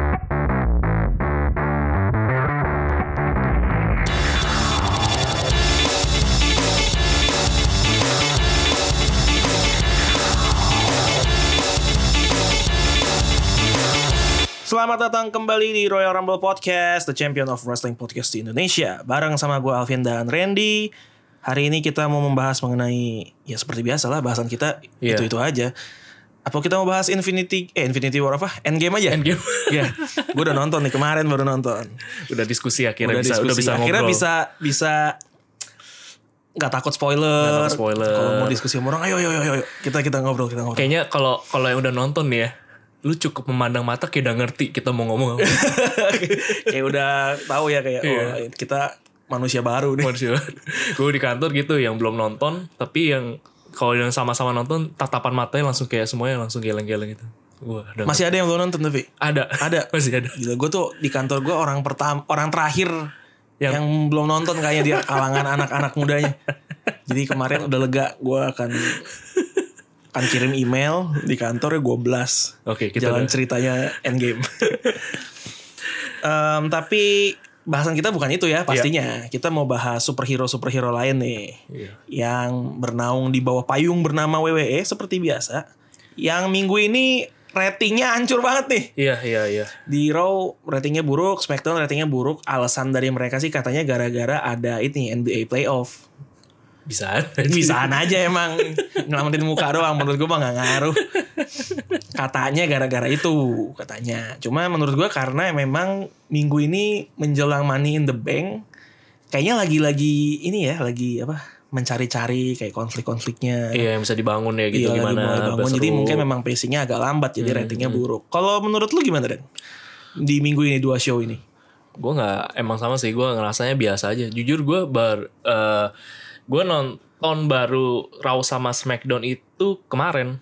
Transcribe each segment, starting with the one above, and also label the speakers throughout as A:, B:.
A: Selamat datang kembali di Royal Rumble Podcast, the champion of wrestling podcast di Indonesia. Bareng sama gue Alvin dan Randy. Hari ini kita mau membahas mengenai, ya seperti biasa lah bahasan kita
B: Iya.
A: itu-itu aja. Apa kita mau bahas Infinity, eh Infinity War apa? Endgame aja?
B: Endgame.
A: ya, gue udah nonton nih kemarin baru nonton.
B: udah diskusi akhirnya
A: udah
B: bisa
A: diskusi.
B: udah bisa
A: Akhirnya
B: ngobrol.
A: bisa, bisa nggak takut spoiler.
B: Nggak takut spoiler.
A: Kalau mau diskusi sama orang, ayo, ayo, ayo, ayo. Kita, kita ngobrol, kita ngobrol.
B: Kayaknya kalau kalau yang udah nonton nih ya, lu cukup memandang mata kayak udah ngerti kita mau ngomong apa.
A: kayak udah tahu ya kayak,
B: Iya.
A: oh, kita manusia baru nih.
B: Manusia. Gue di kantor gitu yang belum nonton, tapi yang kalau yang sama-sama nonton tatapan matanya langsung kayak semuanya langsung geleng-geleng gitu. Wah, udah
A: Masih ada yang belum nonton tapi
B: ada.
A: ada.
B: Masih ada.
A: Gila gue tuh di kantor gue orang pertama orang terakhir yang,
B: Yang-
A: belum nonton kayaknya di kalangan anak-anak mudanya. Jadi kemarin udah lega gue akan akan kirim email di kantor gue blast.
B: Oke, kita
A: jalan
B: udah.
A: ceritanya endgame. Em, tapi bahasan kita bukan itu ya pastinya. Kita mau bahas superhero superhero lain nih
B: Iya.
A: yang bernaung di bawah payung bernama WWE seperti biasa. Yang minggu ini ratingnya hancur banget nih.
B: Iya, iya, iya.
A: Di Raw ratingnya buruk, SmackDown ratingnya buruk. Alasan dari mereka sih katanya gara-gara ada ini NBA playoff.
B: Bisa. aja.
A: Bisaan aja emang ngelamatin muka doang menurut gue mah nggak ngaruh. Katanya gara-gara itu katanya. Cuma menurut gue karena memang minggu ini menjelang Money in the Bank kayaknya lagi-lagi ini ya lagi apa mencari-cari kayak konflik-konfliknya.
B: Iya, yang bisa dibangun ya gitu
A: Iya, lagi
B: gimana.
A: mulai bangun.
B: biar
A: Jadi
B: seru. Hmm,
A: mungkin memang pacingnya agak lambat, jadi ratingnya buruk. Kalau menurut lu gimana, Ren? Di minggu ini dua show ini.
B: gue nggak emang sama sih gue ngerasanya biasa aja jujur gue bar eh, gue nonton baru Raw sama Smackdown itu kemarin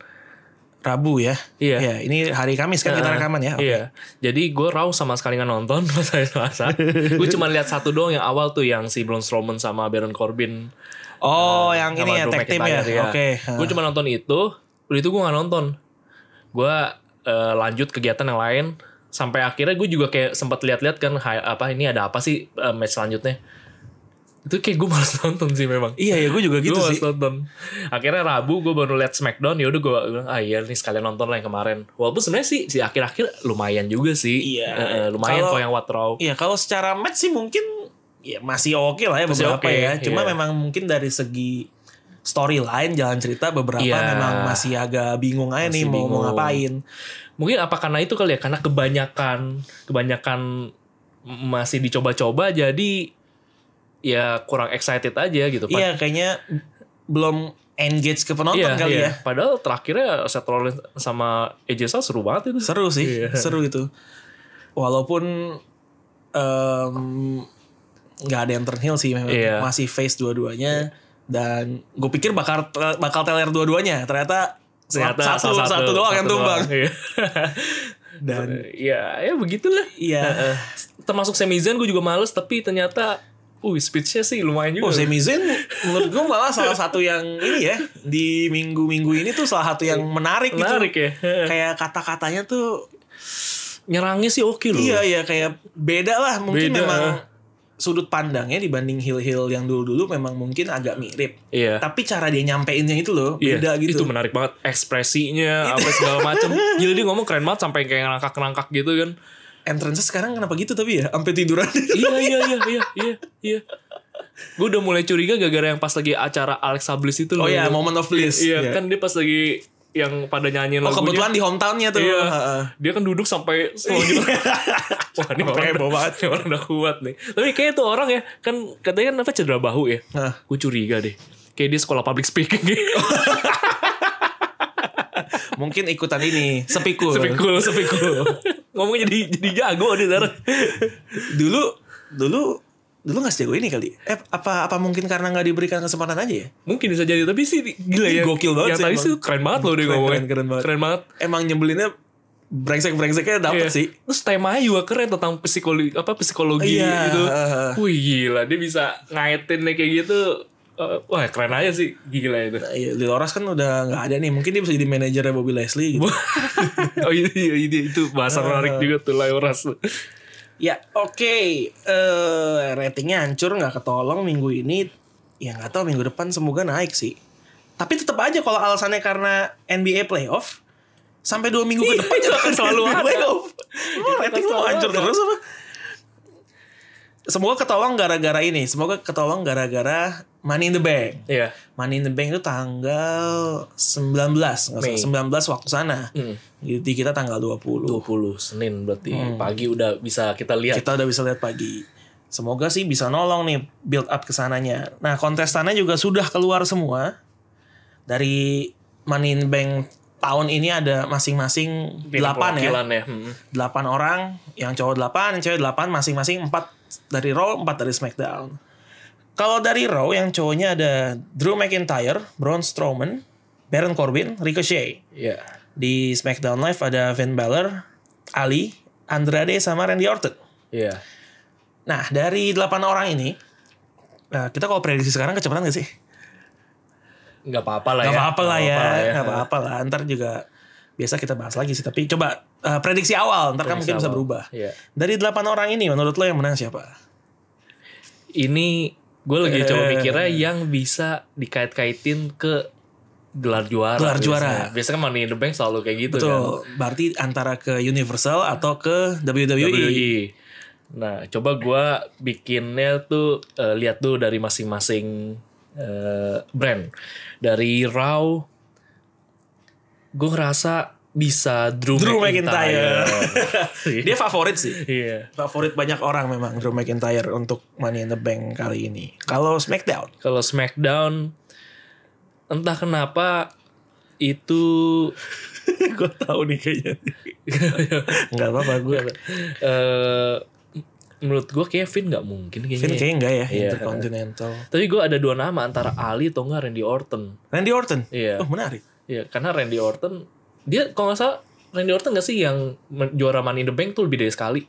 A: Rabu ya.
B: Iya.
A: Iya, ini hari Kamis kan kita
B: Eh,
A: rekaman ya.
B: iya jadi gue Raw sama sekali nggak nonton pas hari Selasa gue cuma lihat satu doang yang awal tuh yang si Braun Strowman sama Baron Corbin
A: Oh, yang ini
B: sama
A: ya
B: Drew
A: tag team ya.
B: McIntyre,
A: Oke.
B: gue cuma nonton itu udah itu gue nggak nonton gue eh, lanjut kegiatan yang lain sampai akhirnya gue juga kayak sempat lihat-lihat kan hi- apa ini ada apa sih eh, match selanjutnya itu kayak gue malas nonton sih memang
A: Iya, ya gue juga gitu
B: gue
A: sih.
B: nonton akhirnya Rabu gue baru liat Smackdown ya udah gue bilang ah iya nih sekalian nonton lah yang kemarin walaupun sebenarnya sih si akhir-akhir lumayan juga sih
A: Iya.
B: Eh, eh, lumayan
A: Kalau-
B: kok yang Watrow
A: Iya, kalau secara match sih mungkin ya masih oke lah ya
B: Masih
A: beberapa
B: oke,
A: ya. Cuma
B: iya.
A: memang mungkin dari segi storyline jalan cerita beberapa
B: Iya.
A: memang masih agak bingung aja nih
B: Masih
A: mau, mau
B: bingung.
A: ngapain.
B: mungkin apa karena itu kali ya karena kebanyakan kebanyakan masih dicoba-coba jadi ya kurang excited aja gitu Pad-
A: Iya, kayaknya belum engage ke penonton
B: iya,
A: kali
B: iya.
A: ya.
B: padahal terakhirnya Seth Rollins sama AJ Styles seru banget itu
A: seru sih
B: Iya.
A: seru itu walaupun em, nggak ada yang turn heel sih memang
B: Iya.
A: masih face dua-duanya dan gue pikir bakal bakal teler dua-duanya ternyata
B: Ternyata
A: satu
B: salah
A: satu, doang yang tumbang
B: Iya.
A: dan
B: ya ya begitulah
A: iya
B: Heeh. termasuk Sami Zayn gue juga males tapi ternyata uh speech-nya sih lumayan juga.
A: Oh, Sami Zayn menurut gue malah salah satu yang ini ya di minggu-minggu ini tuh salah satu yang menarik,
B: Menarik
A: gitu.
B: ya. Heeh.
A: Kayak kata-katanya tuh
B: Nyerangnya sih oke loh.
A: Iya iya kayak beda lah mungkin
B: gitu. Beda. ah.
A: memang sudut pandangnya dibanding hill-hill yang dulu-dulu memang mungkin agak mirip.
B: Iya.
A: Tapi cara dia nyampeinnya itu loh
B: Iya,
A: beda gitu.
B: Itu menarik banget ekspresinya apa segala macam. Gila dia ngomong keren banget sampai kayak ngerangkak-ngerangkak gitu kan.
A: Entrance sekarang kenapa gitu tapi ya sampai tiduran.
B: iya iya iya iya iya iya. Gue udah mulai curiga gara-gara yang pas lagi acara Alexa Bliss itu
A: oh
B: loh.
A: ya moment of bliss. Iya.
B: Iya, kan dia pas lagi yang pada nyanyiin
A: Oh
B: lagunya.
A: kebetulan di hometownnya tuh.
B: Iya.
A: Heeh.
B: Dia kan duduk sampai selanjutnya. Wah, ini orang
A: Heboh
B: udah,
A: banget.
B: ini orang udah kuat nih. Tapi kayak itu orang ya, kan katanya kan apa cedera bahu ya.
A: Hah.
B: Gue curiga deh. Kayak dia sekolah public speaking gitu.
A: Mungkin ikutan ini sepikul.
B: sepikul, sepikul. Ngomongnya jadi jadi jago dia sekarang.
A: Dulu dulu dulu nggak sejago ini kali. Eh apa apa mungkin karena nggak diberikan kesempatan aja ya?
B: Mungkin bisa jadi tapi sih gila
A: Ini
B: ya.
A: gokil banget
B: Yang
A: sih
B: tadi
A: emang.
B: sih keren banget loh dia
A: Keren,
B: ngomongnya.
A: keren, keren banget.
B: Keren banget.
A: Emang nyebelinnya brengsek-brengseknya
B: Iya.
A: dapet sih.
B: Terus temanya juga keren tentang psikologi apa psikologi
A: Iya.
B: gitu. Wih gila dia bisa ngaitin deh kayak gitu. Eh, wah keren aja sih gila itu.
A: Nah, iya, Liloras kan udah nggak ada nih. Mungkin dia bisa jadi manajernya Bobby Leslie. Gitu.
B: oh iya, iya, iya, itu bahasa menarik juga tuh Layoras.
A: ya oke. Eh, ratingnya hancur nggak ketolong minggu ini. Ya nggak tahu minggu depan semoga naik sih. Tapi tetap aja kalau alasannya karena NBA playoff sampai dua minggu ke depan
B: itu akan selalu
A: NBA
B: ada.
A: playoff. Emang
B: akan
A: rating Iya, mau
B: selalu
A: hancur
B: ada.
A: terus apa? Semoga ketolong gara-gara ini. Semoga ketolong gara-gara Money in the Bank.
B: Iya.
A: Money in the Bank itu tanggal 19 nggak
B: Mei.
A: salah 19 waktu sana. Jadi kita tanggal 20.
B: 20 Senin berarti pagi udah bisa kita lihat.
A: Kita udah bisa lihat pagi. Semoga sih bisa nolong nih build up kesananya. Nah kontestannya juga sudah keluar semua. Dari Money in the Bank tahun ini ada masing-masing 8 ya.
B: Perwakilan ya. Hmm.
A: 8 orang, yang cowok 8, yang cewek 8, masing-masing 4 dari Raw, 4 dari SmackDown. Kalau dari Raw yang cowoknya ada Drew McIntyre, Braun Strowman, Baron Corbin, Ricochet.
B: Iya.
A: Di SmackDown Live ada Finn Balor, Ali, Andrade sama Randy Orton.
B: Iya.
A: Nah, dari 8 orang ini nah, kita kalau prediksi sekarang kecepatan gak sih?
B: Enggak apa-apa lah
A: Gak
B: ya.
A: apa-apa lah ya,
B: Nggak
A: gak apa-apa lah. Ntar juga biasa kita bahas lagi sih. Tapi coba eh, prediksi awal, ntar kan mungkin bisa
B: awal.
A: berubah.
B: Iya.
A: Dari 8 orang ini menurut lo yang menang siapa?
B: ini gue lagi coba
A: Eh.
B: mikirnya yang bisa dikait-kaitin ke gelar juara.
A: Gelar juara.
B: Biasanya, biasanya kan Money in the Bank selalu kayak gitu
A: Betul.
B: kan.
A: Berarti antara ke Universal atau ke E. WWE.
B: WWE. Nah, coba gue bikinnya tuh eh, lihat tuh dari masing-masing eh, brand. Dari Raw, gue ngerasa bisa Drew,
A: Drew McIntyre.
B: McIntyre.
A: Dia favorit sih.
B: Iya.
A: Favorit banyak orang memang Drew McIntyre untuk Money in the Bank kali ini. Kalau SmackDown,
B: Kalau SmackDown, entah kenapa itu
A: gue tahu nih
B: Iya.
A: kayaknya. Gak apa-apa gue.
B: eh menurut gue kayak Finn nggak mungkin kayaknya.
A: Finn kayaknya enggak ya
B: Iya.
A: Intercontinental.
B: Tapi gue ada dua nama antara Ali atau nggak Randy Orton.
A: Randy Orton.
B: Iya.
A: Oh menarik.
B: Iya, karena Randy Orton dia kalau nggak salah Randy Orton nggak sih yang men- juara Money in the Bank tuh lebih dari sekali.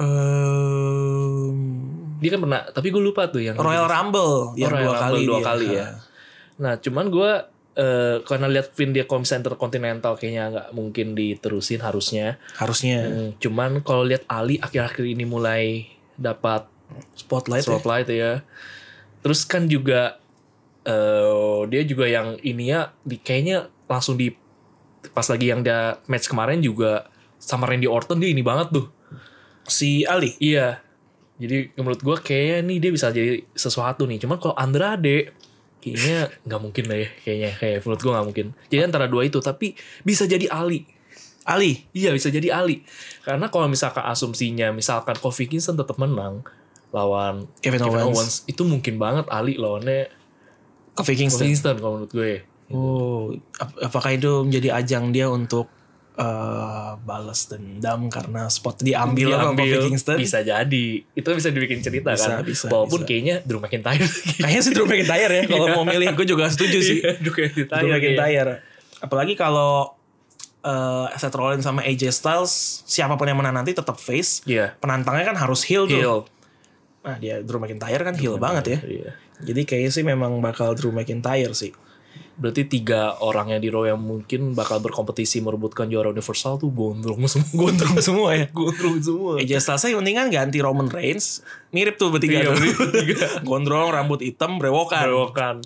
A: Ehm,
B: Dia kan pernah, tapi gue lupa tuh yang
A: Royal Rumble yang
B: Royal
A: dua
B: Rumble
A: kali.
B: dua
A: dia.
B: kali ya. Nah, cuman gue eh karena lihat Finn dia komisi Intercontinental kayaknya nggak mungkin diterusin harusnya.
A: Harusnya
B: Hmm, Cuman kalau lihat Ali akhir-akhir ini mulai dapat
A: spotlight. ya.
B: Spotlight ya. Terus kan juga eh dia juga yang ininya di kayaknya langsung di pas lagi yang dia match kemarin juga sama Randy Orton dia ini banget tuh.
A: Si Ali.
B: Iya. Jadi menurut gua kayaknya nih dia bisa jadi sesuatu nih. Cuman kalau Andrade kayaknya nggak mungkin lah ya kayaknya kayak menurut gua nggak mungkin. Jadi antara dua itu tapi bisa jadi Ali.
A: Ali.
B: Iya bisa jadi Ali. Karena kalau misalkan asumsinya misalkan Kofi Kingston tetap menang lawan
A: Kevin
B: Kevin
A: Owens.
B: Owens. itu mungkin banget Ali lawannya
A: Kofi Kingston.
B: Kofi Kingston kalau menurut gue.
A: Oh, ap- apakah itu menjadi ajang dia untuk eh, balas dendam karena spot diambil sama Kofi Kingston?
B: Bisa jadi. Itu bisa dibikin cerita
A: Bisa,
B: kan.
A: bisa, bisa.
B: Walaupun kayaknya Drew McIntyre.
A: Kayaknya sih Drew McIntyre ya kalau mau milih. Gue juga setuju sih.
B: Iya, Drew McIntyre.
A: Drew
B: kayaknya.
A: McIntyre. Apalagi kalau eh Seth Rollins sama AJ Styles siapapun yang menang nanti tetap face.
B: Iya.
A: Penantangnya kan harus heel tuh.
B: Heel.
A: Nah, dia Drew McIntyre kan heel banget ya.
B: Iya.
A: Jadi kayaknya sih memang bakal Drew McIntyre sih.
B: Berarti tiga orang yang di Raw yang mungkin bakal berkompetisi merebutkan juara Universal tuh gondrong semua. Gondrong semua ya? gondrong semua.
A: AJ Styles aja mendingan ganti Roman Reigns. Mirip tuh bertiga
B: Iya,
A: tuh.
B: bertiga.
A: Gondrong, rambut hitam, brewokan.
B: Berokan.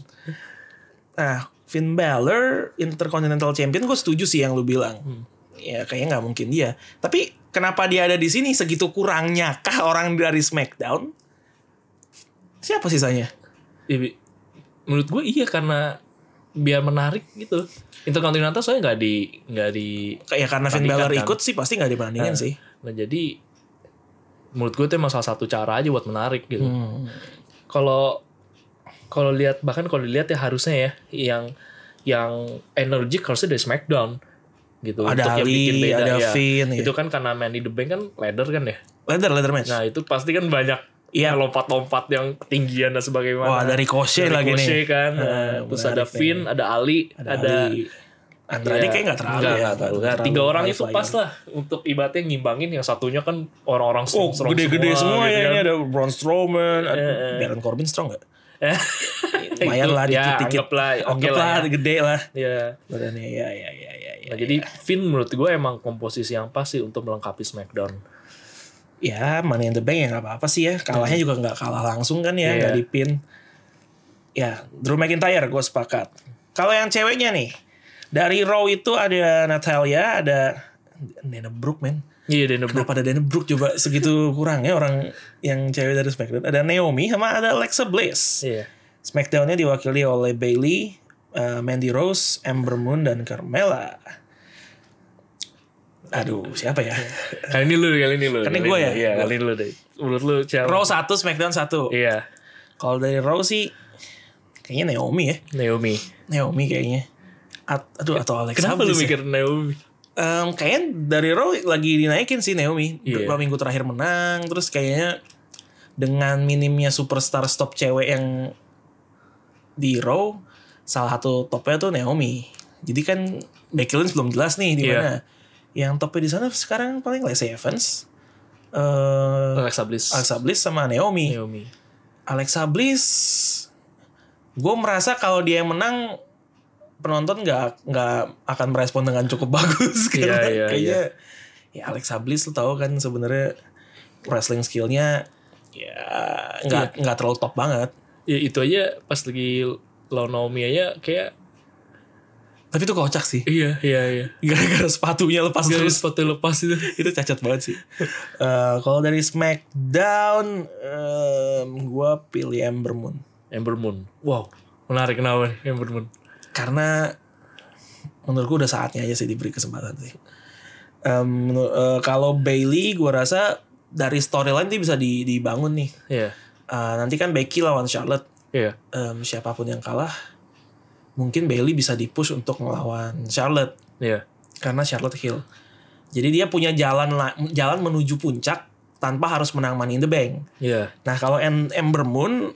A: Nah, Finn Balor Intercontinental Champion gue setuju sih yang lu bilang.
B: Hmm.
A: Ya kayaknya nggak mungkin dia. Tapi kenapa dia ada di sini segitu kurangnya kah orang dari SmackDown? Siapa sisanya?
B: Ya, Bi. menurut gue iya karena biar menarik gitu. Intercontinental soalnya nggak di nggak di
A: Kayak Ya, karena Finn
B: Bandingkan
A: Balor
B: kan.
A: ikut sih pasti nggak dibandingin
B: Nah.
A: sih.
B: nah jadi menurut gue itu emang salah satu cara aja buat menarik gitu.
A: Hmm.
B: Kalau kalau lihat bahkan kalau dilihat ya harusnya ya yang yang energik harusnya dari SmackDown gitu
A: Ada Ali, ada Finn, ya.
B: Itu kan karena Man in the Bank kan ladder kan ya.
A: Leather leather match.
B: Nah, itu pasti kan banyak
A: Iya.
B: yang lompat-lompat yang ketinggian dan sebagainya.
A: Wah, ada Ricochet lagi nih.
B: kan.
A: Ah,
B: Nah, terus
A: menarik
B: ada
A: nih.
B: Finn, ada Ali, ada,
A: Ali. Andrade kayak nggak terlalu
B: Iya. Nggak,
A: ya.
B: nggak terlalu.
A: Nggak terlalu ya.
B: Tiga orang
A: live
B: itu
A: lagi.
B: pas lah untuk ibaratnya ngimbangin yang satunya kan orang-orang
A: Oh,
B: strong-strong
A: gede-gede semua, ya.
B: gitu
A: Ini
B: kan.
A: ada Braun Strowman, ada
B: Eh, eh.
A: Baron Corbin strong nggak?
B: Eh,
A: Lumayan
B: itu,
A: lah,
B: ya,
A: dikit-dikit.
B: anggap lah, oke
A: Anggap
B: lah ya.
A: gede lah.
B: Iya.
A: Badannya, ya, ya, ya, ya. ya,
B: Nah, jadi Finn menurut gue emang komposisi yang pas sih untuk melengkapi SmackDown.
A: ya Money in the Bank ya nggak apa-apa sih ya. Kalahnya juga nggak kalah langsung kan ya,
B: Hmm. Iya.
A: nggak dipin. Ya, Drew McIntyre gue sepakat. Kalau yang ceweknya nih, dari Raw itu ada Natalia, ada Dana Brooke men.
B: Iya, Dana Brooke.
A: Kenapa ada Dana Brooke coba segitu kurangnya orang yang cewek dari SmackDown. Ada Naomi sama ada Alexa Bliss.
B: Iya.
A: Smackdownnya diwakili oleh Bailey, eh, Mandy Rose, Ember Moon dan Carmella. Aduh, siapa ya?
B: Kali ini lu, kali ini lu.
A: Kali ini
B: kali
A: gua
B: ini
A: ya?
B: lu. Iya, kali ini lu deh. Menurut lu siapa?
A: Raw satu, Smackdown satu.
B: Iya,
A: Kalau dari Raw sih kayaknya Naomi ya.
B: Naomi.
A: Naomi kayaknya. At- aduh atau Alexa
B: Kenapa lu
A: Bliss ya.
B: mikir Naomi?
A: Em, kayaknya dari Raw lagi dinaikin sih Naomi.
B: Iya.
A: Dua minggu terakhir menang terus kayaknya dengan minimnya superstar stop cewek yang di Raw salah satu topnya tuh Naomi. Jadi kan Becky Lynch belum jelas nih di
B: Iya.
A: mana. Yang topnya di sana sekarang paling Lacey Evans, eh
B: Oh, Alexa Iya. Bliss.
A: Alexa Bliss sama Naomi.
B: Naomi.
A: Alexa Bliss gue merasa kalau dia yang menang penonton nggak nggak akan merespon dengan cukup bagus karena
B: iya,
A: kayaknya ya Alexa Bliss lo tau kan sebenarnya wrestling skillnya ya
B: Iya.
A: nggak nggak terlalu top banget
B: Ya itu aja pas lagi lawan Naomi aja kayak
A: tapi itu kocak sih
B: iya, iya, iya.
A: gara-gara sepatunya lepas
B: Gak ada
A: terus
B: sepatu lepas itu.
A: itu cacat banget sih Eh, kalau dari SmackDown gue pilih Ember Moon
B: Ember Moon. Wow, menarik kenapa nih Ember Moon?
A: karena menurutku udah saatnya aja sih diberi kesempatan sih. Em, menur- eh, kalau Bailey gue rasa dari storyline dia bisa di- dibangun nih.
B: Iya.
A: Eh, nanti kan Becky lawan Charlotte,
B: Iya.
A: Em, siapapun yang kalah mungkin Bailey bisa dipush untuk melawan Charlotte
B: Iya.
A: karena Charlotte Hill. Jadi dia punya jalan la- jalan menuju puncak tanpa harus menang Money in the Bank.
B: Iya.
A: Nah kalau Em- Ember Moon,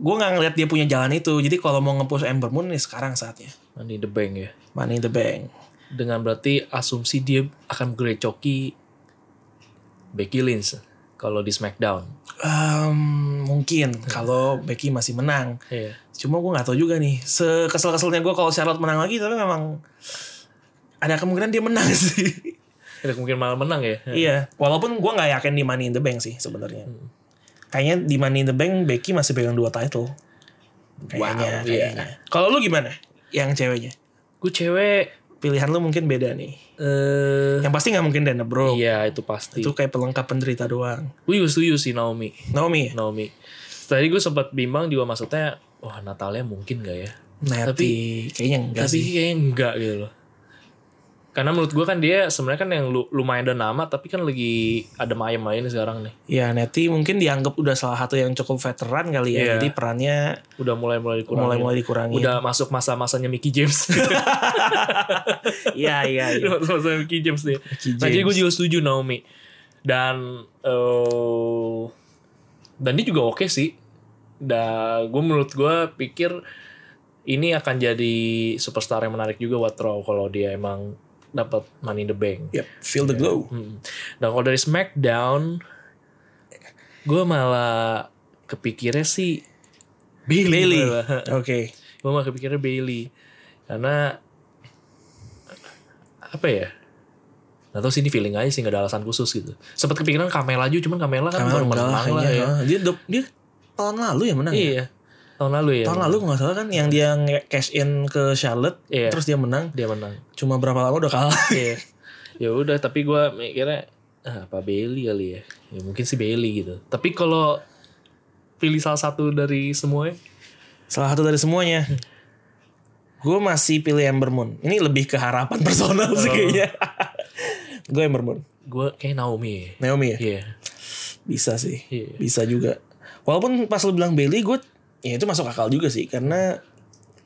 A: gue nggak ngeliat dia punya jalan itu. Jadi kalau mau nge-push Ember Moon nih sekarang saatnya.
B: Money in the bank ya.
A: Money in the Bank.
B: Dengan berarti asumsi dia akan grecoki Becky Lynch kalau di SmackDown.
A: Em, mungkin kalau Becky masih menang.
B: Iya.
A: Cuma gue nggak tahu juga nih. Sekesel-keselnya gue kalau Charlotte menang lagi, tapi memang ada kemungkinan dia menang sih.
B: Ada mungkin malah menang ya.
A: iya. Walaupun gue nggak yakin di Money in the Bank sih sebenarnya. Kayaknya di Money in the Bank Becky masih pegang dua title. Kayaknya.
B: Wow, iya.
A: kayaknya. Kalau lu gimana? Yang ceweknya?
B: Gue cewek
A: Pilihan lu mungkin beda nih.
B: eh
A: Yang pasti nggak mungkin Dana Bro.
B: iya itu pasti.
A: Itu kayak pelengkap penderita doang.
B: Gue juga setuju sih Naomi.
A: Naomi, ya?
B: Naomi. Tadi gue sempat bimbang juga maksudnya, wah Natalia mungkin gak ya?
A: Natty, kayaknya enggak
B: tapi
A: sih.
B: kayaknya enggak gitu loh. Karena menurut gue kan dia sebenarnya kan yang lu- lumayan ada nama tapi kan lagi ada ayam main sekarang nih.
A: Ya Neti mungkin dianggap udah salah satu yang cukup veteran kali ya.
B: Iya.
A: Jadi perannya
B: Udah mulai-mulai dikurangin.
A: mulai-mulai dikurangi.
B: Udah masuk masa-masanya Mickey James.
A: Iya iya iya.
B: Udah masuk masa Mickey James nih.
A: Mickey
B: Nah, jadi
A: James.
B: gue juga setuju Naomi. Dan eh dan dia juga oke sih. Dah gue menurut gue pikir ini akan jadi superstar yang menarik juga buat Raw kalau dia emang dapat money in the bank.
A: Yep, feel the glow.
B: Hmm. Nah kalau dari SmackDown, gue malah kepikirnya sih Bailey.
A: Bailey.
B: Malah.
A: Oke.
B: Gue malah kepikirnya Bailey karena apa ya? Gak tau sih ini feeling aja sih gak ada alasan khusus gitu. Sempat kepikiran Kamela juga, cuman Kamela kan
A: Kamala
B: baru
A: udah lah
B: menang lah
A: kayaknya.
B: ya.
A: Ah, Dia dop- dia tahun lalu ya menang. ya?
B: Iya. Tahun lalu ya.
A: Tahun lalu kalau nggak salah kan yang dia nge- cash in ke Charlotte,
B: Iya.
A: terus dia menang.
B: dia menang.
A: Cuma berapa lama udah kalah.
B: Iya. ya udah tapi gue mikirnya ah, apa Bailey kali ya. Ya mungkin sih Bailey gitu. Tapi kalau pilih salah satu dari ya, semuanya
A: salah satu dari semuanya. Gue masih pilih Ember Moon. Ini lebih ke harapan personal
B: Oh.
A: sih kayaknya. Gue Ember Moon.
B: gue kayak Naomi ya.
A: Naomi ya?
B: Iya.
A: Bisa sih.
B: Iya.
A: Bisa juga. Walaupun pas lu bilang Bailey gue ya itu masuk akal juga sih karena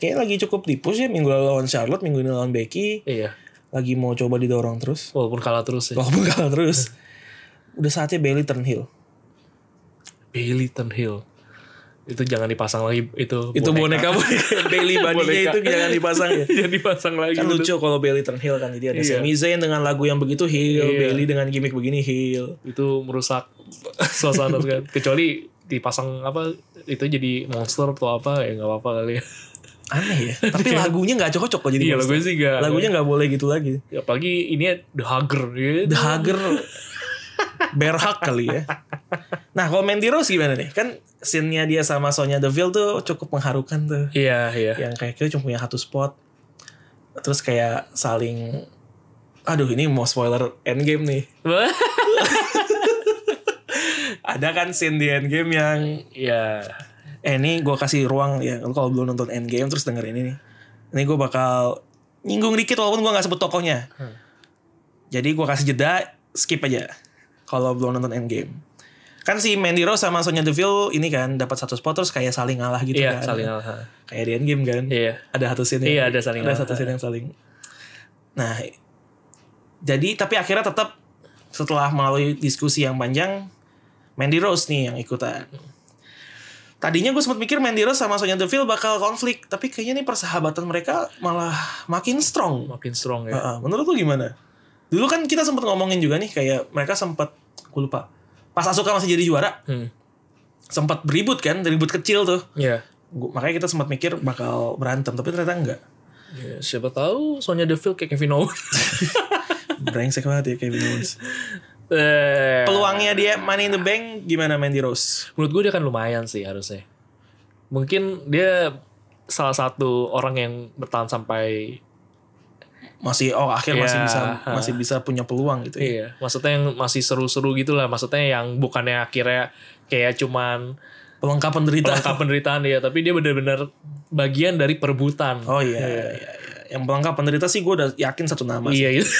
A: kayak lagi cukup tipus ya minggu lalu lawan Charlotte, minggu ini lawan Becky,
B: Iya.
A: lagi mau coba didorong terus.
B: Walaupun kalah terus ya.
A: Walaupun kalah terus. Udah saatnya Bailey turn heel.
B: Bailey turn heel. itu jangan dipasang lagi itu
A: Itu boneka, boneka Bailey Bunny-nya
B: Boneka.
A: itu jangan dipasang ya.
B: jangan dipasang lagi
A: Kan
B: betul.
A: lucu kalau Bailey turn heel kan jadi ada
B: Iya.
A: Sami Zayn dengan lagu yang begitu heel,
B: Iya.
A: Bailey dengan gimmick begini heel.
B: itu merusak suasana kan kecuali dipasang apa itu jadi monster atau apa ya nggak apa-apa kali ya
A: Aneh ya. Tapi lagunya nggak cocok kok jadi.
B: iya
A: monster.
B: lagunya sih nggak
A: Lagunya nggak boleh gitu lagi.
B: apalagi ini ya, the hugger gitu.
A: The Hager Berhak kali ya. Nah, kalau Mandy Rose gimana nih? Kan scene-nya dia sama Sonya Deville tuh cukup mengharukan tuh.
B: iya iya
A: Yang kayak kita cuma punya satu spot. Terus kayak saling aduh ini mau spoiler endgame nih. Ada kan scene di endgame yang
B: iya
A: eh ini gue kasih ruang ya lu kalau belum nonton endgame terus dengerin ini. Ini gue bakal nyinggung dikit walaupun gue nggak sebut tokohnya.
B: Hmm.
A: Jadi gue kasih jeda, skip aja. Kalau belum nonton Endgame. Kan si Mandy Rose sama Sonya Deville ini kan dapat satu spot terus kayak saling ngalah gitu
B: iya
A: kan.
B: saling alasan
A: Kayak di Endgame kan.
B: iya
A: Ada satu scene yang-
B: Iya, ada saling
A: Ada
B: ngalah.
A: satu scene yang saling. Nah, jadi tapi akhirnya tetap setelah melalui diskusi yang panjang Mandy Rose nih yang ikutan. Tadinya gue sempat mikir Mandy Rose sama Sonya Deville bakal konflik, tapi kayaknya nih persahabatan mereka malah makin strong.
B: makin strong ya
A: Heeh, menurut lu gimana? Dulu kan kita sempat ngomongin juga nih kayak mereka sempat aku lupa. Pas Asuka masih jadi juara,
B: hmm.
A: sempat beribut kan, ribut kecil tuh.
B: iya
A: Gua- makanya kita sempat mikir bakal berantem, tapi ternyata enggak.
B: Ya, siapa tahu Sonya Deville kayak Kevin Owens
A: Brengsek banget ya Kevin Owens.
B: Eh,
A: Peluangnya dia Money in the Bank gimana Mandy Rose?
B: menurut gue dia kan lumayan sih harusnya mungkin dia salah satu orang yang bertahan sampai
A: Masih oh akhir masih
B: Iya,
A: bisa
B: ha.
A: masih bisa punya peluang gitu ya.
B: Iya, maksudnya yang masih seru-seru gitu lah. Maksudnya yang bukannya akhirnya kayak cuman
A: Pelengkap penderitaan.
B: pelengkap penderitaan dia, tapi dia benar-benar bagian dari perebutan.
A: Oh iya, iya, iya. Yang pelengkap penderita sih gue udah yakin satu nama sih.
B: Iya, itu.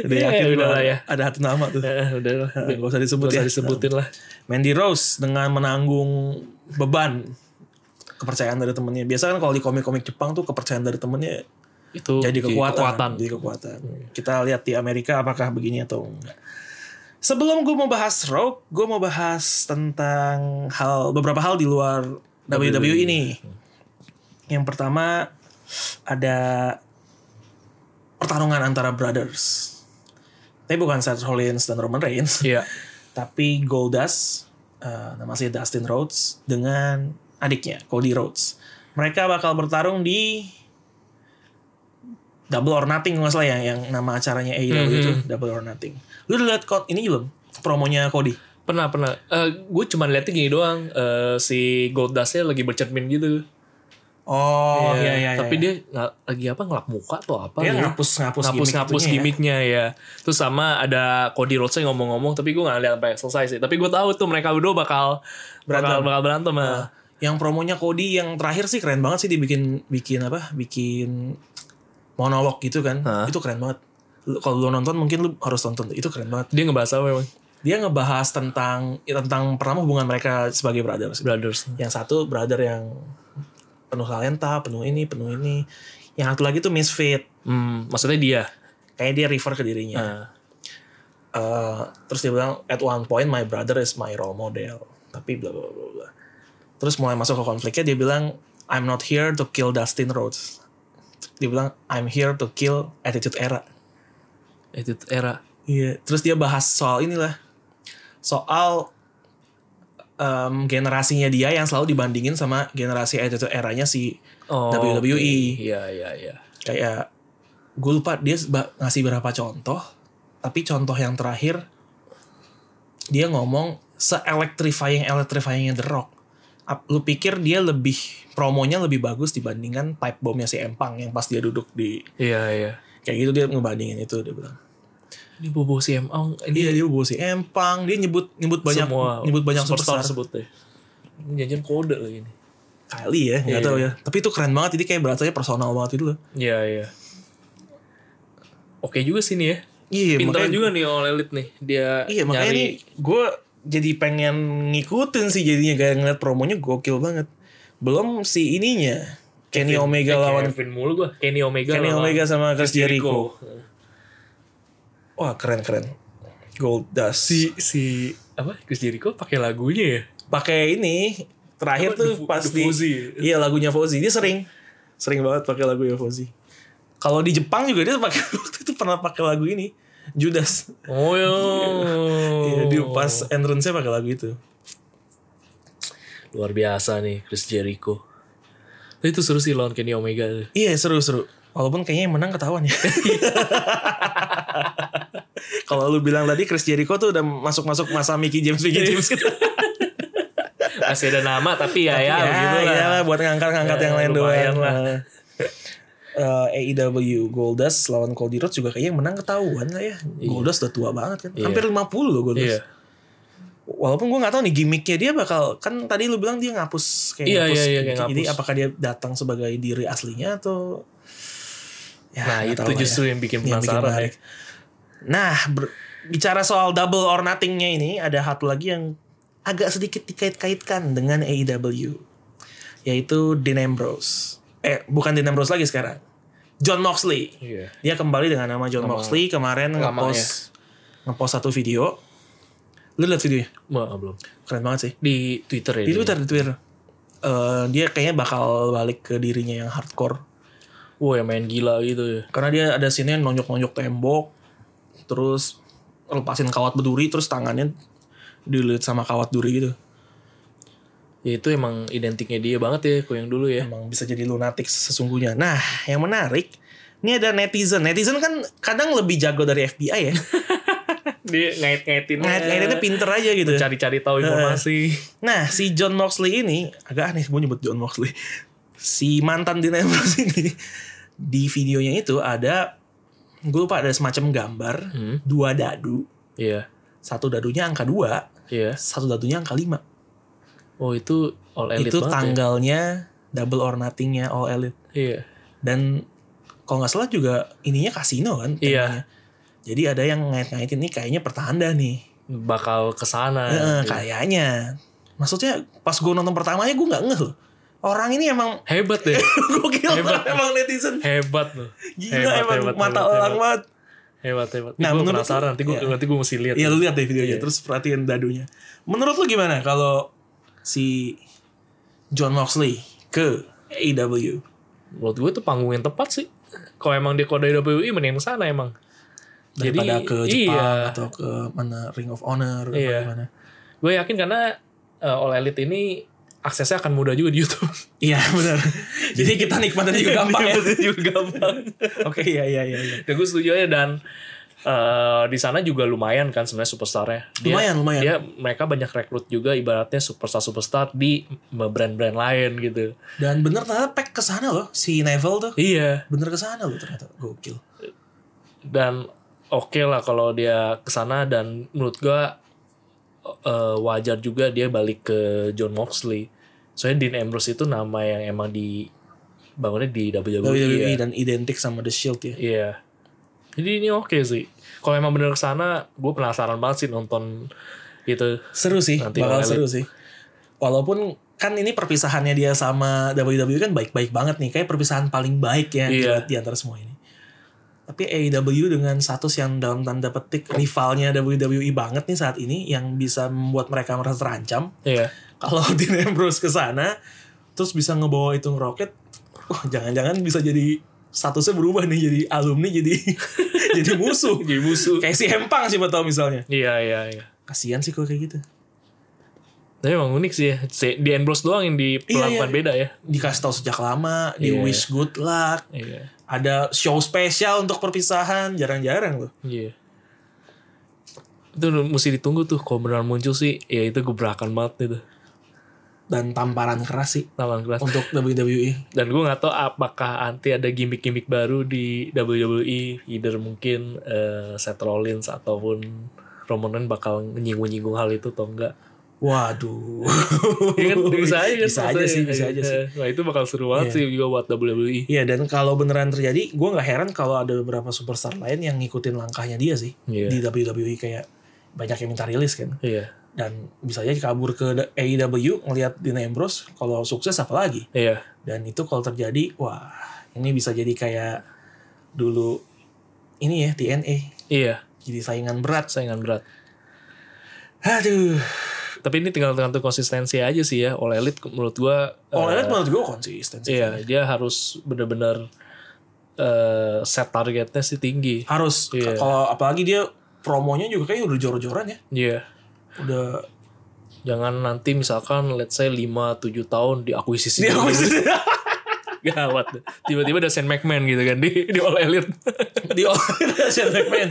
A: Udah
B: Iya,
A: yakin
B: udah
A: gua
B: lah ya.
A: ada satu nama tuh.
B: Nah, udah lah.
A: Nggak
B: Gak
A: usah disebut
B: usah
A: ya.
B: disebutin lah.
A: Mandy Rose dengan menanggung beban kepercayaan dari temennya. Biasa kan kalau di komik-komik Jepang tuh kepercayaan dari temennya
B: Itu
A: jadi kekuatan. Hmm. Jadi kekuatan. Kita lihat di Amerika apakah begini atau enggak. Sebelum gue mau bahas Rogue, gue mau bahas tentang hal beberapa hal di luar WWE, ini. Yang pertama ada pertarungan antara brothers. Tapi bukan Seth Rollins dan Roman Reigns
B: Iya.
A: tapi Goldust eh nama saya Dustin Rhodes dengan adiknya Cody Rhodes mereka bakal bertarung di Double or Nothing nggak salah ya yang nama acaranya AEW
B: Mhm.
A: itu Double or Nothing lu udah liat kok ini belum promonya Cody
B: Pernah, pernah. gue cuman liatnya gini doang. Eh, si Goldust-nya lagi bercermin gitu.
A: oh
B: Iya, Tapi dia nggak- lagi apa ngelap muka atau apa
A: dia
B: gitu.
A: ngapus ngapus
B: ngapus
A: itunya
B: ngapus
A: ya.
B: gimmicknya ya. Terus sama ada Cody Rhodes yang ngomong-ngomong tapi gue nggak lihat sampai selesai sih. Tapi gue tahu tuh mereka berdua bakal
A: Berantem. Ah.
B: bakal, bakal berantem ya.
A: yang promonya Cody yang terakhir sih keren banget sih dibikin bikin apa bikin monolog gitu kan
B: Hah?
A: itu keren banget Lu- kalau lu nonton mungkin lu harus tonton itu keren banget
B: Dia ngebahas apa memang?
A: dia ngebahas tentang ya, tentang pertama hubungan mereka sebagai brothers.
B: Brothers.
A: Yang satu brother yang penuh talenta, penuh ini, penuh ini. Yang satu lagi tuh misfit,
B: Hmm, maksudnya dia.
A: kayak dia refer ke dirinya.
B: Nah,
A: Eh, terus dia bilang at one point my brother is my role model, tapi bla bla bla bla. Terus mulai masuk ke konfliknya dia bilang I'm not here to kill Dustin Rhodes. Dia bilang I'm here to kill Attitude Era.
B: itu era.
A: Iya, terus dia bahas soal inilah. Soal em, generasinya dia yang selalu dibandingin sama generasi itu eranya si
B: Oh,
A: WWE.
B: oke. Iya, iya, iya.
A: kayak gue lupa dia ba- ngasih berapa contoh, tapi contoh yang terakhir dia ngomong se-electrifying electrifyingnya The Rock. Ap- Lu pikir dia lebih promonya lebih bagus dibandingkan pipe bombnya si Empang yang pas dia duduk di
B: Iya, iya.
A: kayak gitu dia ngebandingin itu dia bilang.
B: Ini bobo si Emang ini
A: Iya dia bawa si Empang, dia nyebut nyebut banyak
B: semua
A: nyebut banyak superstar,
B: sebut deh. Ini janjian kode lagi ini.
A: kali ya, nggak tahu ya. Tapi itu keren banget, jadi kayak berasanya personal banget itu loh.
B: Iya, iya. Oke juga sih nih ya.
A: Iya,
B: Pintar
A: makanya,
B: juga nih All Elite nih. Dia
A: iya makanya
B: nyari
A: nih gue jadi pengen ngikutin sih jadinya kayak ngeliat promonya gokil banget. Belum si ininya Kenny Omega
B: Eh,
A: lawan
B: Kevin mulu gua. Kenny Omega
A: Kenny
B: lawan
A: Omega sama Chris Jericho.
B: Jericho.
A: Wah keren keren. Gold Dust.
B: si si apa Chris Jericho pakai lagunya ya
A: pakai ini terakhir
B: Apa,
A: tuh
B: The Fu-
A: pas
B: The
A: di
B: Fozzy.
A: iya lagunya Fozzy dia sering sering banget pakai lagu ya Fozzy kalau di Jepang juga dia pakai waktu itu pernah pakai lagu ini Judas
B: oh ya
A: Iya, dia
B: Oh.
A: pas entrance nya pakai lagu itu
B: luar biasa nih Chris Jericho Tapi itu seru sih lawan Kenny Omega
A: iya seru seru walaupun kayaknya yang menang ketahuan ya kalau lu bilang tadi Chris Jericho tuh udah masuk masuk masa Mickey James Mickey
B: Iya.
A: James gitu
B: masih ada nama tapi ya ya,
A: ya,
B: gitu lah.
A: iyalah, buat ngangkat-ngangkat
B: Ya,
A: yang lain
B: lumayan
A: doang Nah.
B: lah.
A: Eh, AEW Goldust lawan Cody Rhodes juga kayaknya yang menang ketahuan lah ya. Goldust udah tua banget kan.
B: Iya.
A: Hampir 50 loh Goldust.
B: iya
A: Walaupun gue gak tahu nih gimmicknya dia bakal kan tadi lu bilang dia ngapus kayak
B: Iya,
A: ngapus.
B: iya, iya, kayak
A: Jadi
B: ngapus.
A: apakah dia datang sebagai diri aslinya atau ya,
B: nah
A: nggak
B: itu
A: tahu lah
B: justru
A: ya.
B: yang bikin
A: Yang bikin
B: penasaran
A: menarik. Nah, ber- bicara soal double or nothingnya ini, ada satu lagi yang agak sedikit dikait-kaitkan dengan AEW, yaitu Dean Ambrose. Eh, bukan Dean Ambrose lagi sekarang, John Moxley.
B: Iya.
A: Dia kembali dengan nama John Moxley kemarin
B: lamanya.
A: ngepost ngepost satu video. Lu lihat videonya?
B: ya Wah, belum
A: Keren banget sih.
B: di Twitter ya
A: Di
B: dia.
A: Twitter, di Twitter. Eh, dia kayaknya bakal balik ke dirinya yang hardcore.
B: wah yang main gila gitu ya
A: karena dia ada sini yang nonjok-nonjok tembok terus lepasin kawat berduri terus tangannya dililit sama kawat duri gitu
B: Ya, itu emang identiknya dia banget ya kok yang dulu ya
A: emang bisa jadi lunatik sesungguhnya nah yang menarik ini ada netizen netizen kan kadang lebih jago dari FBI ya
B: dia ngait-ngaitin
A: ngait-ngaitinnya pinter aja gitu
B: cari-cari tahu informasi
A: nah si John Moxley ini agak aneh gue nyebut John Moxley si mantan Dean Ambrose ini di videonya itu ada gue lupa ada semacam gambar
B: Hmm.
A: dua dadu
B: iya
A: satu dadunya angka dua
B: iya
A: satu dadunya angka lima
B: oh itu all elite
A: itu
B: banget ya.
A: tanggalnya double or nothingnya all elite
B: iya
A: dan kalau nggak salah juga ininya kasino kan
B: Iya.
A: temanya. jadi ada yang ngait-ngaitin ini kayaknya pertanda nih
B: bakal kesana
A: Eh,
B: gitu.
A: kayaknya maksudnya pas gue nonton pertamanya gue nggak ngeh loh orang ini emang
B: hebat deh
A: gokil
B: Hebat.
A: banget emang netizen
B: hebat loh
A: gila emang mata
B: hebat,
A: orang
B: hebat.
A: banget
B: hebat hebat
A: Nah,
B: nah, gue
A: menurut
B: penasaran
A: lu-
B: nanti gue
A: iya.
B: nanti gue mesti lihat
A: Iya lu lihat deh videonya
B: Iya.
A: terus perhatiin dadunya. Menurut lu gimana kalau si John Moxley ke E AEW?
B: menurut gue tuh panggung yang tepat sih kalau emang dia kode WWE mending yang sana emang
A: daripada
B: Jadi,
A: ke Jepang
B: iya.
A: atau ke mana Ring of Honor apa
B: Iya.
A: gimana.
B: gue yakin karena uh, All Elite ini aksesnya akan mudah juga di YouTube
A: Iya benar. Jadi kita nikmatin juga gampang ya.
B: juga gampang
A: Oke iya iya iya. iya.
B: dan gue Ya, setuju aja dan eh, di sana juga lumayan kan sebenarnya superstarnya dia,
A: Lumayan, lumayan.
B: dia mereka banyak rekrut juga ibaratnya superstar superstar di brand-brand lain gitu
A: Dan bener ternyata pack ke sana loh si Neville tuh.
B: iya
A: Bener ke sana loh ternyata. Gokil.
B: dan oke lah kalau dia kesana dan menurut gua eh, wajar juga dia balik ke John Moxley soalnya Dean Ambrose itu nama yang emang di bangunnya di WWE,
A: WWE
B: ya.
A: E dan identik sama The Shield ya.
B: Iya. Jadi ini oke sih. Kalau emang bener kesana, gue penasaran banget sih nonton itu.
A: Seru sih,
B: Nanti
A: bakal
B: All Elite.
A: seru sih. Walaupun kan ini perpisahannya dia sama WWE kan baik-baik banget nih. Kayak perpisahan paling baik ya
B: Iya.
A: di, di antara semua ini. Tapi AEW dengan status yang dalam tanda petik rivalnya WWE banget nih saat ini yang bisa membuat mereka merasa terancam.
B: Iya.
A: Kalau Dean Ambrose ke sana terus bisa ngebawa itu ngeroket, wah jangan-jangan bisa jadi statusnya berubah nih jadi alumni jadi jadi musuh.
B: Jadi musuh.
A: Kayak si Hempang sih tau misalnya.
B: Iya, iya, iya.
A: Kasihan sih kalau kayak gitu.
B: Tapi emang unik sih ya. Si- Di Ambrose doang yang
A: Iya,
B: diperlakukan
A: iya.
B: beda ya.
A: dikasih tahu sejak lama, di
B: Iya.
A: wish good luck,
B: Iya.
A: ada show spesial untuk perpisahan, jarang-jarang loh.
B: Iya. Itu mesti ditunggu tuh. Kalau beneran muncul sih, ya itu gebrakan banget itu.
A: Dan tamparan keras sih
B: Tangan keras.
A: untuk E. WWE.
B: Dan gue gak tahu apakah nanti ada gimmick-gimmick baru di WWE. Either mungkin eh, Seth Rollins ataupun Roman Reigns bakal nyinggung-nyinggung hal itu atau enggak.
A: Waduh.
B: Iya kan bisa aja kan,
A: Bisa aja
B: maksudnya.
A: sih, bisa aja sih.
B: Nah itu bakal seru banget sih juga buat E. WWE.
A: Iya dan kalau beneran terjadi, gue nggak heran kalau ada beberapa superstar lain yang ngikutin langkahnya dia sih
B: Iya.
A: di WWE kayak banyak yang minta rilis kan.
B: Iya.
A: Dan bisa aja kabur ke E AEW ngelihat Dean Ambrose kalau sukses apa lagi.
B: Iya.
A: Dan itu kalau terjadi, wah ini bisa jadi kayak dulu ini ya TNA
B: Iya.
A: Jadi saingan berat.
B: saingan berat.
A: Aduh.
B: Tapi ini tinggal tergantung konsistensi aja sih ya. All Elite menurut gua
A: All
B: eh,
A: Elite menurut gue konsisten sih.
B: Iya, dia harus bener-bener eh, set targetnya sih tinggi.
A: Harus.
B: Iya.
A: Kalau apalagi dia promonya juga kayaknya udah jor-joran ya.
B: Iya.
A: Udah
B: Jangan nanti misalkan let's say 5 7 tahun diakuisisi.
A: dia
B: Gawat. deh. Tiba-tiba ada Shane McMahon gitu kan di di All Elite.
A: di All Elite Shane McMahon.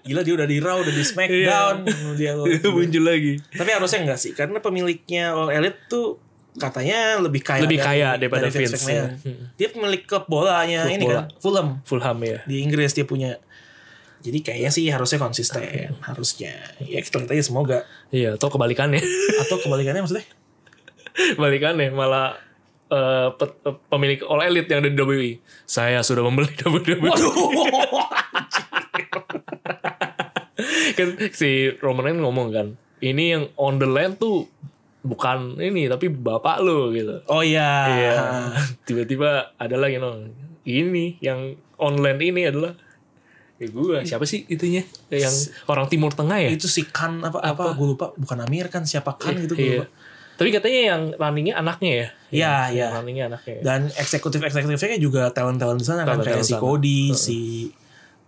A: Gila dia udah di Raw, udah di SmackDown,
B: Iya.
A: dia gitu.
B: Muncul lagi.
A: Tapi harusnya enggak sih, karena pemiliknya All Elite tuh katanya lebih kaya
B: Lebih
A: dari-
B: kaya daripada
A: dari Vince
B: Vince,
A: McMahon.
B: ya.
A: Dia pemilik klub bolanya
B: Klub
A: ini
B: bola.
A: kan, Fulham
B: Fulham ya.
A: di Inggris dia punya. Jadi kayaknya sih harusnya konsisten, harusnya. Ya kita lihat aja semoga.
B: Iya, atau kebalikannya.
A: Atau kebalikannya maksudnya?
B: kebalikannya malah eh, pe- pe- pemilik All Elite yang ada di WWE. Saya sudah membeli E. WWE. kan si Roman Reigns ngomong kan ini yang on the land tuh bukan ini tapi bapak lo gitu
A: oh iya.
B: Iya. tiba-tiba ada lagi nong ini yang on land ini adalah ya gua siapa sih itunya yang orang timur tengah ya
A: Itu si Kan apa apa, gue lupa, bukan Amir kan siapa Kan gitu gue
B: Iya.
A: lupa.
B: tapi katanya yang runningnya anaknya ya
A: Iya, iya.
B: Yang runningnya anaknya ya.
A: Dan eksekutif-eksekutifnya juga talent-talent di sana kan kayak si
B: Talent-talent sana. Hmm.
A: Cody, si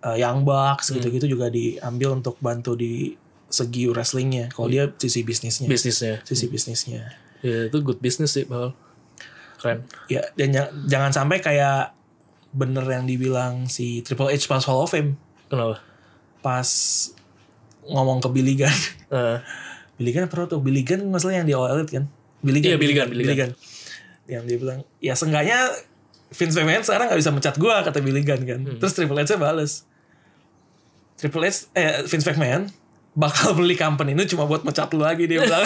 A: uh, Young Bucks gitu-gitu juga diambil untuk bantu di segi wrestlingnya. Kalau dia sisi bisnisnya,
B: bisnisnya
A: sisi bisnisnya.
B: ya itu good business sih bahal keren
A: Ya dan ja- jangan sampai kayak bener yang dibilang si Triple H pas Hall of Fame
B: kenapa
A: pas ngomong ke Billy Gunn.
B: Eh,
A: Billy Gunn pernah tuh Billy Gunn masalah yang di All Elite kan? Billy
B: Iya, Billy Gunn, Billy
A: Billy Gunn. Yang dia bilang, ya seenggaknya Vince McMahon sekarang gak bisa mencat gua kata Billy Gunn kan.
B: Hmm.
A: Terus Triple H-nya bales. Triple H, eh, Vince McMahon bakal beli company ini cuma buat mencat lu lagi dia bilang.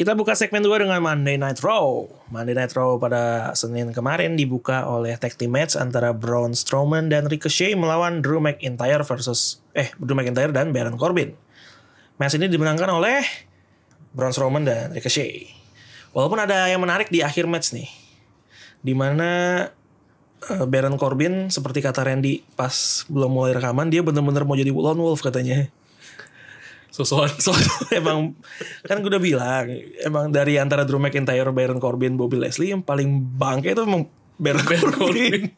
A: Kita buka segmen 2 dengan Monday Night Raw. Monday Night Raw pada Senin kemarin dibuka oleh tag team match antara Braun Strowman dan Ricochet melawan Drew McIntyre versus eh Drew McIntyre dan Baron Corbin. Match ini dimenangkan oleh Braun Strowman dan Ricochet. Walaupun ada yang menarik di akhir match nih. Dimana eh, Baron Corbin seperti kata Randy pas belum mulai rekaman dia bener-bener mau jadi lone wolf katanya
B: sosokan
A: soalnya emang kan gue udah bilang emang dari antara Drew McIntyre, Baron Corbin, Bobby Leslie yang paling bangke itu emang Baron, Corbin.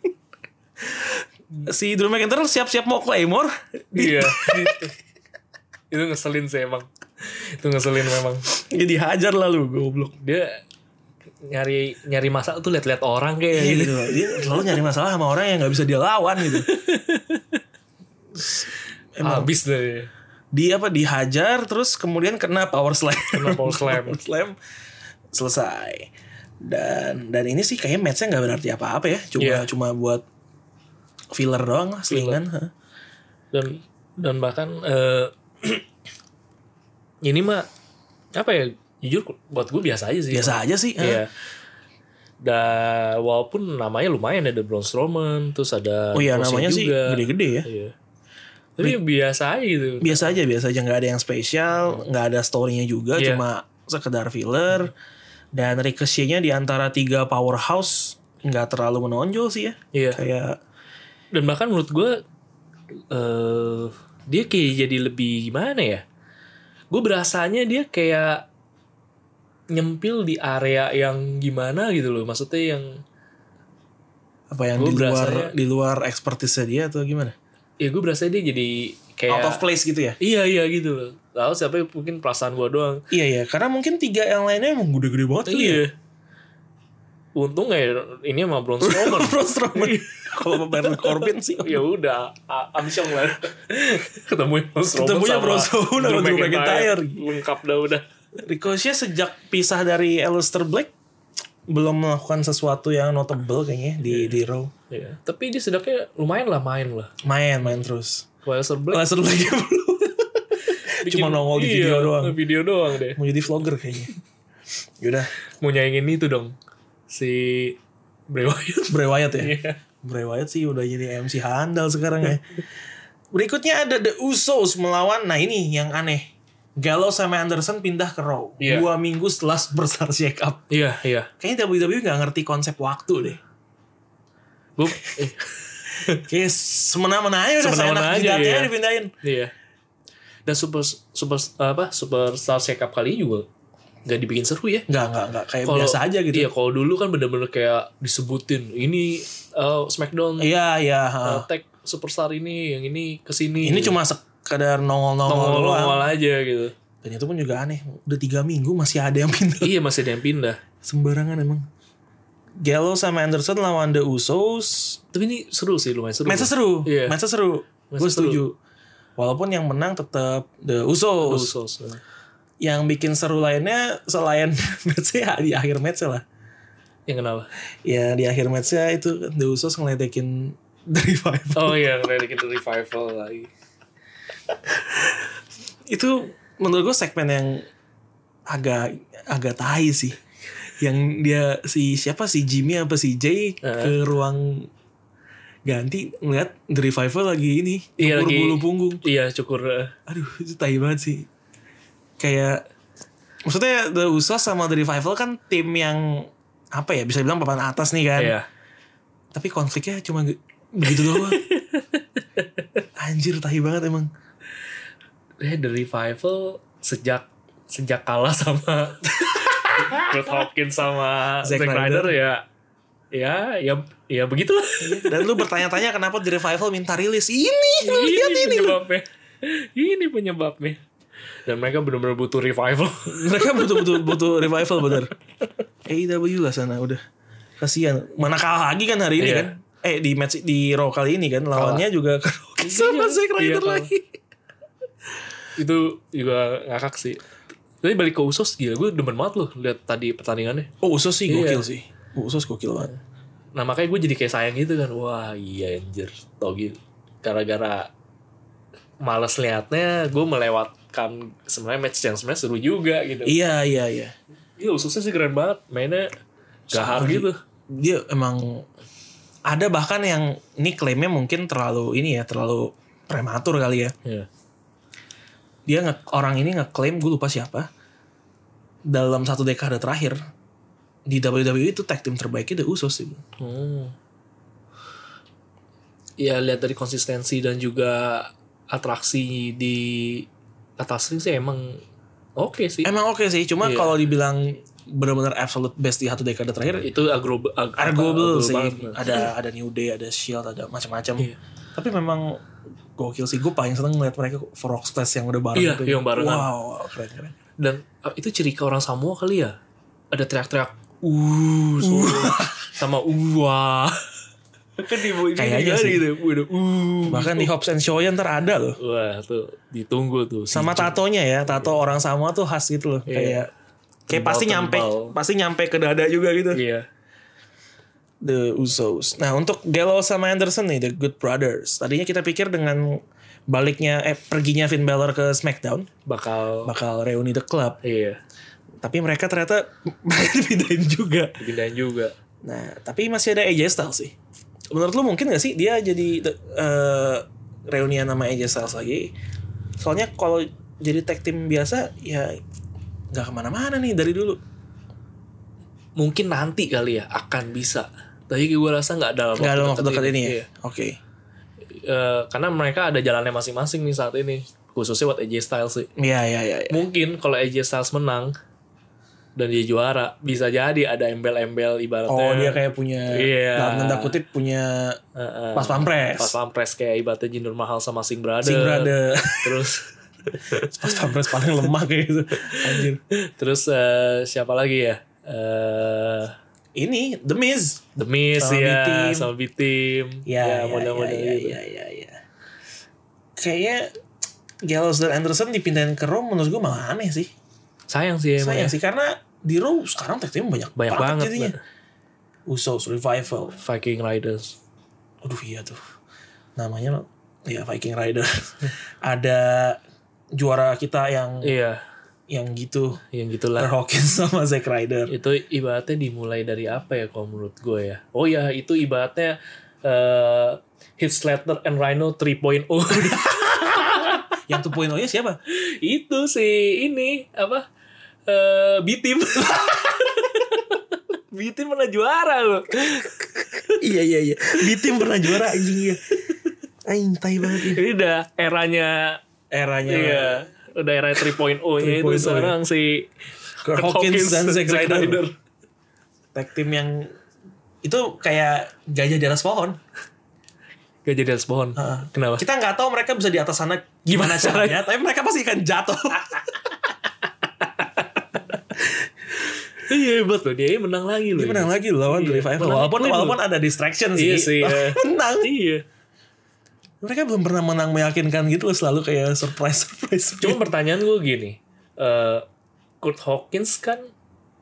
A: si Drew McIntyre siap-siap mau claymore.
B: Iya. itu ngeselin sih emang. Itu ngeselin memang.
A: Ya dihajar lalu goblok.
B: Dia nyari nyari masalah tuh lihat-lihat orang kayak
A: Iya
B: gitu.
A: gitu loh. Dia selalu nyari masalah sama orang yang nggak bisa dia lawan gitu. Emang
B: Habis deh.
A: di apa dihajar terus kemudian kena power slam.
B: Kena power slam.
A: Power slam selesai. Dan dan ini sih kayaknya matchnya nggak berarti apa-apa ya. Cuma
B: Iya.
A: cuma buat filler doang lah, selingan. ha.
B: Dan dan bahkan eh, ini mah apa ya? Jujur buat gue biasa aja sih.
A: Biasa aja sih. ha.
B: Iya. Da, walaupun namanya lumayan ya, ada Braun Strowman, terus ada
A: Oh iya
B: Rousey
A: namanya sih
B: juga.
A: gede-gede ya.
B: Iya. Tapi biasa aja gitu.
A: Biasa aja, biasa aja nggak ada yang spesial, nggak ada story-nya juga,
B: Iya.
A: cuma sekedar filler. Dan Ricochet-nya di antara tiga powerhouse nggak terlalu menonjol sih ya.
B: Iya.
A: Kayak
B: dan bahkan menurut gue eh dia kayak jadi lebih gimana ya gue berasanya dia kayak nyempil di area yang gimana gitu loh maksudnya yang
A: apa yang di
B: Gua ya.
A: luar
B: berasanya-
A: di luar expertise dia atau gimana?
B: ya gue berasanya dia jadi kayak
A: Out of place gitu ya.
B: iya iya gitu loh lalu siapa yang mungkin perasaan gue doang
A: Iya ya, karena mungkin tiga yang lainnya emang gede-gede banget kali
B: Iya.
A: ya.
B: untung gak ya ini sama Braun Strowman
A: Braun Strowman.
B: Iya.
A: Kalau sama Baron Corbin sih.
B: ya udah a- amsyong lah ketemunya Braun Strowman
A: Ketemunya
B: sama
A: Braun Strowman sama Drew McIntyre.
B: lengkap dah udah
A: Ricochet sejak pisah dari Aleister Black belum melakukan sesuatu yang notable kayaknya di di Raw.
B: Iya. Tapi dia sedangnya lumayan lah main lah.
A: Main main terus.
B: Wilder Black
A: Aleister Black ya belum.
B: Oh,
A: Cuma nongol
B: iya,
A: di video doang.
B: Video doang deh.
A: Mau jadi vlogger kayaknya. Ya Yaudah,
B: Mau nyaingin itu dong. Si Bray Wyatt.
A: Bray Wyatt ya.
B: Iya.
A: Bray Wyatt sih udah jadi MC handal sekarang ya. Berikutnya ada The Usos melawan nah ini yang aneh. Gallo sama Anderson pindah ke Raw
B: Iya.
A: dua minggu setelah Superstar Shake Up.
B: Iya, iya.
A: Kayaknya WWE nggak ngerti konsep waktu deh.
B: Gue
A: Kayak semena-mena aja udah
B: Semena-mena
A: seenak
B: aja,
A: jidatnya
B: iya.
A: aja dipindahin.
B: iya. Dan super super apa? Superstar Shake Up kali ini juga nggak dibikin seru ya.
A: Nggak, nggak, nggak. Kayak
B: Kalau-
A: biasa aja gitu.
B: Iya, kalau dulu kan bener-bener kayak disebutin ini eh, SmackDown
A: Iya, iya. ha.
B: eh, tag superstar ini, yang ini kesini.
A: Ini
B: gitu.
A: cuma sekadar nongol-nongol doang.
B: nongol-nongol aja gitu.
A: Dan itu pun juga aneh. Udah tiga minggu masih ada yang pindah.
B: iya, masih ada yang pindah.
A: Sembarangan emang. Gallo sama Anderson lawan The Usos.
B: Tapi ini seru sih, lumayan seru.
A: Matchnya seru.
B: Iya.
A: Matchnya seru. Gue
B: Matchnya seru.
A: setuju. Walaupun yang menang tetap The Usos.
B: Usos.
A: Yang bikin seru lainnya selain matchnya ya, di akhir matchnya lah.
B: Yang kenapa?
A: Ya di akhir matchnya itu The Usos ngeledekin The Revival.
B: Oh iya, Renegade Revival lagi.
A: Itu menurut gue segmen yang agak agak tai sih. Yang dia si siapa si Jimmy apa si Jay ke ruang ganti ngeliat The Revival lagi ini
B: Iya,
A: cukur
B: lagi-
A: bulu punggung.
B: Iya, cukur. eh,
A: aduh itu tai banget sih kayak maksudnya The Usos sama The Revival kan tim yang apa ya bisa bilang papan atas nih kan
B: Iya.
A: tapi konfliknya cuma ge- begitu doang anjir tai banget emang
B: Eh, The Revival sejak sejak kalah sama Kurt Hopkins sama
A: Zack
B: Zack
A: Ryder.
B: Ryder ya ya ya ya begitulah.
A: dan lu bertanya-tanya kenapa The Revival minta rilis ini gitu. lu lihat ini lu.
B: penyebabnya. Ini penyebabnya. Dan mereka benar-benar butuh revival.
A: mereka butuh-butuh butuh revival bener AEW lah sana udah kasihan mana kalah lagi kan hari ini
B: Iya.
A: kan eh di match di Raw kali ini kan lawannya juga sama
B: Iya,
A: Zack
B: iya,
A: Ryder
B: kalah.
A: lagi
B: Itu juga ngakak sih. Tapi balik ke Usos gila gue demen banget loh lihat tadi pertandingannya.
A: Oh Usos sih
B: Iya.
A: gokil sih. Usos gokil banget.
B: Nah makanya gue jadi kayak sayang gitu kan Wah iya anjir Tau gitu Gara-gara Males liatnya Gue melewatkan sebenarnya match yang sebenarnya seru juga gitu
A: Iya iya iya.
B: Iya ususnya sih keren banget Mainnya Gahar
A: Sorry.
B: gitu
A: Dia emang ada bahkan yang ini klaimnya mungkin terlalu ini ya terlalu prematur kali ya.
B: Iya
A: Dia nge, orang ini ngeklaim gue lupa siapa dalam satu dekade terakhir di WWE itu tag team terbaiknya The Usos sih.
B: hmm. Ya lihat dari konsistensi dan juga Atraksi di Atas ring sih emang Oke sih
A: Emang oke sih, cuma
B: Iya.
A: kalau dibilang benar-benar absolute best di satu dekade terakhir
B: Itu agro ag- apa,
A: Arguable
B: agro
A: sih.
B: banget.
A: Ada ada New Day, ada Shield, E ada macam-macam.
B: Iya.
A: Tapi memang gokil sih. Gue paling seneng ngeliat mereka Frog Splash yang udah bareng.
B: Iya,
A: itu.
B: yang barengan.
A: Wow, keren keren.
B: dan uh, itu ciri ke orang Samoa kali ya ada teriak-teriak uh, so- sama uwa kan di di-
A: Kayaknya
B: di-
A: sih.
B: gitu udah uh
A: Bahkan di Hobbs and Shaw ntar ada loh.
B: wah tuh ditunggu tuh si
A: Sama tatonya ya, tato orang sama tuh khas gitu loh.
B: Iya.
A: Kayak kayak pasti nyampe,
B: Tembal-tembal.
A: pasti nyampe ke dada juga gitu.
B: iya
A: The Usos. Nah untuk Gallo sama Anderson nih, The Good Brothers. Tadinya kita pikir dengan baliknya, eh perginya Finn Balor ke SmackDown,
B: bakal
A: bakal reuni The Club.
B: iya
A: Tapi mereka ternyata dipindahin juga.
B: dipindahin juga
A: Nah, tapi masih ada AJ Styles sih. Menurut lu mungkin gak sih dia jadi eh, reunian sama AJ Styles lagi? Soalnya kalau jadi tag team biasa ya nggak kemana-mana nih dari dulu.
B: mungkin nanti kali ya akan bisa tapi gue rasa nggak dalam
A: Nggak ada waktu dekat ini ya.
B: Iya.
A: Oke.
B: Eh, karena mereka ada jalannya masing-masing nih saat ini khususnya buat AJ Styles sih
A: Iya iya iya. iya.
B: mungkin kalau AJ Styles menang dan dia juara bisa jadi ada embel-embel ibaratnya
A: Oh dia kayak punya
B: Iya.
A: dalam tanda kutip punya
B: Heeh.
A: pas pampres.
B: Eh, pas pampres kayak ibaratnya Jinder Mahal sama Sing Brother,
A: Sing brother.
B: terus
A: pas pampres paling lemah kayak gitu. Anjir.
B: terus eh, siapa lagi ya eh
A: Ini The Miz.
B: The Miz
A: Sama
B: ya
A: B-Team.
B: sama B Team
A: Ya, ya,
B: model-model
A: ya,
B: gitu.
A: ya, ya, ya. Kayaknya Gallows dan Anderson dipindahin ke Raw menurut gue malah aneh sih.
B: sayang sih emang
A: Sayang
B: ya.
A: sih karena di Raw sekarang tag team banyak,
B: banyak banget
A: jadinya.
B: Mbak.
A: Usos Revival.
B: Viking Riders
A: Aduh iya tuh. Namanya ya Viking Rider. Ada juara kita yang
B: iya
A: yang gitu.
B: yang gitulah
A: Taylor Hawkins sama Zack Ryder.
B: itu ibaratnya dimulai dari apa ya kalau menurut gue ya oh ya itu ibaratnya oh. eh Heath Slater and Rhino 3.0
A: yang 2.0-nya siapa?
B: itu sih ini apa eh Bitim Bitim pernah juara loh
A: iya iya iya. Di tim pernah juara anjing ya. Aing tai banget ya.
B: ini udah eranya
A: Eranya
B: iya udah era 3.0 nya itu
A: 3.0.
B: sekarang si
A: Kirk oh, iya. Hawkins dan Zack Ryder. tag team yang itu kayak gajah di atas pohon.
B: Gak jadi atas pohon
A: Heeh.
B: Kenapa?
A: Kita nggak tahu mereka bisa di atas sana gimana
B: Gimana
A: caranya,
B: caranya?
A: tapi mereka pasti akan jatuh.
B: Iya hebat loh Dia menang lagi loh
A: Dia menang lagi loh lawan The Revival.
B: Menang
A: Walaupun
B: clean
A: walaupun ada distraction sih.
B: Iya sih ya.
A: menang.
B: Iya
A: Mereka belum pernah menang meyakinkan gitu loh, selalu kayak surprise surprise.
B: Cuma pertanyaan gue gini, eh Kurt Hawkins kan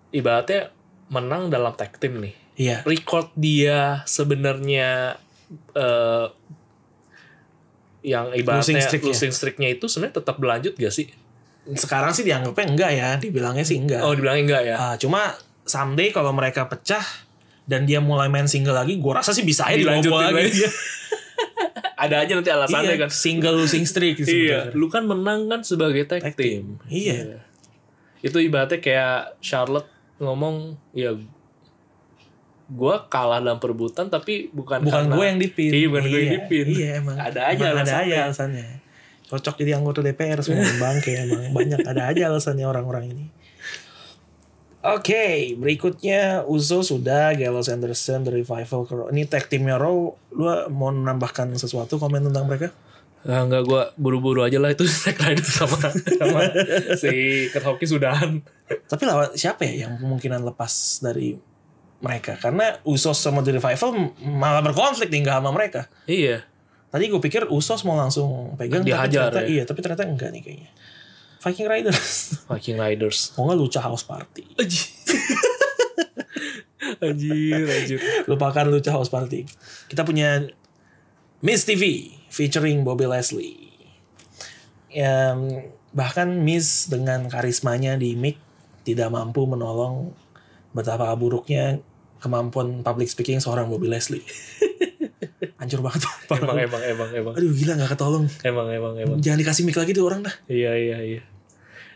B: ibaratnya menang dalam tag team nih.
A: iya.
B: Record dia sebenarnya eh yang ibaratnya
A: Losing streak-nya.
B: losing streak-nya itu sebenarnya tetap berlanjut gak sih?
A: Sekarang sih dianggapnya enggak ya, dibilangnya sih enggak.
B: Oh, dibilang enggak ya?
A: Ah, cuma someday kalau mereka pecah dan dia mulai main single lagi, gua rasa sih bisa aja
B: Dilanjutin
A: dibawa lagi.
B: lagi. Ada aja nanti
A: Iya,
B: alasannya kan.
A: single losing streak
B: Iya,
A: sebenarnya.
B: lu kan menang kan sebagai tag,
A: Tag
B: team.
A: team. Iya.
B: itu ibaratnya kayak Charlotte ngomong ya gue kalah dalam perebutan tapi bukan
A: Bukan
B: karena-
A: gue yang dipin.
B: iya bukan gue yang
A: Iya,
B: dipin
A: Iya emang.
B: ada aja
A: Emang ada
B: alasannya.
A: aja alasannya. Cocok jadi anggota DPR semua orang bangke emang banyak ada aja alasannya orang-orang ini. Oke, berikutnya Uzo sudah, Gallows Anderson, The Revival, Kuro. Ini tag teamnya Raw, lu mau menambahkan sesuatu komen tentang mereka?
B: Ah, enggak gue buru-buru aja lah itu tagline itu sama sama si Kurt Hawkins sudahan
A: Tapi lawan siapa ya yang kemungkinan lepas dari mereka? Karena Usos sama The Revival m- malah berkonflik nih nggak sama mereka.
B: iya
A: Tadi gue pikir Usos mau langsung pegang. tapi
B: Dihajar
A: ternyata-
B: ya.
A: Iya, tapi ternyata enggak nih kayaknya. Viking Riders.
B: Viking Riders
A: Mau nggak Lucha House Party?
B: anjir anjir
A: Lupakan Lucha House Party. Kita punya Miss TV featuring Bobby Leslie. Em, bahkan Miss dengan karismanya di mic tidak mampu menolong betapa buruknya kemampuan public speaking seorang Bobby Leslie. Hancur banget.
B: emang
A: parah.
B: emang emang emang
A: Aduh gila nggak ketolong.
B: emang emang emang
A: Jangan dikasih mic lagi tuh orang dah.
B: iya iya iya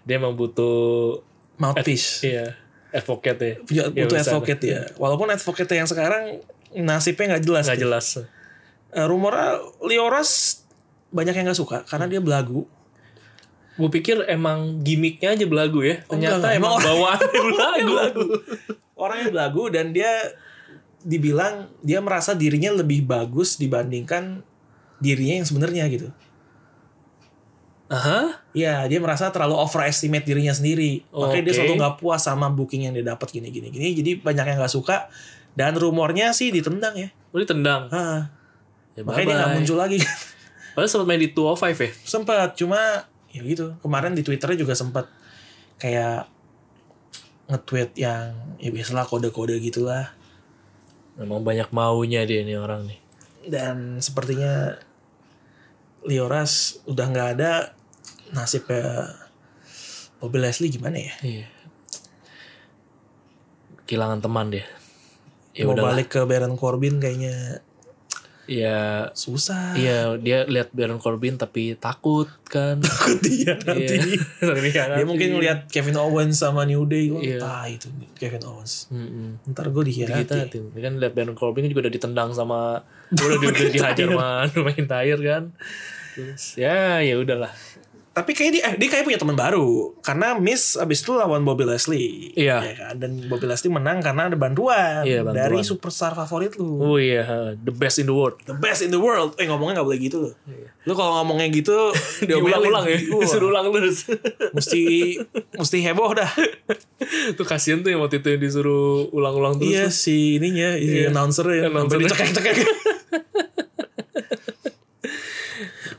B: dia emang butuh
A: Mouthpiece.
B: iya advocate ya
A: Punya-
B: Iya,
A: Butuh
B: bisa.
A: advocate ya. Walaupun advocate yang sekarang nasibnya nggak jelas.
B: nggak
A: tuh.
B: jelas
A: Eh, rumornya Lioras banyak yang nggak suka karena dia belagu.
B: Gue pikir emang gimmicknya aja belagu ya.
A: Oh,
B: Ternyata
A: enggak, enggak.
B: emang
A: Emang
B: bawaannya belagu.
A: Orangnya belagu dan dia dibilang dia merasa dirinya lebih bagus dibandingkan dirinya yang sebenarnya gitu.
B: Aha.
A: Ya, dia merasa terlalu overestimate dirinya sendiri. Makanya dia
B: Oke.
A: selalu nggak puas sama booking yang dia dapat gini gini gini. Jadi banyak yang nggak suka dan rumornya sih ditendang ya.
B: Lu ditendang.
A: Ah,
B: Ya,
A: makanya dia nggak
B: bye-bye.
A: muncul lagi.
B: Padahal sempat main di 205 ya.
A: sempat cuma ya gitu kemarin di twitternya juga sempat kayak nge-tweet yang ya biasalah kode-kode gitulah
B: Emang banyak maunya dia nih orang nih.
A: dan sepertinya Lioras udah nggak ada nasibnya Bobby Leslie gimana ya
B: Iya. Kehilangan teman dia. Ya
A: mau
B: udah.
A: balik ke Baron Corbin kayaknya
B: Ya
A: susah
B: Iya, dia lihat Baron Corbin tapi takut kan.
A: takut dia nanti
B: Iya. Tapi ya
A: dia
B: nanti.
A: mungkin ngeliat Kevin Owens sama New Day gue
B: Iya.
A: entah itu Kevin Owens
B: Mm-mm.
A: ntar gue
B: kita
A: dikhianati
B: tim kan lihat Baron Corbin juga udah ditendang sama udah di- udah dihajar sama McIntyre kan terus ya ya udahlah
A: tapi kayak dia eh, dia kayak punya teman baru karena Miss abis itu lawan Bobby Leslie
B: Iya.
A: Ya kan? dan Bobby Leslie menang karena ada bantuan,
B: Iya, bantuan.
A: dari superstar favorit lu
B: oh iya ha, the best in the world
A: the best in the world eh ngomongnya nggak boleh gitu loh lu kalau ngomongnya gitu diomelin.
B: diulang-ulang ya
A: Wah,
B: disuruh Iya. ulang terus
A: mesti mesti heboh dah
B: tuh kasihan tuh yang waktu itu yang disuruh ulang-ulang terus
A: iya si ininya si
B: Iya.
A: announcer ya
B: Announcer.
A: dicekek-cekek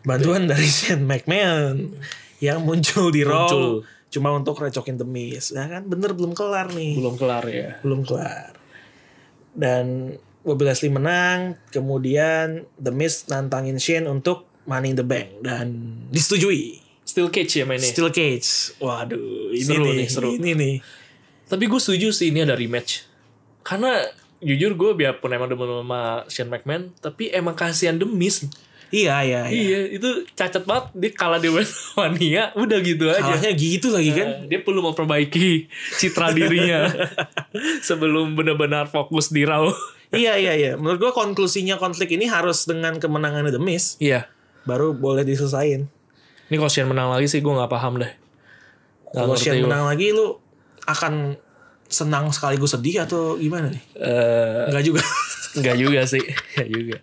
A: bantuan dari Shane McMahon yang muncul di Raw
B: Muncul.
A: cuma untuk recokin The Miz ya kan bener belum kelar nih
B: belum kelar ya
A: belum kelar. Dan Bobby Leslie menang, kemudian The Miz nantangin Shane untuk Money in the Bank dan disetujui.
B: still cage ya mainnya
A: Steel Cage. Waduh, ini
B: Seru
A: nih,
B: nih, seru.
A: ini nih.
B: tapi gue setuju sih ini ada rematch karena jujur gue biarpun emang demen sama Shane McMahon tapi emang kasihan demis
A: Iya, iya, iya.
B: Iya, itu cacat banget. Dia kalah di Wrestlemania, udah gitu aja.
A: Kalahnya gitu lagi kan.
B: Eh, Dia perlu memperbaiki citra dirinya sebelum benar-benar fokus di Raw.
A: iya, iya, iya. Menurut gua konklusinya konflik ini harus dengan kemenangan The Miz
B: Iya.
A: baru boleh diselesain.
B: Ini kalau Shane menang lagi sih gue nggak paham deh. Nggak
A: Kalau
B: ngerti
A: Shane
B: gua.
A: menang lagi lu akan senang sekaligus sedih atau gimana nih?
B: Eh,
A: Enggak juga.
B: Enggak juga sih, enggak juga.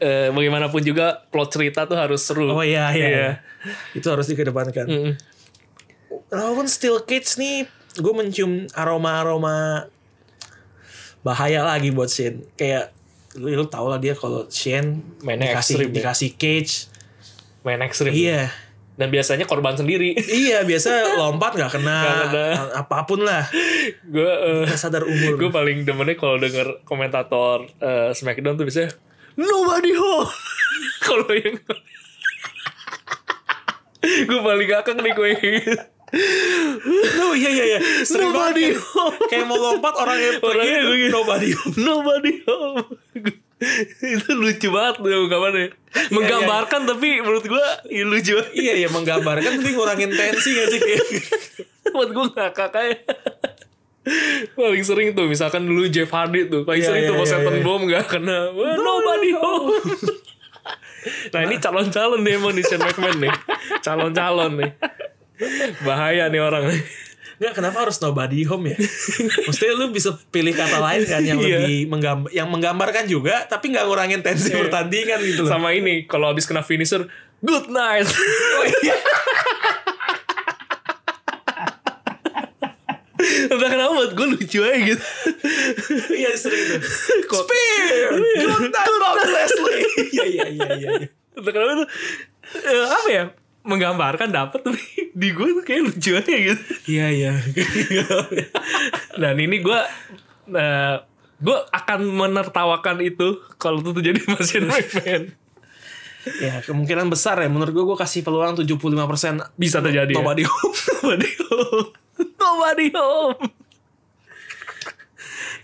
B: Eh, bagaimanapun juga plot cerita tuh harus seru.
A: Oh iya, Hmm. iya.
B: Iya.
A: Itu harus dikedepankan.
B: Mm-mm.
A: Lawan Steel Cage nih, gue mencium aroma-aroma bahaya lagi buat Shane. Kayak lu, lu tau lah dia kalau Shane
B: Mainnya
A: dikasih,
B: ekstrim ya.
A: dikasih cage.
B: Main ekstrim.
A: Iya,
B: Dan biasanya korban sendiri.
A: iya biasa lompat nggak kena,
B: Nggak kena.
A: apapun lah.
B: gue
A: Nggak sadar umur.
B: gue paling demennya kalau denger komentator eh, Smackdown tuh biasanya nobody home. kalau yang gue paling ngakak nih gue.
A: No, iya iya iya. Sering
B: Nobody
A: banget kayak- kayak mau lompat orang yang
B: Orangnya gue
A: pergi
B: gitu.
A: nobody.
B: nobody home. itu lucu banget tuh gambarnya. Menggambarkan tapi menurut gue ya, lucu banget.
A: iya iya menggambarkan tapi ngurangin tensi gak sih kayak.
B: buat gue ngakak aja paling sering tuh misalkan dulu Jeff Hardy tuh paling
A: Iya,
B: sering tuh
A: iya,
B: pas
A: iya,
B: Seven
A: iya.
B: Bomb gak kena Wah, nobody home nah ini calon-calon deh emang di Shane McMahon nih calon-calon nih bahaya nih orang nih
A: Nggak, kenapa harus nobody home ya? Maksudnya lu bisa pilih kata lain kan yang
B: Iya.
A: lebih menggambar, yang menggambarkan juga tapi nggak ngurangin tensi pertandingan gitu loh.
B: sama ini kalau habis kena finisher good night
A: Oh, iya.
B: entah kenapa buat gue lucu aja gitu
A: Iya sering itu.
B: Kok-
A: Spear, good night Bob Leslie. Iya iya iya iya.
B: Untuk kenapa tuh eh, apa ya menggambarkan dapat tapi di gue tuh kayak lucu aja gitu.
A: Iya iya.
B: Dan ini gue eh, gue akan menertawakan itu kalau itu terjadi masih McMahon
A: Ya kemungkinan besar ya menurut gua gua kasih peluang 75%
B: bisa terjadi. ya?
A: nobody home.
B: Nobody home. Nobody home.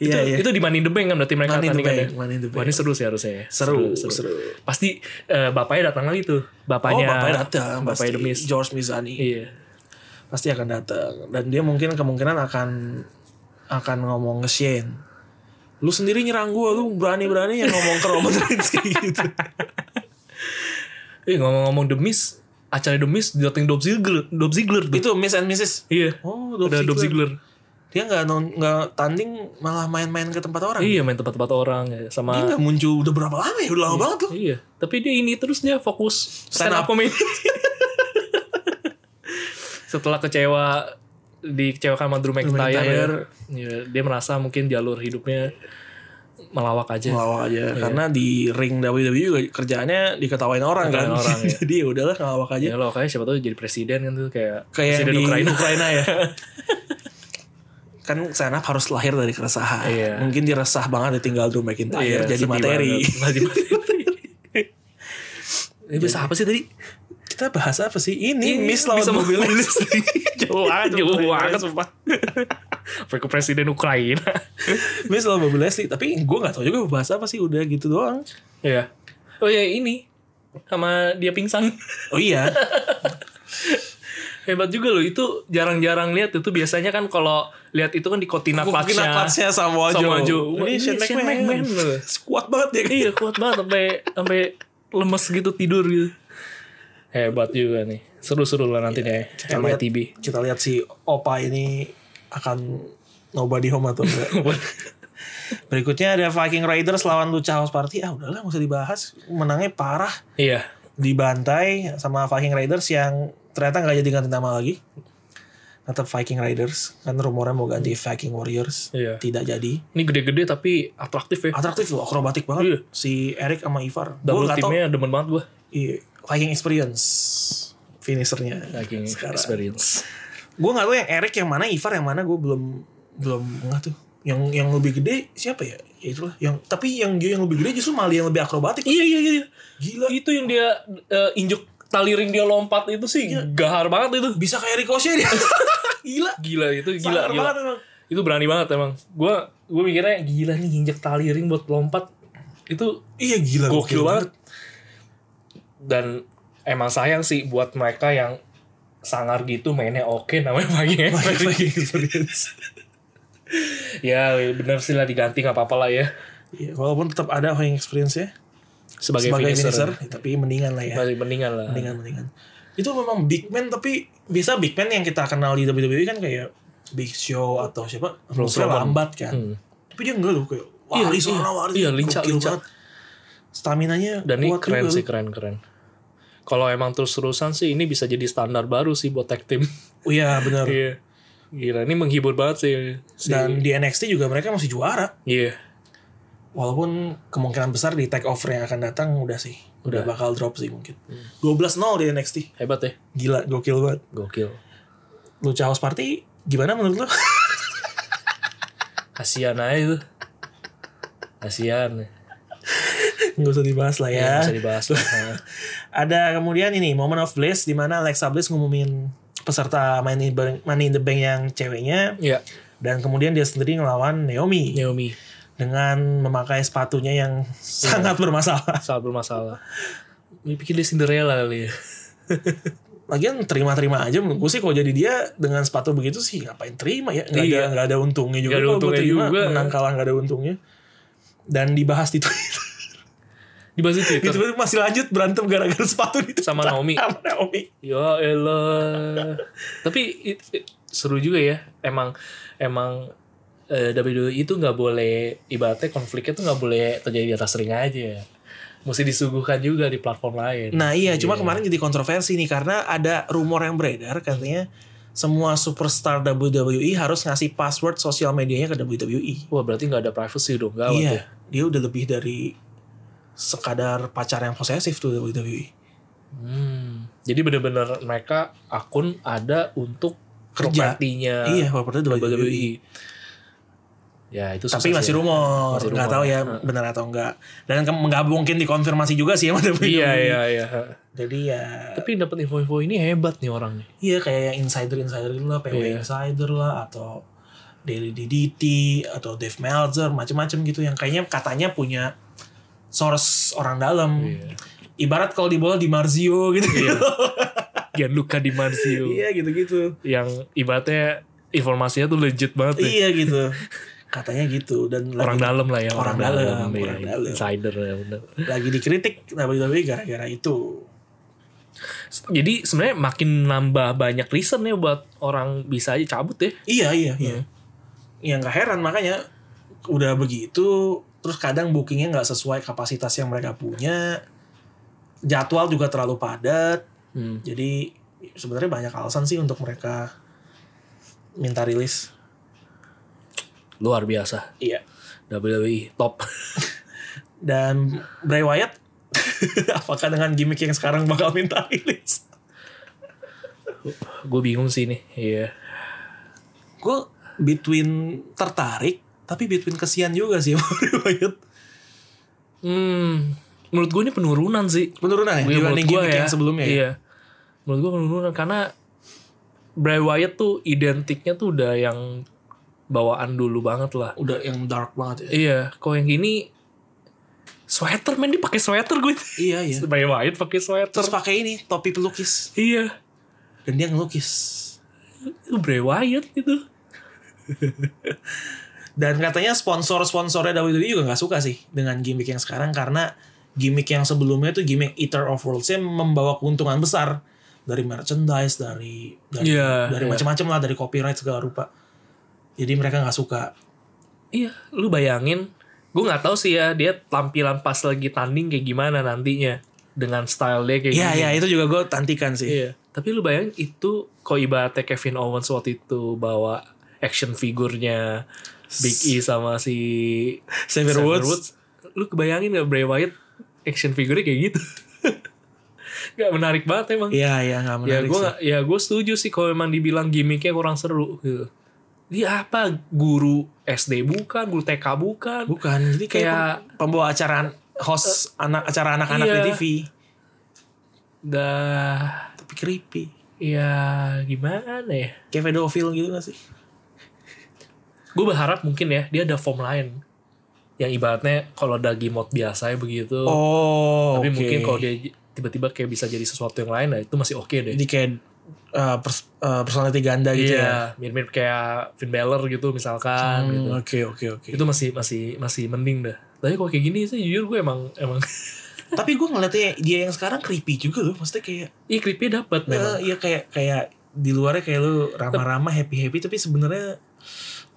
A: Iya
B: itu,
A: iya.
B: itu di Money in the Bank kan berarti
A: Money
B: mereka
A: in the
B: tandingan
A: Bank,
B: ya?
A: Money in the Bank.
B: Wah, ini seru sih harusnya. ya.
A: Seru, seru.
B: Pasti eh, bapaknya datang lagi tuh.
A: Oh,
B: Bapaknya.
A: bapaknya datang, pasti
B: Bapaknya The Miz.
A: George Mizani.
B: Iya.
A: pasti akan datang dan dia mungkin kemungkinan akan akan ngomong ke Shane lu sendiri nyerang gue lu berani berani yang ngomong ke Roman Reigns kayak gitu
B: Eh ngomong-ngomong The Miz, acara The Miz datang Dolph Ziggler, Dolph Ziggler tuh.
A: itu Miss and Mrs
B: Iya.
A: oh
B: Udah
A: Dolph
B: Dolph
A: Ziggler
B: Ziggler.
A: dia nggak non- nggak tanding malah main-main ke tempat orang
B: Iya main tempat-tempat orang ya sama
A: dia nggak muncul udah berapa lama ya udah lama banget loh
B: Iya, tapi dia ini terus dia fokus
A: Stand
B: stand
A: up.
B: up comedy. Setelah kecewa dikecewakan sama Drew
A: McIntyre.
B: McIntyre, ya, dia merasa mungkin jalur hidupnya melawak aja.
A: ngelawak aja karena di ring WWE juga kerjaannya diketawain orang kan
B: Diketawain orang, ya.
A: jadi ya udahlah ngelawak aja
B: Ya lo kayak siapa tahu jadi presiden kan tuh kayak,
A: kayak
B: presiden
A: di Ukraina,
B: Ukraina.
A: ya. kan stand up harus lahir dari keresahan.
B: Iya.
A: Mungkin dia resah banget ditinggal Drew McIntyre
B: Iya,
A: jadi
B: sedih
A: materi.
B: banget. Jadi materi. Ini bisa apa sih tadi?
A: Kita bahas apa sih? Ini,
B: Ini
A: Miss lawan
B: bisa
A: Bobby
B: mobil
A: Leslie.
B: Jauh aja,
A: Itu
B: jauh
A: keren
B: banget. Iya,
A: sumpah.
B: Sampai ke presiden Ukraina.
A: Miss lawan Bobby Leslie. Tapi gue gak tau juga bahas apa sih. Udah gitu doang.
B: Iya. Oh ya ini sama dia pingsan.
A: Oh iya.
B: Hebat juga loh itu jarang-jarang lihat itu biasanya kan kalau lihat itu kan di Kotina
A: Mungkin
B: Clutch-nya.
A: clutch-nya sama Ojo.
B: Samoa Joe. Wah,
A: Ini,
B: ini
A: Shane
B: Shane
A: McMahon.
B: McMahon loh.
A: Kuat banget dia.
B: iya kuat banget sampai sampai lemes gitu tidur gitu. Hebat juga nih. Seru-seru lah ya, nanti deh
A: Kita lihat, kita lihat si Opa ini akan nobody home atau enggak. Berikutnya ada Viking Raiders lawan Lucha House Party. Ah udahlah nggak usah dibahas. Menangnya parah.
B: iya.
A: Dibantai sama Viking Raiders yang ternyata nggak jadi ganti nama lagi. Tetap Viking Raiders. Kan rumornya mau ganti Viking Warriors.
B: Iya.
A: Tidak jadi.
B: Ini gede-gede tapi atraktif ya.
A: Atraktif loh. Akrobatik
B: Iya.
A: banget. Si Eric sama Ivar. Gue
B: Double
A: nggak tau.
B: timnya demen banget gue.
A: Iya. Viking Experience. Finishernya.
B: Lagi
A: sekarang.
B: experience.
A: Gue nggak tahu yang Eric yang mana, Ivar yang mana. Gue belum belum nggak tuh. Yang yang lebih gede siapa ya? Ya itulah. Yang tapi yang dia yang lebih gede justru malah yang lebih akrobatik.
B: Iya iya iya.
A: Gila.
B: Itu yang dia eh, injuk tali ring dia lompat itu sih
A: Iya.
B: gahar banget itu.
A: bisa kayak ricochet dia. gila.
B: Gila itu gila
A: Sangar
B: gila.
A: banget emang.
B: itu berani banget emang gue gue mikirnya gila nih injek tali ring buat lompat itu
A: Iya gila.
B: gokil banget dan emang sayang sih buat mereka yang sangar gitu mainnya oke namanya pagi
A: experience.
B: ya bener sih lah diganti nggak apa-apa lah ya
A: Iya, walaupun tetap ada fighting experience ya
B: sebagai,
A: sebagai
B: finisher,
A: finisher, tapi mendingan lah ya.
B: masih mendingan lah
A: Mendingan mendingan. Itu memang big man tapi biasa big man yang kita kenal di WWE kan kayak Big Show atau siapa? Bruce
B: Roman.
A: lambat kan.
B: Hmm.
A: Tapi dia enggak loh kayak
B: Iya,
A: wah, iya,
B: iya.
A: orang waris.
B: Iya, lincah,
A: gokil
B: lincah.
A: banget. Staminanya
B: dan ini
A: kuat
B: keren
A: juga
B: sih
A: loh.
B: keren keren kalau emang terus terusan sih ini bisa jadi standar baru sih buat tag team
A: Oh iya, benar.
B: iya gila ini menghibur banget sih si-
A: Dan di NXT juga mereka masih juara.
B: iya
A: Walaupun kemungkinan besar di take over yang akan datang udah sih. Udah, bakal drop sih mungkin.
B: Hmm.
A: 12-0 di NXT.
B: hebat ya
A: Gila, gokil banget.
B: gokil
A: Lucha House Party gimana menurut lu?
B: kasihan aja itu kasihan
A: Nggak usah dibahas lah ya.
B: ya bisa dibahas lah.
A: Ada kemudian ini Moment of Bliss di mana Alexa Bliss ngumumin peserta Money in, Bank- Money in the Bank yang ceweknya
B: ya
A: dan kemudian dia sendiri ngelawan Naomi
B: Naomi
A: dengan memakai sepatunya yang
B: Iya.
A: sangat bermasalah.
B: sangat bermasalah Ini pikir dia Cinderella kali ya
A: Lagian terima-terima aja menurut gue sih kalau jadi dia dengan sepatu begitu sih ngapain terima ya? Nggak ada
B: Iya.
A: nggak ada untungnya juga
B: Nggak ada
A: kalau gue
B: untungnya
A: terima
B: juga.
A: menang kalah nggak ada untungnya. Dan dibahas di Twitter.
B: dibahas di
A: Di
B: Twitter
A: Twitter masih lanjut berantem gara-gara sepatu itu
B: sama Naomi
A: sama Naomi.
B: Ya elah. Tapi it- it- seru juga ya. Emang emang eh, WWE itu nggak boleh ibaratnya konfliknya tuh nggak boleh terjadi di atas ring aja. Mesti disuguhkan juga di platform lain.
A: Nah iya, cuma kemarin jadi kontroversi nih karena ada rumor yang beredar katanya semua superstar WWE harus ngasih password sosial medianya ke WWE.
B: Wah berarti nggak ada privacy dong gawat
A: iya,
B: ya.
A: dia udah lebih dari sekadar pacar yang posesif tuh E. WWE.
B: Hmm. Jadi bener-bener mereka akun ada untuk
A: Kerja.
B: propertinya
A: iya, propertinya WWE.
B: WWE. Ya itu
A: Tapi
B: susah sih
A: masih
B: E. ya.
A: rumor,
B: Masih
A: nggak
B: rumor.
A: tahu ya benar atau enggak. Dan ke- nggak mungkin dikonfirmasi juga sih sama WWE.
B: Iya iya iya.
A: Jadi ya,
B: Tapi dapat info-info ini hebat nih orang nih.
A: iya kayak yang insider-insider gitu lah, PW
B: Iya.
A: Insider lah, atau Daily DDT, atau Dave Meltzer, macem-macem gitu. Yang kayaknya katanya punya source orang dalam.
B: Iya.
A: Ibarat kalau di bola di Marzio gitu.
B: Gianluca Di Marzio.
A: iya gitu-gitu.
B: yang ibaratnya informasinya tuh legit banget ya.
A: iya gitu. Katanya gitu. Dan
B: orang
A: lagi,
B: dalam lah ya
A: Orang dalam,
B: ya.
A: orang dalam.
B: insider ya bener.
A: lagi dikritik WWE gara-gara itu.
B: jadi sebenarnya makin nambah banyak reason ya buat orang bisa aja cabut ya
A: Iya iya iya. Ya nggak heran makanya udah begitu terus kadang bookingnya nggak sesuai kapasitas yang mereka punya jadwal juga terlalu padat
B: Hmm.
A: jadi sebenarnya banyak alasan sih untuk mereka minta rilis
B: luar biasa
A: iya
B: WWE top
A: dan Bray Wyatt apakah dengan gimmick yang sekarang bakal minta rilis
B: gue bingung sih nih iya
A: gue between tertarik tapi between kesian juga sih sama Bray Wyatt
B: hmm menurut gue ini penurunan sih
A: penurunan ya
B: Iya, menurut
A: dibanding
B: gue
A: gimmick
B: ya
A: yang sebelumnya ya?
B: iya menurut gue penurunan karena Bray Wyatt tuh identiknya tuh udah yang bawaan dulu banget lah
A: udah yang dark banget ya
B: Iya, kalau yang gini sweater men dia pakai sweater gue.
A: iya iya
B: Sebagai Wyatt pakai sweater.
A: terus pakai ini topi pelukis
B: iya,
A: dan dia ngelukis
B: itu Bray Wyatt gitu.
A: dan katanya sponsor-sponsornya WWE juga nggak suka sih dengan gimmick yang sekarang karena gimmick yang sebelumnya itu gimmick Eater of Worlds yang membawa keuntungan besar dari merchandise dari dari,
B: Iya,
A: dari
B: iya.
A: macam-macam lah dari copyright segala rupa jadi mereka nggak suka
B: Iya, lu bayangin. Gue nggak tahu sih ya dia tampilan pas lagi tanding kayak gimana nantinya dengan style dia kayak
A: iya
B: gini.
A: iya itu juga gue tantikan sih
B: Iya. Tapi lu bayangin itu kalau ibaratnya Kevin Owens waktu itu bawa action figurnya Big E sama si
A: Xavier
B: Xavier
A: Woods.
B: Woods. Lu kebayangin gak Bray Wyatt action figurnya kayak gitu? gak menarik banget emang.
A: iya iya nggak
B: ya
A: menarik
B: gue
A: sih.
B: ya gue setuju sih kalau emang dibilang gimmicknya kurang seru gitu. Dia apa guru SD bukan, guru TK bukan.
A: bukan jadi kayak, Eh,
B: Kayak-
A: pem- pembawa acara host anak acara anak-anak
B: Iya.
A: di TV
B: Dah
A: tapi creepy
B: ya gimana ya?
A: kayak pedophile gitu gak sih
B: Gue berharap mungkin ya dia ada form lain yang ibaratnya kalau daging mod biasanya ya begitu.
A: Oh,
B: gitu. Tapi
A: oke.
B: mungkin kalau dia tiba-tiba kayak bisa jadi sesuatu yang lain nah itu masih oke deh
A: Jadi kayak eh, pers- eh, personality ganda gitu ya.
B: iya mirip-mirip kayak Finn Balor gitu misalkan gitu
A: Hmm, Oke oke oke.
B: itu masih masih masih mending dah tapi kalau kayak gini sih jujur gue emang emang
A: Tapi gue ngeliatnya dia yang sekarang creepy juga loh. Maksudnya kayak
B: ih creepy dapat memang
A: eh, iya kayak kayak di luarnya kayak lu ramah-ramah happy-happy tapi sebenarnya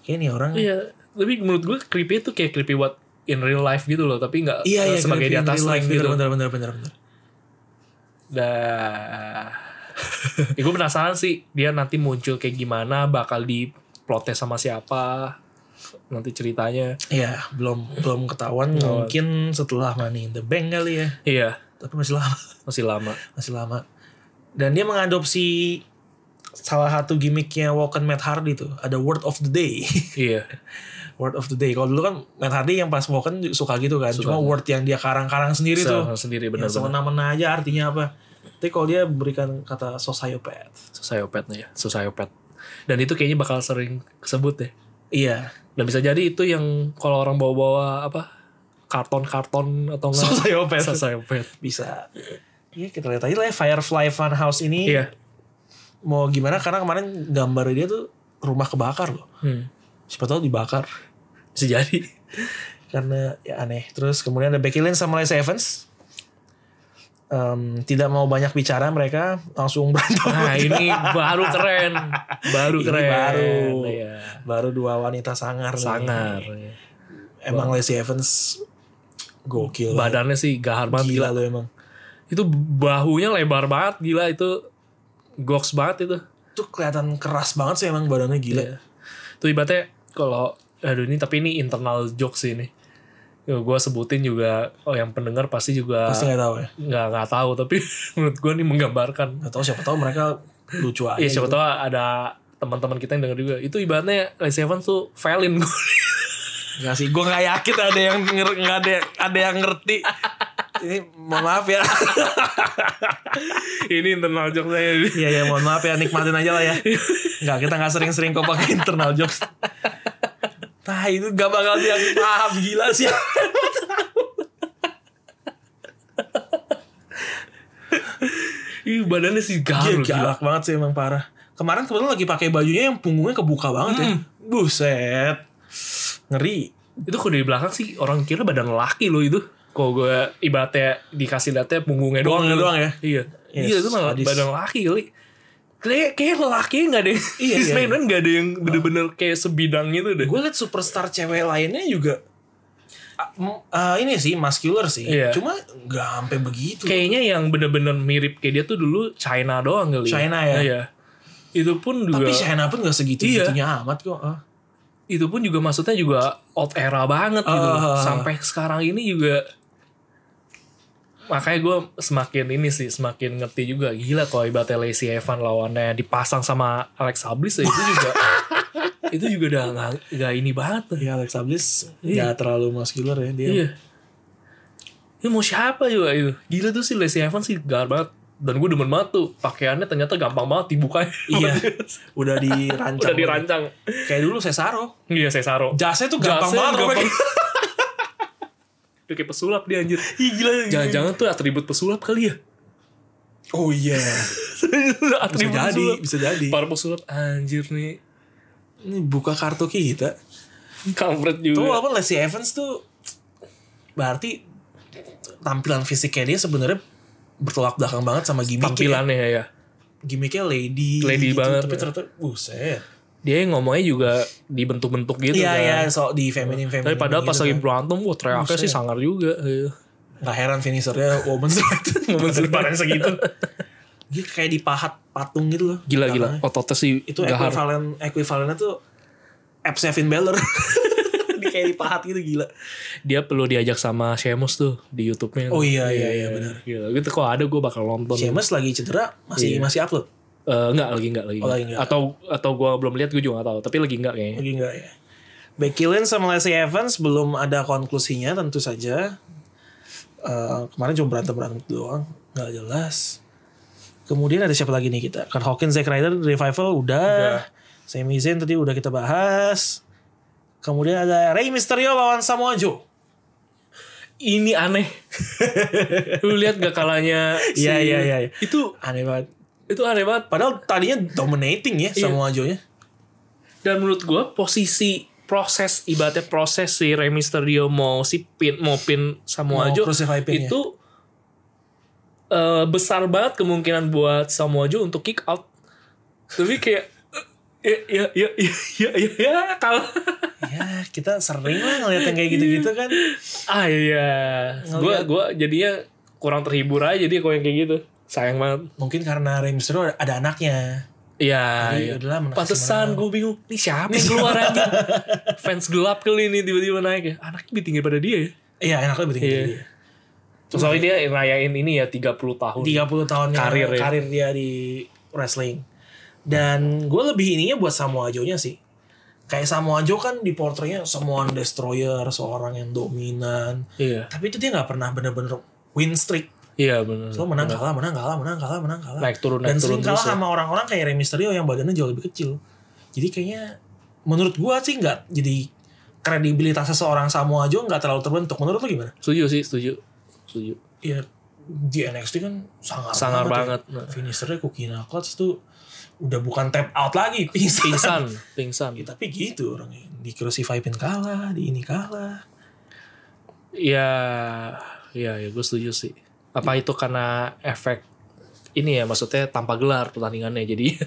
A: kayak nih orang
B: iya tapi menurut gue creepy itu kayak creepy what in real life gitu loh tapi nggak
A: Iya
B: eh,
A: iya
B: sebagai di
A: creepy in
B: atas
A: real life,
B: ring gitu
A: Bener bener bener bener bener.
B: dah ya, gue penasaran sih dia nanti muncul kayak gimana bakal di sama siapa nanti ceritanya
A: Iya belum belum ketahuan
B: Oh.
A: mungkin setelah Money in the Bank kali ya.
B: iya
A: Tapi masih lama
B: masih lama
A: masih lama. Dan dia mengadopsi salah satu gimmicknya Walken Matt Hardy tuh ada word of the day
B: iya
A: word of the day kalau dulu kan Matt Hardy yang pas Walken suka gitu kan cuma word yang dia karang-karang sendiri tuh
B: Se- sendiri
A: yang
B: benar-benar
A: semena-mena aja artinya apa tapi kalau dia berikan kata sociopath
B: sociopatnya ya sociopath dan itu kayaknya bakal sering kesebut deh
A: iya
B: dan bisa jadi itu yang kalau orang bawa-bawa apa karton-karton atau enggak
A: Sociopath.
B: sociopath
A: bisa Iya kita lihat aja lah ya Firefly Funhouse ini
B: iya
A: mau gimana karena kemarin gambar dia tuh rumah kebakar loh
B: Hmm.
A: siapa tahu dibakar
B: bisa jadi
A: karena ya aneh terus kemudian ada Becky Lynch sama Lacey Evans Em, tidak mau banyak bicara mereka langsung berantem
B: nah ini baru keren baru
A: Ini
B: keren
A: baru
B: Iya.
A: baru dua wanita sangar nih.
B: sangar iya.
A: emang Lacey Evans gokil
B: badannya sih gahar banget
A: gila
B: gila.
A: lo emang
B: itu bahunya lebar banget gila itu goks banget itu
A: tuh kelihatan keras banget sih emang badannya gila
B: Iya. itu ibaratnya kalau aduh ini tapi ini internal jokes sih ini gue sebutin juga oh yang pendengar pasti juga
A: pasti nggak tahu ya
B: nggak nggak tahu tapi menurut gue nih menggambarkan
A: nggak tahu siapa tahu mereka lucu aja gitu.
B: Iya siapa tahu ada teman-teman kita yang denger juga. Itu ibaratnya Lacey Evans tuh felin gue.
A: nggak sih gue nggak yakin ada yang nger- nggak ada ada yang ngerti ini mohon maaf ya
B: Ini internal joke saya.
A: Iya ya mohon maaf ya nikmatin aja lah ya nggak kita nggak sering-sering kok pakai internal jokes Nah itu gak bakal dia paham gila sih
B: Ih, badannya sih
A: Gila,
B: garu gila.
A: galak banget sih emang parah Kemarin kebetulan lagi pakai bajunya yang punggungnya kebuka banget ya Buset Ngeri
B: Itu kalau dari belakang sih orang kira badan laki loh itu. Kalau gue ibaratnya dikasih liatnya punggungnya doang.
A: Punggungnya
B: gitu.
A: doang ya?
B: Iya.
A: Yes,
B: iya itu malah
A: sadis.
B: badan laki kali. Kayak kayak lelaki ya nggak ada yang
A: Iya,
B: di
A: iya,
B: mainan nggak ada yang bener-bener kayak sebidang gitu deh.
A: gue liat superstar cewek lainnya juga ah, mm, ah, ini sih muscular sih
B: Iya.
A: cuma nggak sampai begitu
B: Kayaknya yang bener-bener mirip kayak dia tuh dulu China doang kali.
A: China ya?
B: Iya. Itu pun juga.
A: tapi Shayna pun nggak segitu segitunya amat kok ah.
B: itu pun juga maksudnya juga old era banget gitu
A: Ah.
B: loh. sampai sekarang ini juga makanya gue semakin ini sih semakin ngerti juga gila kalau ibaratnya Lacey Evan lawannya dipasang sama Alex Hablis ya itu juga itu juga udah nggak nggak ini banget tuh.
A: ya Alexa Bliss
B: Iya.
A: nggak terlalu muscular ya dia
B: iya ya mau siapa juga itu gila tuh si Lacey Evan sih gar banget dan gue demen banget tuh pakaiannya ternyata gampang banget dibukanya
A: Iya. udah
B: udah
A: dirancang
B: dirancang
A: kayak dulu Cesaro
B: iya Cesaro
A: jasnya tuh gampang
B: Jasnya
A: banget robek.
B: gampang. Udah kayak pesulap dia anjir
A: Ih, gila
B: Jangan-jangan tuh atribut pesulap kali ya?
A: oh iya bisa
B: atribut
A: jadi
B: pesulap.
A: bisa jadi
B: Para pesulap anjir nih.
A: ini buka kartu kita
B: Iya. Kampret
A: tuh
B: juga.
A: walaupun Lacey Evans tuh berarti tampilan fisiknya dia sebenarnya bertolak belakang banget sama gimmicknya
B: Tampilannya ya.
A: gimmicknya lady gitu.
B: Lady banget,
A: tapi
B: ya.
A: ternyata buset
B: Dia yang ngomongnya juga dibentuk-bentuk gitu
A: iya
B: kan.
A: iya so di gitu feminim feminim
B: Tapi padahal pas lagi berantem, wah teriaknya
A: Buset.
B: sih sangar juga. Iya.
A: kan. nggak heran finishernya woman's right
B: Woman's right.
A: Badannya segitu dia kayak dipahat patung gitu loh
B: Gila gila,
A: Belakangnya.
B: ototnya sih
A: itu
B: gahar.
A: ekuivalen ekuivalennya tuh appsnya Finn Balor Dia kayak dipahat gitu gila
B: Dia perlu diajak sama Sheamus tuh di YouTube-nya.
A: Oh iya, iya, iya, benar.
B: Gila, gitu kalau ada gue bakal nonton.
A: Sheamus lagi cedera masih
B: Iya.
A: masih upload
B: Eh, enggak lagi enggak lagi.
A: Oh, lagi enggak.
B: Atau atau gue belum lihat gue juga enggak tahu, tapi lagi enggak kayaknya.
A: lagi enggak ya Becky Lynch sama Lacey Evans belum ada konklusinya tentu saja Eh, kemarin cuma berantem berantem doang nggak jelas kemudian ada siapa lagi nih kita Kurt Hawkins Zack Ryder Revival udah, Sami Zayn tadi udah kita bahas kemudian ada Rey Mysterio lawan Samoa Joe
B: ini aneh. Lu lihat gak kalahnya si-
A: Iya, iya, iya, iya.
B: Itu
A: Aneh banget.
B: itu aneh banget.
A: Padahal tadinya dominating
B: Iya.
A: ya semua Joe-nya.
B: Dan menurut gua posisi proses ibaratnya proses si Rey Mysterio mau si pin mau pin Samoa
A: Mau
B: Joe
A: crucify ya? pinnya.
B: itu eh, besar banget kemungkinan buat Samoa Joe untuk kick out. Tapi kayak ya ya ya ya ya, ya, ya kalah.
A: ya, kita sering lah ngeliat yang kayak gitu-gitu kan.
B: Ah iya. Gua
A: Ngeliat.
B: gua jadinya kurang terhibur aja dia kalau yang kayak gitu. Sayang banget.
A: Mungkin karena Rey Mysterio ada anaknya.
B: Iya.
A: Jadi
B: iya.
A: udahlah, menang sama-
B: Pantesan gue bingung. Nih siapa yang keluar anjing? Fans gelap kali ini tiba-tiba naik ya. Anaknya lebih tinggi pada dia ya.
A: Iya, enak lebih tinggi
B: Iya.
A: dari dia.
B: Terus soalnya dia ngerayain ini ya 30 tahun.
A: 30 tahun
B: Karir ya.
A: karir dia di wrestling. Dan gue lebih ininya buat Samoa Joe-nya sih. Kayak Samoa Joe kan di portraynya semuaan destroyer, seorang yang dominan.
B: Iya.
A: Tapi itu dia nggak pernah bener-bener win streak.
B: Iya benar.
A: Selalu menang kalah, menang kalah, menang kalah, menang kalah.
B: Naik turun,
A: Dan
B: naik
A: sering
B: turun
A: kalah
B: terus ya.
A: sama orang-orang kayak Rey Mysterio yang badannya jauh lebih kecil. Jadi kayaknya menurut gue sih nggak jadi kredibilitas seseorang Samoa Joe nggak terlalu terbentuk. Menurut lu gimana?
B: Setuju sih, setuju. Setuju.
A: ya di NXT kan sangar,
B: Sangar
A: Ya.
B: banget.
A: Finishernya Cookie Knuckles tuh udah bukan tap out lagi, pingsan.
B: Pingsan, pingsan.
A: Ya, tapi gitu orangnya. Di Crucify Pin kalah, di ini kalah.
B: Iya, iya, ya, gue setuju sih. Apa itu karena efek ini ya maksudnya tanpa gelar pertandingannya jadi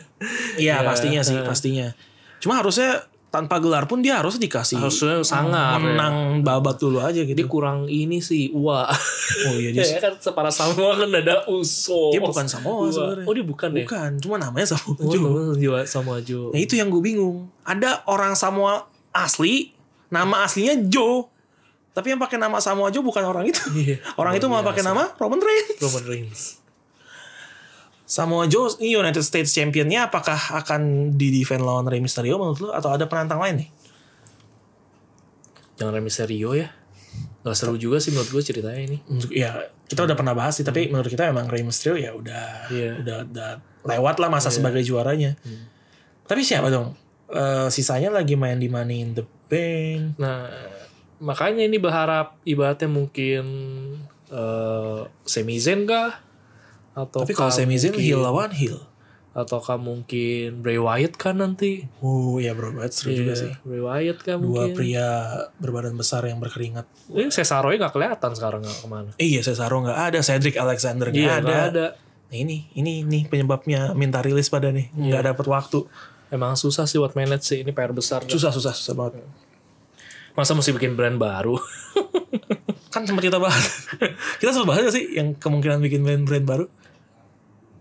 A: Iya
B: Ya,
A: pastinya sih, pastinya. Cuma harusnya tanpa gelar pun dia harus dikasih
B: harusnya sangar ya.
A: menang babat dulu aja
B: Dia
A: gitu.
B: kurang ini sih, wah.
A: oh iya dia,
B: Ya kan separa Samoa kan ada Uso.
A: dia bukan Samoa
B: Ua.
A: sebenarnya.
B: Oh, dia bukan ya?
A: Bukan, cuma namanya Samoa
B: Oh,
A: Joe.
B: temen jiwa Samoa Joe.
A: Nah itu yang gue bingung. Ada orang Samoa asli, nama aslinya Joe. Tapi yang pakai nama Samoa Joe bukan orang itu.
B: Iya.
A: orang itu mau pakai nama Roman Reigns.
B: Roman Reigns.
A: Samoa Joe ini United States Championnya apakah akan di defend lawan Rey Mysterio menurut lu atau ada penantang lain nih?
B: Jangan Rey Mysterio ya. Gak seru juga sih menurut gue ceritanya ini.
A: Untuk- ya kita udah pernah bahas sih tapi menurut kita memang Rey Mysterio ya udah
B: Hmm. Iya. Hmm.
A: udah, udah lewat lah masa sebagai juaranya. Tapi siapa dong? Eh, sisanya lagi main di Money in the Bank.
B: Nah, makanya ini berharap ibaratnya mungkin eh Sami Zayn kah? Atau
A: Tapi kalau Sami Zayn heel lawan heel.
B: ataukah mungkin Bray Wyatt kan nanti
A: Oh ya bro, banget seru juga
B: Iya,
A: sih.
B: Bray Wyatt kan
A: dua
B: mungkin
A: pria berbadan besar yang berkeringat.
B: ini Cesaro nya nggak kelihatan sekarang nggak kemana
A: Eh, iya Cesaro nggak ada, Cedric Alexander nggak
B: Iya,
A: ada.
B: nggak ada
A: Nah, ini ini ini penyebabnya minta rilis pada nih nggak dapat waktu.
B: emang susah sih buat manage sih ini PR besar
A: Susah susah susah banget.
B: masa mesti bikin brand baru
A: Kan sempat kita bahas. kita sempat bahas nggak sih yang kemungkinan bikin brand brand baru.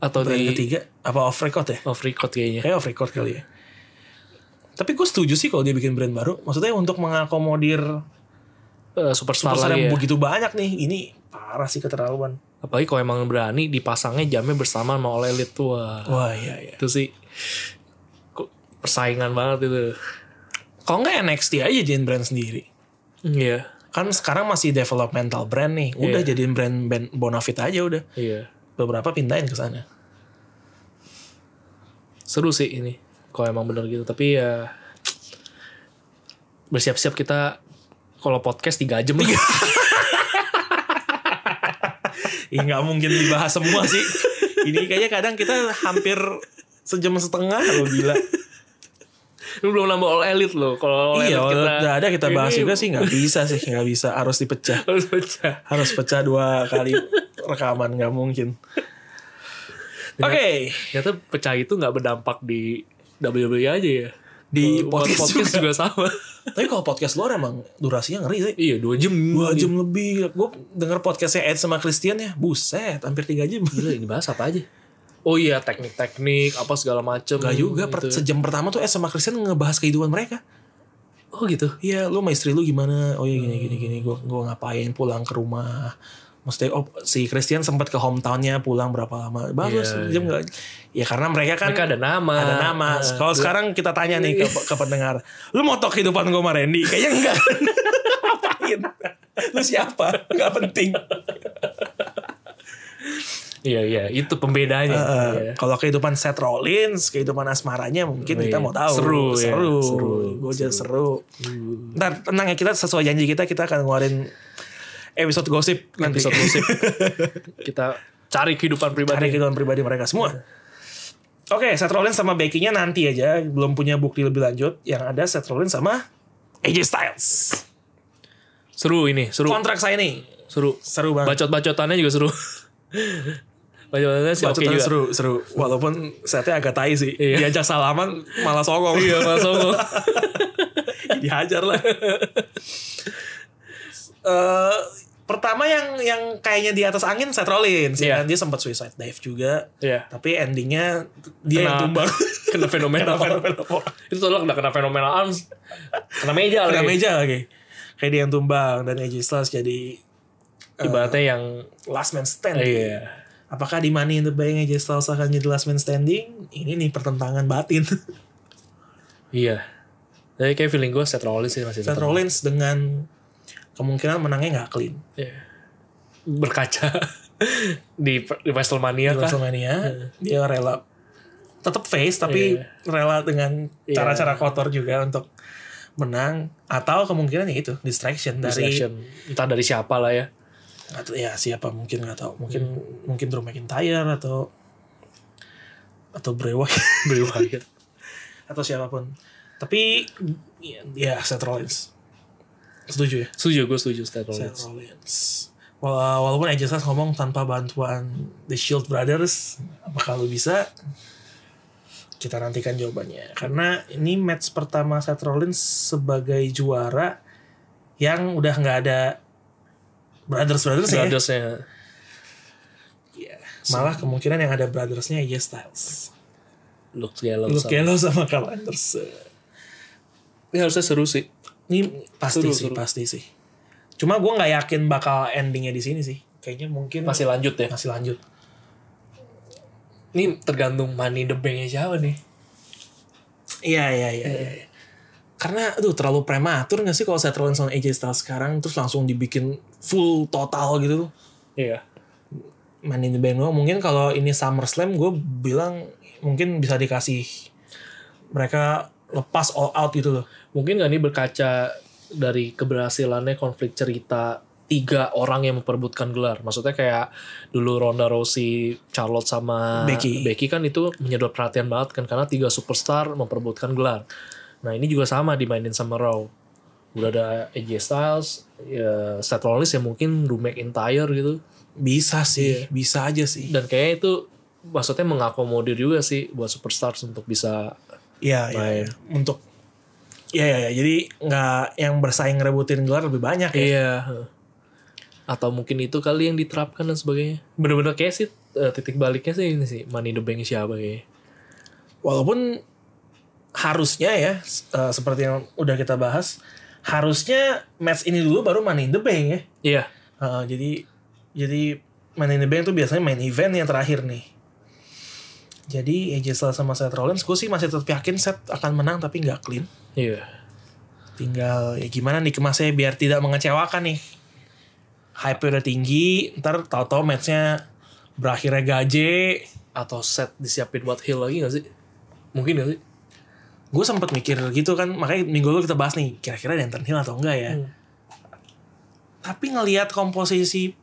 B: atau
A: Brand
B: di
A: ketiga apa off record ya?
B: off record kayaknya Eh,
A: Kayak off record kali ya. Tapi gue setuju sih kalau dia bikin brand baru. Maksudnya untuk mengakomodir
B: Eh, superstar
A: pasar yang
B: lagi ya
A: begitu banyak nih. Ini parah sih keterlaluan.
B: apalagi kalau emang berani dipasangnya jamnya bersama sama All Elite wah
A: Wah iya iya.
B: itu sih kok persaingan banget itu
A: Kalau nggak NXT aja jadiin brand sendiri.
B: iya
A: kan sekarang masih developmental brand nih udah
B: Iya.
A: jadiin brand brand Bonafit aja udah
B: iya
A: beberapa pindahin ke sana
B: seru sih ini kalau emang bener gitu tapi ya bersiap-siap kita kalau podcast 3 jam lah.
A: Ih nggak mungkin dibahas semua sih ini kayaknya kadang kita hampir sejam setengah lo gila
B: Lu belum nambah all elite loh. Kalau all
A: iya
B: elite kita
A: udah ada kita bahas
B: ini
A: juga sih nggak bisa sih nggak bisa harus dipecah
B: Harus pecah.
A: harus pecah dua kali rekaman nggak mungkin oke
B: Ternyata pecah itu nggak berdampak di WWE aja ya.
A: di
B: Buat
A: podcast,
B: podcast
A: juga.
B: juga, sama.
A: tapi kalau podcast luar emang durasinya ngeri sih
B: iya, 2 jam.
A: dua jam lebih gue denger podcastnya Ed sama Christian ya buset hampir tiga jam
B: Gila, ini bahas apa aja? Oh iya, teknik-teknik apa segala macem.
A: Gak juga, per-
B: gitu.
A: sejam pertama tuh S sama Christian ngebahas kehidupan mereka.
B: Oh gitu.
A: Iya, lu sama istri lu gimana? Oh iya gini gini gini, gua gua ngapain pulang ke rumah. Mesti oh, si Christian sempat ke hometownnya pulang berapa lama? Bagus
B: Iya,
A: jam nggak- Ya karena mereka kan
B: Mereka ada nama.
A: ada nama.
B: Eh,
A: Kalau sekarang kita tanya nih ke, ke pendengar, lu mau tau kehidupan gue sama Randy? Kayaknya enggak. Ngapain? lu siapa? Enggak penting.
B: Iya, iya. Itu pembedanya.
A: Eh,
B: Iya.
A: Kalau kehidupan Seth Rollins, kehidupan asmaranya mungkin kita
B: Iya.
A: mau tahu.
B: Seru, ya.
A: seru,
B: Seru, Hmm.
A: gue jadi seru. Ntar tenang ya kita sesuai janji kita kita akan ngeluarin episode gosip nanti.
B: episode gosip. Kita cari kehidupan
A: Cari
B: pribadi.
A: kehidupan pribadi mereka
B: Iya.
A: semua. Oke, Seth Rollins sama Becky-nya nanti aja. Belum punya bukti lebih lanjut. Yang ada Seth Rollins sama AJ Styles.
B: Seru ini, seru.
A: Kontrak saya nih.
B: Seru.
A: Seru banget.
B: Bacot-bacotannya juga seru. Bacot-bacotannya Iya. sih oke
A: Bacotan
B: juga.
A: seru, seru. Walaupun Sethnya agak tai sih.
B: Iya.
A: Diajak salaman malah songong.
B: Iya, Mas Songo.
A: dihajar lah. Eh, pertama yang yang kayaknya di atas angin Seth Rollins ya
B: Iya.
A: kan? dia sempat suicide dive juga.
B: Iya.
A: Tapi endingnya dia yang
B: Kena-
A: tumbang.
B: Kena fenomena.
A: Kena fenomena pop.
B: Itu tolong udah kena fenomena arms. Kena meja
A: Kena
B: lagi.
A: meja lagi. Kayak dia yang tumbang dan AJ Styles jadi
B: Ibaratnya yang
A: last man standing.
B: iya.
A: Apakah di Money in the Bank AJ Styles akan jadi last man standing? Ini nih pertentangan batin.
B: Iya. Jadi kayak feeling gue Seth Rollins sih masih
A: Seth
B: tetap.
A: Rollins dengan kemungkinan menangnya nggak clean.
B: Iya. Berkaca di, di Wrestlemania
A: di
B: kan.
A: WrestleMania dia rela tetap face tapi
B: Iya.
A: rela dengan
B: Iya.
A: cara-cara kotor juga untuk menang atau kemungkinan ya itu distraction,
B: Distraction. Entah dari siapa lah ya.
A: dari atau ya siapa mungkin nggak tahu mungkin
B: Hmm.
A: mungkin Drew McIntyre atau atau Bray Wyatt
B: Beri Wyatt.
A: atau siapapun tapi ya, ya Seth Rollins setuju ya
B: Setuju, gue setuju
A: Seth
B: Seth Rollins.
A: Rollins Wala- walaupun AJ Styles ngomong tanpa bantuan The Shield Brothers apakah lu bisa kita nantikan jawabannya karena ini match pertama Seth Rollins sebagai juara yang udah nggak ada brothers brothers ya
B: Brothersnya.
A: Iya. malah kemungkinan yang ada brothersnya AJ Styles
B: Luke Gallows.
A: Luke
B: sama-
A: Gallows sama Karl Anderson
B: Ini harusnya seru sih.
A: ini pasti
B: Seru,
A: sih
B: seru.
A: pasti sih cuma gue nggak yakin bakal endingnya di sini sih kayaknya mungkin
B: Masih lanjut ya.
A: masih lanjut
B: Ini tergantung money in the banknya siapa nih.
A: Iya iya iya. iya, iya. Karena aduh terlalu prematur gak sih kalau Seth Rollins sama AJ Styles sekarang terus langsung dibikin full total gitu tuh.
B: Iya.
A: Man in the Bank doang. Mungkin kalau ini SummerSlam gue bilang mungkin bisa dikasih mereka lepas all out gitu loh.
B: Mungkin gak nih berkaca dari keberhasilannya konflik cerita tiga orang yang memperebutkan gelar. Maksudnya kayak dulu Ronda Rousey, Charlotte sama
A: Becky.
B: kan itu menyedot perhatian banget kan karena tiga superstar memperebutkan gelar. Nah ini juga sama dimainin sama Raw. Udah ada AJ Styles, ya, Seth Rollins ya mungkin Drew McIntyre gitu.
A: Bisa sih, bisa aja sih.
B: Dan kayaknya itu maksudnya mengakomodir juga sih buat superstars untuk bisa
A: Iya iya. iya. Untuk Iya iya iya. Jadi nggak yang bersaing rebutin gelar lebih banyak ya.
B: Iya. heeh. Atau mungkin itu kali yang diterapkan dan sebagainya. Bener-bener kayak sih eh, titik baliknya sih ini sih. Money in the bank siapa kayaknya.
A: walaupun harusnya ya s- eh, seperti yang udah kita bahas harusnya match ini dulu baru money in the bank ya
B: Iya.
A: Eh, jadi jadi money in the bank tuh biasanya main event yang terakhir nih jadi AJ Styles sama Seth Rollins gue sih masih tetap yakin Seth akan menang tapi nggak clean
B: Iya.
A: tinggal ya gimana dikemasnya biar tidak mengecewakan nih hype udah tinggi ntar tau-tau matchnya berakhirnya gaje
B: Atau set disiapin buat heal lagi gak sih? Mungkin gak sih?
A: gue sempat mikir gitu kan makanya minggu lalu kita bahas nih kira-kira Denton Hill atau enggak ya
B: Hmm.
A: tapi ngelihat komposisi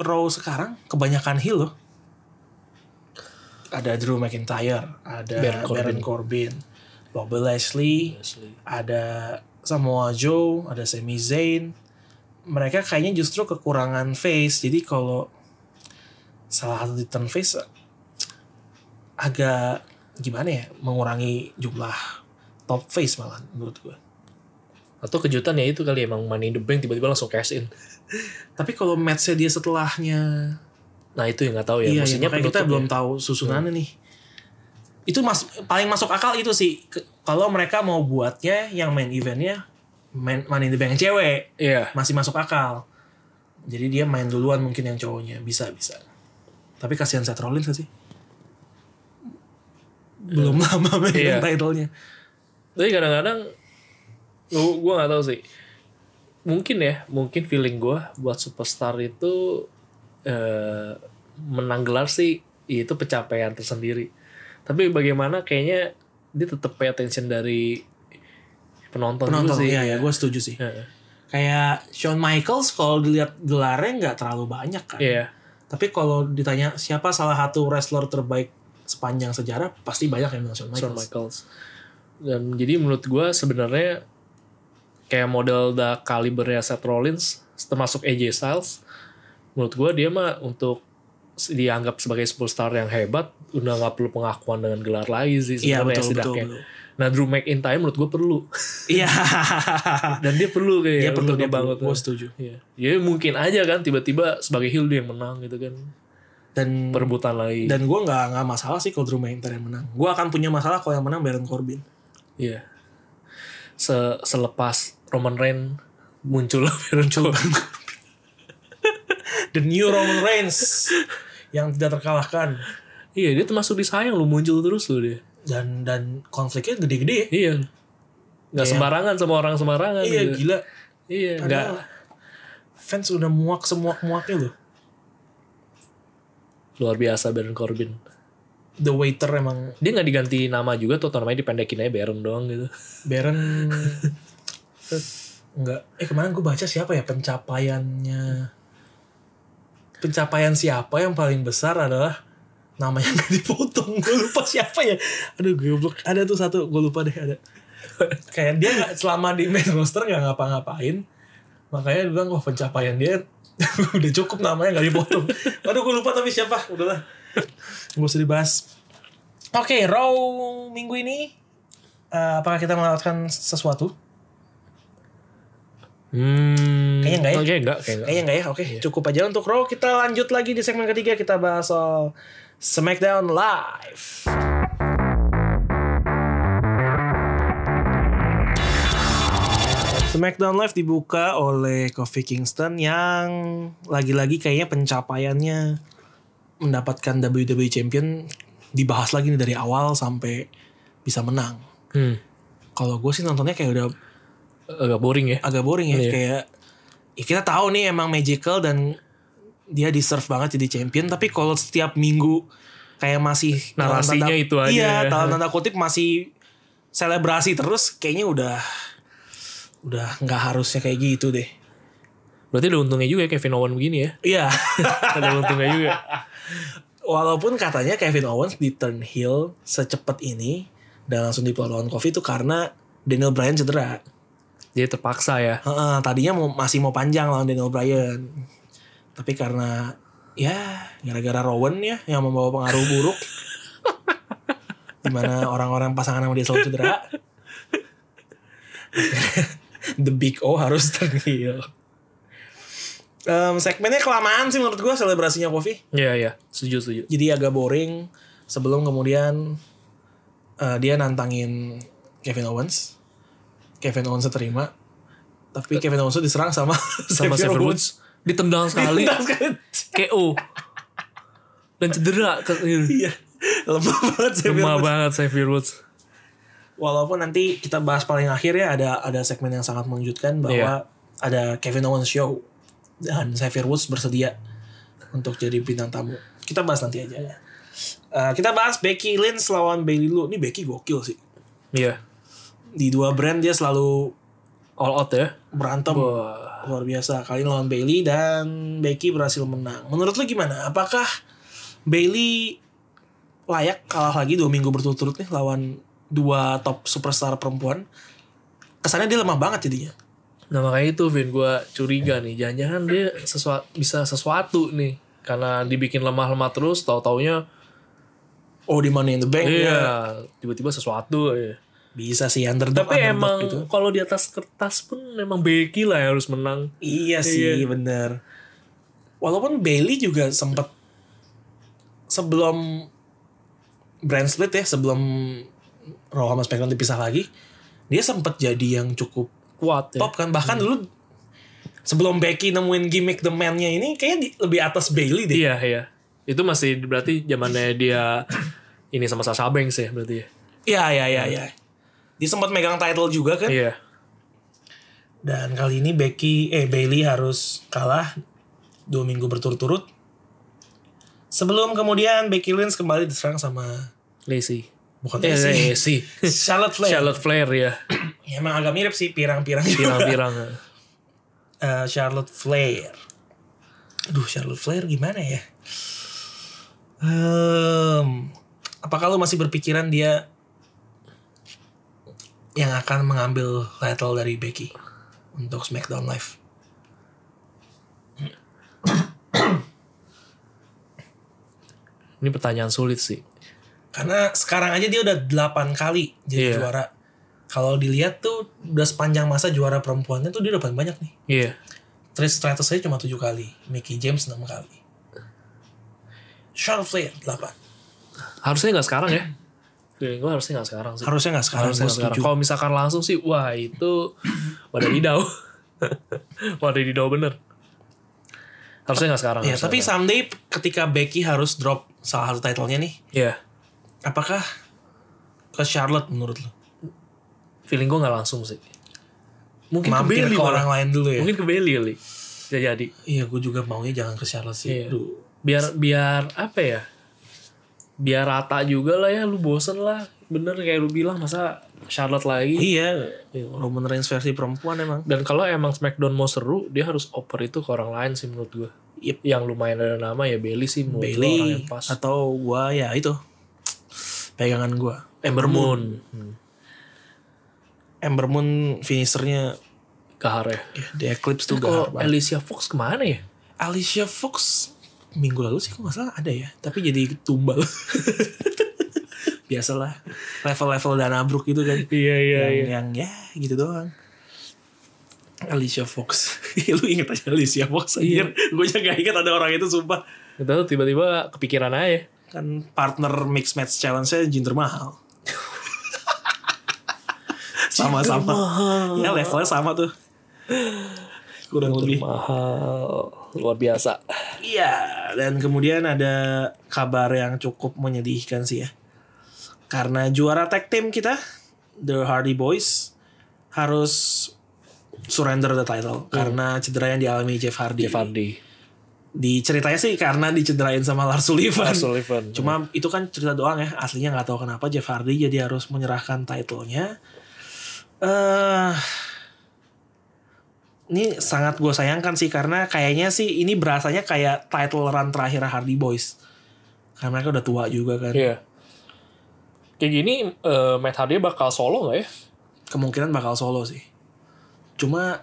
A: Raw sekarang kebanyakan Hill loh ada Drew McIntyre ada
B: Baron
A: Baron
B: Corbin.
A: Corbin, Bobby Lashley ada Samoa Joe ada Sami Zayn mereka kayaknya justru kekurangan face jadi kalau salah satu di turn face agak gimana ya mengurangi jumlah top face malah menurut gue
B: Atau kejutan ya itu kali emang money in the bank tiba-tiba langsung cash in.
A: tapi kalau matchnya dia setelahnya
B: Nah itu yang gak tahu ya.
A: iya,
B: Maksudnya
A: maksudnya kita
B: penutup
A: belum
B: ya.
A: tahu susunannya nih itu mas paling masuk akal itu sih Ke- kalau mereka mau buatnya yang main eventnya main main in the bank yang cewek
B: Iya.
A: masih masuk akal jadi dia main duluan mungkin yang cowoknya bisa bisa tapi kasihan Seth Rollins gak sih belum lama megang
B: Iya.
A: title-nya
B: Tapi kadang-kadang gue gue nggak tahu sih. Mungkin ya, mungkin feeling gue buat superstar itu eh, menang gelar sih itu pencapaian tersendiri. Tapi bagaimana kayaknya dia tetap pay attention dari penonton,
A: penonton
B: dulu sih.
A: iya ya gue setuju sih
B: Heeh.
A: Kayak Shawn Michaels kalau dilihat gelarnya nggak terlalu banyak kan.
B: Iya.
A: Tapi kalau ditanya siapa salah satu wrestler terbaik sepanjang sejarah, pasti banyak yang bilang Shawn
B: Shawn
A: Michaels.
B: Michaels. Dan jadi menurut gue sebenarnya kayak model da kalibernya Seth Rollins termasuk AJ Styles menurut gue dia mah untuk dianggap sebagai superstar yang hebat udah nggak perlu pengakuan dengan gelar lagi sih
A: Iya
B: sebenarnya
A: betul betul.
B: setidaknya.
A: betul.
B: Nah Drew McIntyre menurut gue perlu
A: Iya.
B: dan dia perlu kayak
A: Dia perlu
B: untuk
A: dia
B: ngebangun.
A: banget. Gue setuju.
B: Iya. Ya mungkin aja kan tiba-tiba sebagai heel dia yang menang gitu kan
A: Dan
B: perebutan lagi.
A: dan gue nggak nggak masalah sih kalau Drew McIntyre yang menang. Gue akan punya masalah kalau yang menang Baron Corbin.
B: Iya. Se selepas Roman Reign muncul Baron Corbin.
A: The New Roman Reigns yang tidak terkalahkan
B: iya, dia termasuk disayang lu muncul terus lu dia.
A: dan dan konfliknya gede-gede.
B: Iya. Gak
A: Iya.
B: sembarangan sama orang sembarangan.
A: Iya
B: gitu.
A: gila.
B: Iya, nggak.
A: Padahal fans udah muak semuak-muaknya loh.
B: Luar biasa Baron Corbin.
A: The waiter emang
B: Dia nggak diganti nama juga tuh, atau namanya dipendekin aja Baron doang gitu.
A: Baron enggak eh kemarin gue baca siapa ya pencapaiannya pencapaian siapa yang paling besar adalah namanya nggak dipotong gue lupa siapa ya aduh goblok ada tuh satu gue lupa deh ada kayak dia nggak selama di main roster nggak ngapa-ngapain makanya dia bilang wah pencapaian dia udah cukup namanya nggak dipotong aduh gue lupa tapi siapa udahlah gue usah dibahas oke Raw minggu ini eh, apakah kita melewatkan sesuatu
B: Hmm.
A: Kayaknya nggak ya?
B: Kayaknya nggak, kayaknya nggak.
A: Kayaknya enggak ya, oke cukup aja untuk Raw Kita lanjut lagi di segmen ketiga Kita bahas soal Smackdown Live Smackdown Live dibuka oleh Kofi Kingston yang lagi-lagi kayaknya pencapaiannya mendapatkan WWE Champion dibahas lagi nih dari awal sampai bisa menang.
B: Hmm.
A: Kalau gue sih nontonnya kayak udah
B: Agak boring ya.
A: agak boring ya
B: Iya.
A: kayak ya kita tahu nih emang magical dan dia deserve banget jadi champion tapi kalau setiap minggu kayak masih dalam
B: Narasinya
A: tanda-
B: itu aja
A: iya
B: ya.
A: dalam tanda kutip masih selebrasi terus kayaknya udah udah nggak harusnya kayak gitu deh
B: Berarti ada untungnya juga ya Kevin Owen begini ya.
A: iya
B: ada untungnya juga.
A: walaupun katanya Kevin Owens di turn heel secepat ini dan langsung diperlawan Kofi itu karena Daniel Bryan cedera
B: Jadi terpaksa ya.
A: Heeh, tadinya mau, masih mau panjang lawan Daniel Bryan. Tapi karena ya gara-gara Rowan ya yang membawa pengaruh buruk. dimana orang-orang pasangan sama dia selalu cedera. The Big O harus turn heel. Em, segmennya kelamaan sih menurut gua selebrasinya Kofi
B: Iya, iya. Setuju, setuju.
A: jadi agak boring sebelum kemudian eh, dia nantangin Kevin Owens Kevin Owens terima tapi Kevin Owens tuh diserang sama
B: Eh. Sama Xavier Woods. Iya. Ditendang sekali.
A: Ditendang sekali.
B: KO dan cedera ke
A: iya lemah banget Xavier
B: lemah
A: Woods.
B: banget Xavier Woods
A: walaupun nanti kita bahas paling akhir ya ada ada segmen yang sangat mengejutkan bahwa
B: Iya.
A: ada Kevin Owens show dan Xavier Woods bersedia untuk jadi bintang tamu. Kita bahas nanti aja. ya. Eh, kita bahas Becky Lynch lawan Bailey Lu. Ini Becky gokil sih.
B: iya
A: Di dua brand dia selalu
B: all out ya
A: berantem
B: Wah.
A: luar biasa kali ini lawan Bailey dan Becky berhasil menang menurut lu gimana apakah Bailey layak kalah lagi dua minggu berturut-turut nih lawan dua top superstar perempuan kesannya dia lemah banget jadinya
B: nah makanya itu Vin gue curiga nih jangan-jangan dia sesuatu bisa sesuatu nih karena dibikin lemah-lemah terus tahu-taunya
A: oh di Money in the Bank
B: iya
A: dia
B: tiba-tiba sesuatu iya.
A: bisa sih underdog
B: tapi
A: underdog
B: emang
A: gitu.
B: kalau di atas kertas pun emang Becky lah yang harus menang
A: iya sih bener walaupun Bailey juga sempet sebelum brand split ya sebelum Raw sama SmackDown dipisah lagi dia sempet jadi yang cukup
B: kuat ya
A: top kan bahkan dulu sebelum Becky nemuin gimmick the man-nya ini kayaknya di- lebih atas Bailey deh.
B: iya iya itu masih berarti zamannya dia ini sama Sasha Banks ya berarti ya
A: Iya iya iya iya. Dia sempat megang title juga kan.
B: iya
A: Dan kali ini Becky eh Bailey harus kalah dua minggu berturut-turut. Sebelum kemudian Becky Lynch kembali diserang sama
B: Lacey
A: bukan
B: eh
A: Lacey,
B: Lacey
A: Charlotte Flair.
B: Charlotte Flair ya
A: Ya, Emang agak mirip sih pirang-pirang. juga.
B: pirang-pirang
A: eh, Charlotte Flair. Aduh Charlotte Flair gimana ya? Ehm, apakah lo masih berpikiran dia yang akan mengambil title dari Becky untuk SmackDown Live?
B: Ini pertanyaan sulit sih.
A: Karena sekarang aja dia udah 8 kali jadi
B: Iya.
A: juara. Kalau dilihat tuh udah sepanjang masa juara perempuannya tuh dia udah paling banyak nih.
B: Iya.
A: Trish Stratus aja cuma 7 kali. Mickey James 6 kali. Charlotte Flair 8.
B: Harusnya nggak sekarang ya. Feeling gue harusnya nggak sekarang sih.
A: Harusnya nggak sekarang,
B: Harusnya
A: gue
B: nggak sekarang.
A: setuju.
B: Kalau misalkan langsung sih, wah itu wadah didau. wadah didau bener. Harusnya nggak sekarang.
A: Ya,
B: harusnya
A: tapi
B: nggak sekarang.
A: someday ketika Becky harus drop salah satu titlenya nih,
B: Iya.
A: apakah ke Charlotte menurut lo?
B: Feeling gue nggak langsung sih. Mungkin
A: Mampir
B: ke Bailey
A: ke orang
B: malah.
A: lain dulu ya?
B: Mungkin ke Bailey kali. Bisa jadi.
A: Iya, gue juga maunya jangan ke Charlotte sih.
B: Iya.
A: Aduh.
B: biar biar apa ya biar rata juga lah ya lu bosen lah bener kayak lu bilang masa Charlotte lagi
A: Iya, Roman Reigns versi perempuan emang.
B: dan kalau emang Smackdown mau seru dia harus oper itu ke orang lain sih menurut gue
A: Yep.
B: yang lumayan ada nama ya Bailey sih menurut gua orang
A: Bailey
B: yang pas
A: atau gua ya itu pegangan gua Ember Moon.
B: Moon hmm.
A: Ember Moon finishernya
B: Kahar ya
A: ya, The Eclipse tuh
B: kalau
A: gahar banget.
B: Alicia Fox kemana ya
A: Alicia Fox minggu lalu sih kok nggak salah ada ya, tapi jadi tumbal. Biasalah level-level dan abruk gitu kan.
B: iya iya
A: yang, yang ya gitu doang. Alicia Fox. Ya, lu inget aja Alicia Fox anjir. Gue aja gak inget ada orang itu sumpah.
B: Nggak tahu tiba-tiba kepikiran aja
A: Kan partner mix match challenge-nya Jinder Mahal. Sama-sama. Ya levelnya sama tuh. Kurang lebih.
B: mahal luar biasa
A: Iya, dan kemudian ada kabar yang cukup menyedihkan sih ya. Karena juara tag team kita, The Hardy Boys, harus surrender the title karena cedera yang dialami Jeff Hardy.
B: Hmm. Jeff Hardy
A: Diceritanya sih karena dicederain sama Lars Sullivan.
B: Lars Sullivan
A: Cuma itu kan cerita doang ya, aslinya nggak tahu kenapa Jeff Hardy jadi harus menyerahkan titlenya. Eh ini sangat gue sayangkan sih karena kayaknya sih ini berasanya kayak title run terakhir Hardy Boys. Karena mereka udah tua juga kan.
B: Iya. Kayak gini eh, Matt Hardy bakal solo nggak ya?
A: Kemungkinan bakal solo sih. Cuma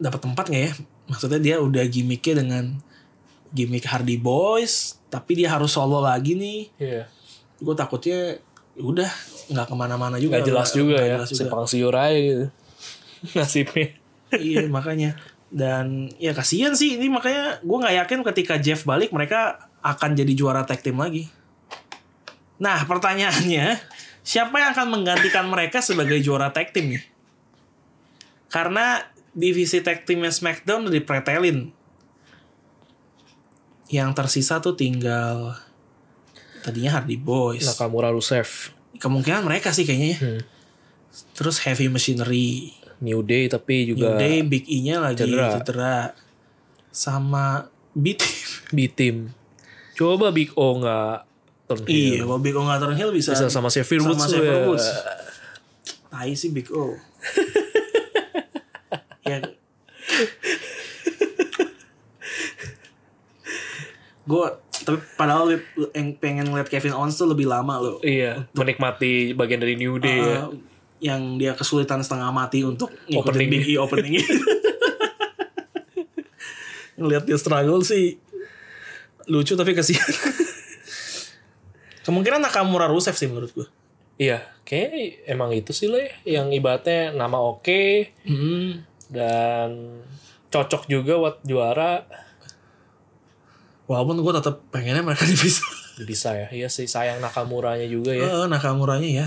A: dapat tempat nggak ya? Maksudnya dia udah gimmicknya dengan gimmick Hardy Boys, tapi dia harus solo lagi nih.
B: Iya.
A: gue takutnya ya udah nggak kemana-mana juga
B: Gak jelas
A: Nggak-
B: juga
A: nggak
B: ya.
A: jelas juga.
B: Simpang siur aja gitu. Nasibnya.
A: iya makanya dan ya kasihan sih ini makanya gue nggak yakin ketika Jeff balik mereka akan jadi juara tag team lagi nah pertanyaannya siapa yang akan menggantikan mereka sebagai juara tag team nih karena divisi tag teamnya SmackDown udah dipretelin yang tersisa tuh tinggal tadinya Hardy Boys
B: Nakamura Rusev.
A: kemungkinan mereka sih kayaknya ya.
B: Hmm.
A: Terus heavy machinery,
B: New Day tapi
A: New
B: juga
A: Day, Big E-nya lagi
B: Cedera.
A: cedera, sama B Team.
B: B-Team. Coba Big O nggak turn
A: Iya,
B: heel.
A: kalau Big O nggak turn heel bisa,
B: Bisa sama Xavier Woods
A: Sama
B: juga.
A: Xavier Woods. Tai sih Big O. ya. Gue tapi padahal gue peng- pengen ngeliat Kevin Owens tuh lebih lama loh.
B: Iya. Menikmati bagian dari New Day
A: Uh,
B: ya.
A: yang dia kesulitan setengah mati untuk ngikutin
B: Opening.
A: Big E openingnya. Ngeliat dia struggle sih lucu tapi kasihan. Kemungkinan Nakamura Rusev sih menurut gue.
B: Iya. Kayaknya emang itu sih lah ya. Yang ibaratnya nama oke. Dan cocok juga buat juara.
A: Walaupun gue tetap pengennya mereka dipisah.
B: Bisa ya. Iya sih. Sayang Nakamuranya juga ya.
A: Eh, Nakamuranya ya.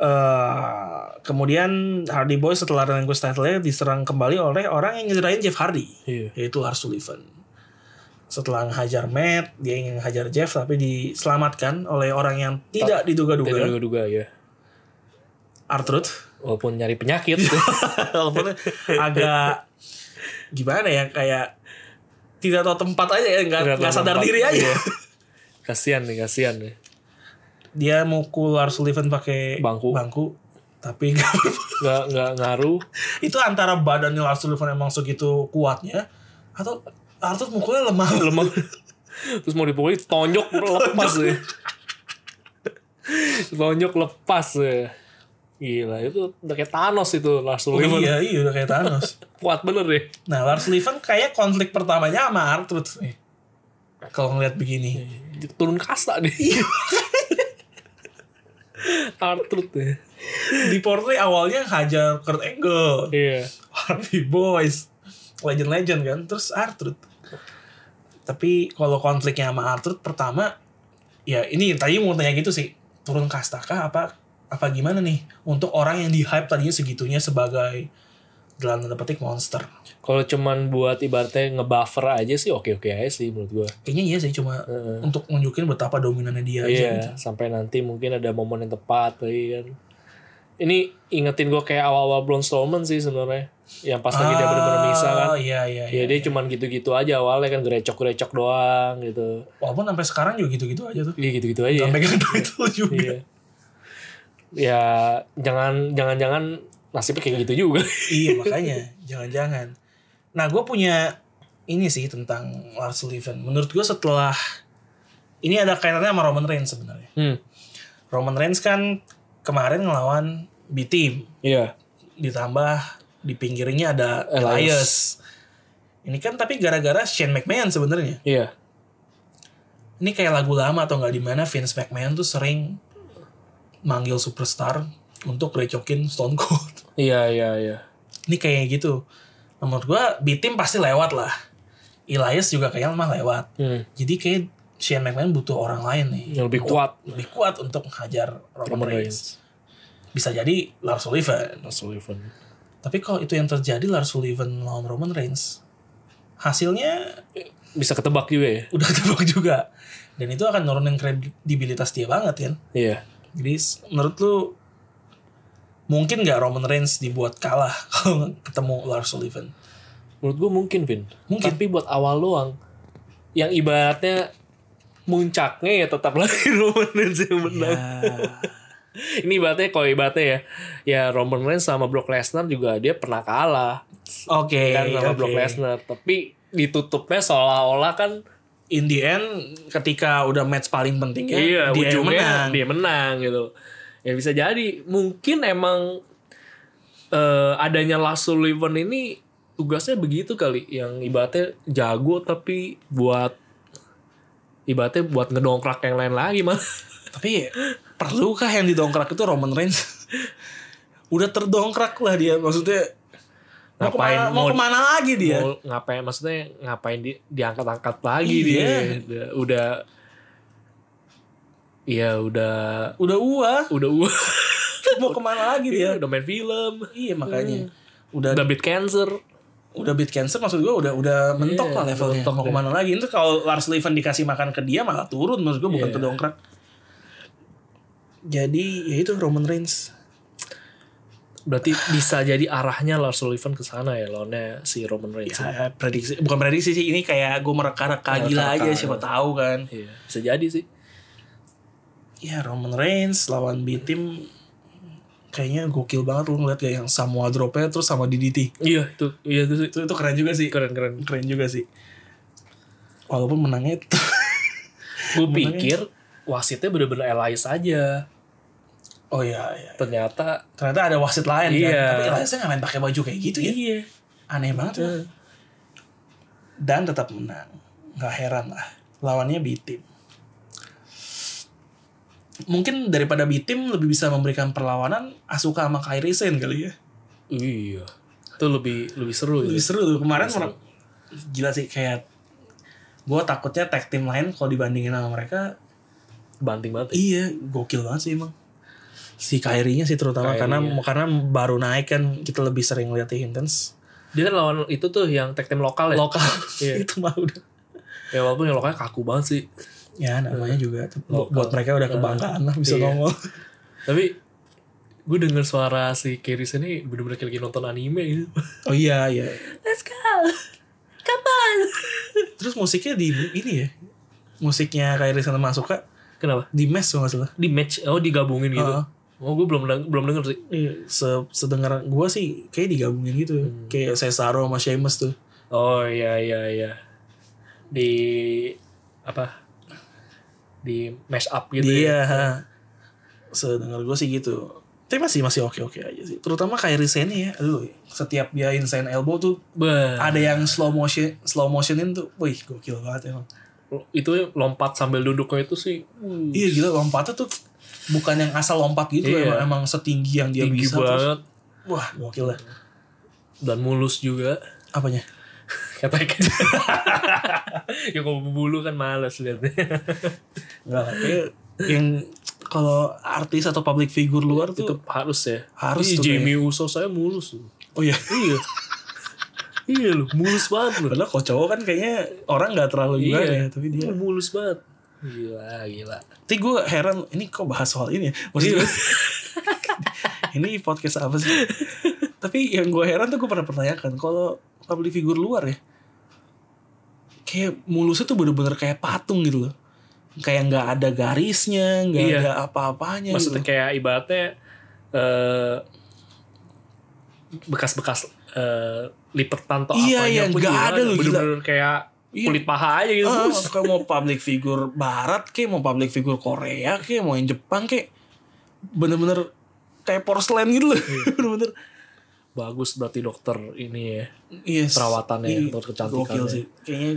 A: Eh, kemudian Hardy Boys setelah relinquish title-nya diserang kembali oleh orang yang nyerahin Jeff Hardy.
B: Iya.
A: yaitu Lars Sullivan. Setelah hajar Matt, dia ingin hajar Jeff tapi diselamatkan oleh orang yang tidak
B: Tidak
A: diduga-duga,
B: duga-duga ya.
A: Artruth.
B: Walaupun nyari penyakit.
A: Walaupun agak gimana ya kayak tidak tahu tempat aja ya, nggak iya. nggak sadar diri aja.
B: iya. kasian nih, kasian nih.
A: Dia mukul Lars Sullivan pakai
B: Bangku.
A: bangku tapi nggak berpengaruh.
B: nggak nggak ngaruh
A: itu antara badannya Lars Sullivan emang segitu kuatnya atau Arthur mukulnya lemah
B: lemah terus mau dipukuli tonjok lepas ya tonjok lepas ya gila itu udah kayak Thanos itu Lars Sullivan
A: iya iya udah kayak Thanos
B: kuat bener ya. deh
A: Nah, Lars Sullivan kayak konflik pertamanya sama Arthur nih. Kalau ngeliat
B: Iya.
A: begini.
B: turun kasta deh Artrud ya
A: Di portray awalnya hajar Kurt Angle,
B: iya
A: Harvey Boys, legend-legend kan, terus Arthur. Tapi kalau konfliknya sama Arthur pertama ya ini tadi mau tanya gitu sih, turun kasta kah apa apa gimana nih untuk orang yang di hype tadinya segitunya sebagai dalam tanda petik monster.
B: kalau cuman buat ibaratnya ngebuffer aja sih oke oke aja sih menurut gua
A: Kayaknya iya sih cuma
B: Heeh.
A: untuk nunjukin betapa dominannya dia aja gitu.
B: Iya, sampai nanti mungkin ada momen yang tepat lagi kan. Ini ingetin gue kayak awal-awal Braun Strowman sih sebenarnya. Yang pas lagi dia benar-benar misah kan.
A: Ah, Iya iya
B: Ya dia cuman gitu-gitu aja awalnya kan gerecok-gerecok doang gitu.
A: Walaupun sampai sekarang juga gitu-gitu aja tuh.
B: Iya gitu-gitu
A: Gak
B: aja. Ya.
A: megang title juga.
B: Iya. Ya jangan jangan-jangan nasibnya kayak gitu juga.
A: iya makanya. Jangan-jangan. Nah gue punya ini sih tentang Lars Sullivan. Menurut gue setelah... Ini ada kaitannya sama Roman Reigns sebenarnya.
B: Hmm.
A: Roman Reigns kan kemarin ngelawan B-Team.
B: Iya.
A: Ditambah di pinggirnya ada
B: Elias.
A: Elias. Ini kan tapi gara-gara Shane McMahon sebenarnya.
B: Iya.
A: Ini kayak lagu lama atau nggak di mana Vince McMahon tuh sering manggil superstar untuk recokin Stone Cold.
B: Iya iya iya.
A: ini kayak gitu Nah, menurut gua B-Team pasti lewat lah Elias juga kayaknya mah lewat
B: Hmm.
A: jadi kayak Shane McMahon butuh orang lain nih
B: Yang lebih kuat
A: lebih kuat untuk menghajar Roman,
B: Iya. Roman
A: Reigns.
B: Reigns.
A: bisa jadi Lars Sullivan
B: Lars Sullivan.
A: tapi kalau itu yang terjadi Lars Sullivan lawan Roman Reigns hasilnya
B: Bisa ketebak juga ya.
A: udah tebak juga dan itu akan nurunin kredibilitas dia banget kan
B: Iya.
A: jadi s- menurut lu mungkin nggak Roman Reigns dibuat kalah kalau ketemu Lars Sullivan
B: Menurut gue mungkin, Vin.
A: Mungkin.
B: Tapi buat awal doang. Yang ibaratnya muncaknya ya tetap lagi Roman Reigns yang menang. Ini ibaratnya kalau ibaratnya ya, ya Roman Reigns sama Brock Lesnar juga dia pernah kalah
A: Oke,
B: kan sama
A: oke.
B: Brock Lesnar. Tapi ditutupnya seolah-olah kan
A: in the end ketika udah match paling pentingnya
B: iya,
A: dia yang
B: ujungnya
A: menang.
B: dia menang gitu. Ya bisa jadi mungkin emang eh, adanya Lars Sullivan ini tugasnya begitu kali yang ibaratnya jago tapi buat ibaratnya buat ngedongkrak yang lain lagi mah.
A: Tapi perlukah yang didongkrak itu Roman Reigns? udah terdongkrak lah dia maksudnya mau
B: Ngapain,
A: kemana, mau
B: mau-
A: kemana lagi dia?
B: Mau ngapain maksudnya ngapain di, diangkat-angkat lagi
A: Iya.
B: dia. Udah, udah Iya udah
A: Udah uah,
B: udah udah,
A: mau kemana lagi dia?
B: udah main film,
A: Iya makanya. Udah
B: udah beat cancer.
A: udah beat cancer maksud gua udah udah mentok
B: Iya,
A: lah levelnya.
B: mentok
A: mau
B: deh.
A: kemana lagi? Itu kalau Lars Levan dikasih makan ke dia malah turun menurut gua bukan
B: Iya.
A: terdongkrak. Jadi ya itu Roman Reigns.
B: Berarti bisa jadi arahnya Lars Sullivan ke sana ya lawannya si Roman Reigns. ini.
A: Ya, prediksi bukan prediksi sih ini kayak gue mereka-reka gila
B: Mereka-reka,
A: aja siapa tahu kan
B: Iya, bisa jadi sih.
A: ya Roman Reigns lawan B Team kayaknya gokil banget lu ngeliat kayak yang Samoa drop-nya terus sama DDT
B: Iya, itu iya itu sih.
A: itu itu keren juga sih
B: Keren-keren.
A: keren juga sih walaupun menangnya itu
B: Gue pikir wasitnya bener-bener Elias aja.
A: oh iya iya
B: Ternyata
A: ternyata ada wasit lain
B: Iya.
A: kan tapi Eliasnya nggak main pakai baju kayak gitu ya
B: iya.
A: aneh banget ya. dan tetap menang nggak heran lah lawannya B Team mungkin daripada B Team lebih bisa memberikan perlawanan Asuka sama Kairi Sen kali ya
B: Iya. Itu lebih lebih seru
A: lebih
B: ya.
A: seru tuh kemarin mer- gila sih kayak gue takutnya tag team lain kalau dibandingin sama mereka
B: Banting banget.
A: iya gokil banget sih emang si Kairinya sih terutama
B: Kairi,
A: karena
B: ya.
A: karena baru naik kan kita lebih sering lihat intens
B: Dia kan lawan itu tuh yang tag team lokal ya.
A: lokal
B: Iya.
A: itu mah udah
B: Ya walaupun yang lokalnya kaku banget sih.
A: ya namanya juga tuh. Bu-
B: Lokal.
A: buat mereka udah kebanggaan lah bisa
B: Iya.
A: nongol
B: Tapi gue denger suara si Keris ini bener-bener kayak lagi nonton anime gitu.
A: oh iya iya
B: Let's go. Come on.
A: terus musiknya di ini ya musiknya Kairi sama Asuka
B: Kenapa?
A: di mes kalau nggak salah
B: Di match oh digabungin gitu.
A: Heeh.
B: Oh, gue belum deng- belum denger sih.
A: Iya, se sedengar gue sih kayak digabungin gitu.
B: Hmm.
A: Kayak Cesaro sama Sheamus tuh.
B: Oh iya iya iya. Di apa? Di mash up gitu. ya.
A: Iya. ha. Sedengar gue sih gitu. Tapi masih masih oke-oke aja sih. Terutama kayak Sane ya. Aduh, setiap dia insane elbow tuh
B: Bah,
A: ada yang slow motion slow motionin tuh. Wih, gokil banget emang.
B: itu lompat sambil duduknya itu sih uh,
A: Iya gila lompatnya tuh bukan yang asal lompat gitu
B: Iya.
A: emang, emang setinggi yang dia Iya,
B: tinggi
A: bisa terus-
B: banget
A: Wah, gokil lah.
B: dan mulus juga.
A: Apanya?
B: Kata kata. ya kalau bulu kan males liatnya.
A: Enggak lah. kayak yang kalau artis atau public figure luar tuh
B: itu harus ya.
A: Harus
B: Ih,
A: tuh
B: Jamie Uso saya mulus tuh.
A: Oh iya.
B: Iya. iya loh, mulus banget loh.
A: Padahal kalau cowok kan kayaknya orang nggak terlalu gimana
B: Iya.
A: ya, tapi dia.
B: mulus banget. Gila, gila.
A: Tapi gue heran, ini kok bahas soal ini ya? Maksudnya,
B: Iya.
A: ini podcast apa sih? tapi yang gue heran tuh gue pernah pertanyakan, kalau public figure luar ya, kayak mulusnya tuh bener-bener kayak patung gitu loh. Kayak nggak ada garisnya, nggak
B: Iya.
A: ada apa-apanya
B: Maksudnya
A: gitu.
B: kayak ibaratnya eh, bekas-bekas eh, lipetan atau
A: Iya,
B: apanya
A: iya,
B: pun
A: nggak
B: juga
A: ada loh, gila.
B: Bener-bener kayak
A: Iya.
B: kulit paha aja gitu.
A: Ah, suka mau public figure barat kayak mau public figure Korea kayak mau yang Jepang kayak bener-bener kayak porcelain gitu loh
B: Iya.
A: bener-bener
B: Bagus berarti dokter ini ya.
A: Yes.
B: Perawatannya,
A: Iya,
B: untuk kecantikannya.
A: gokil sih. Kayaknya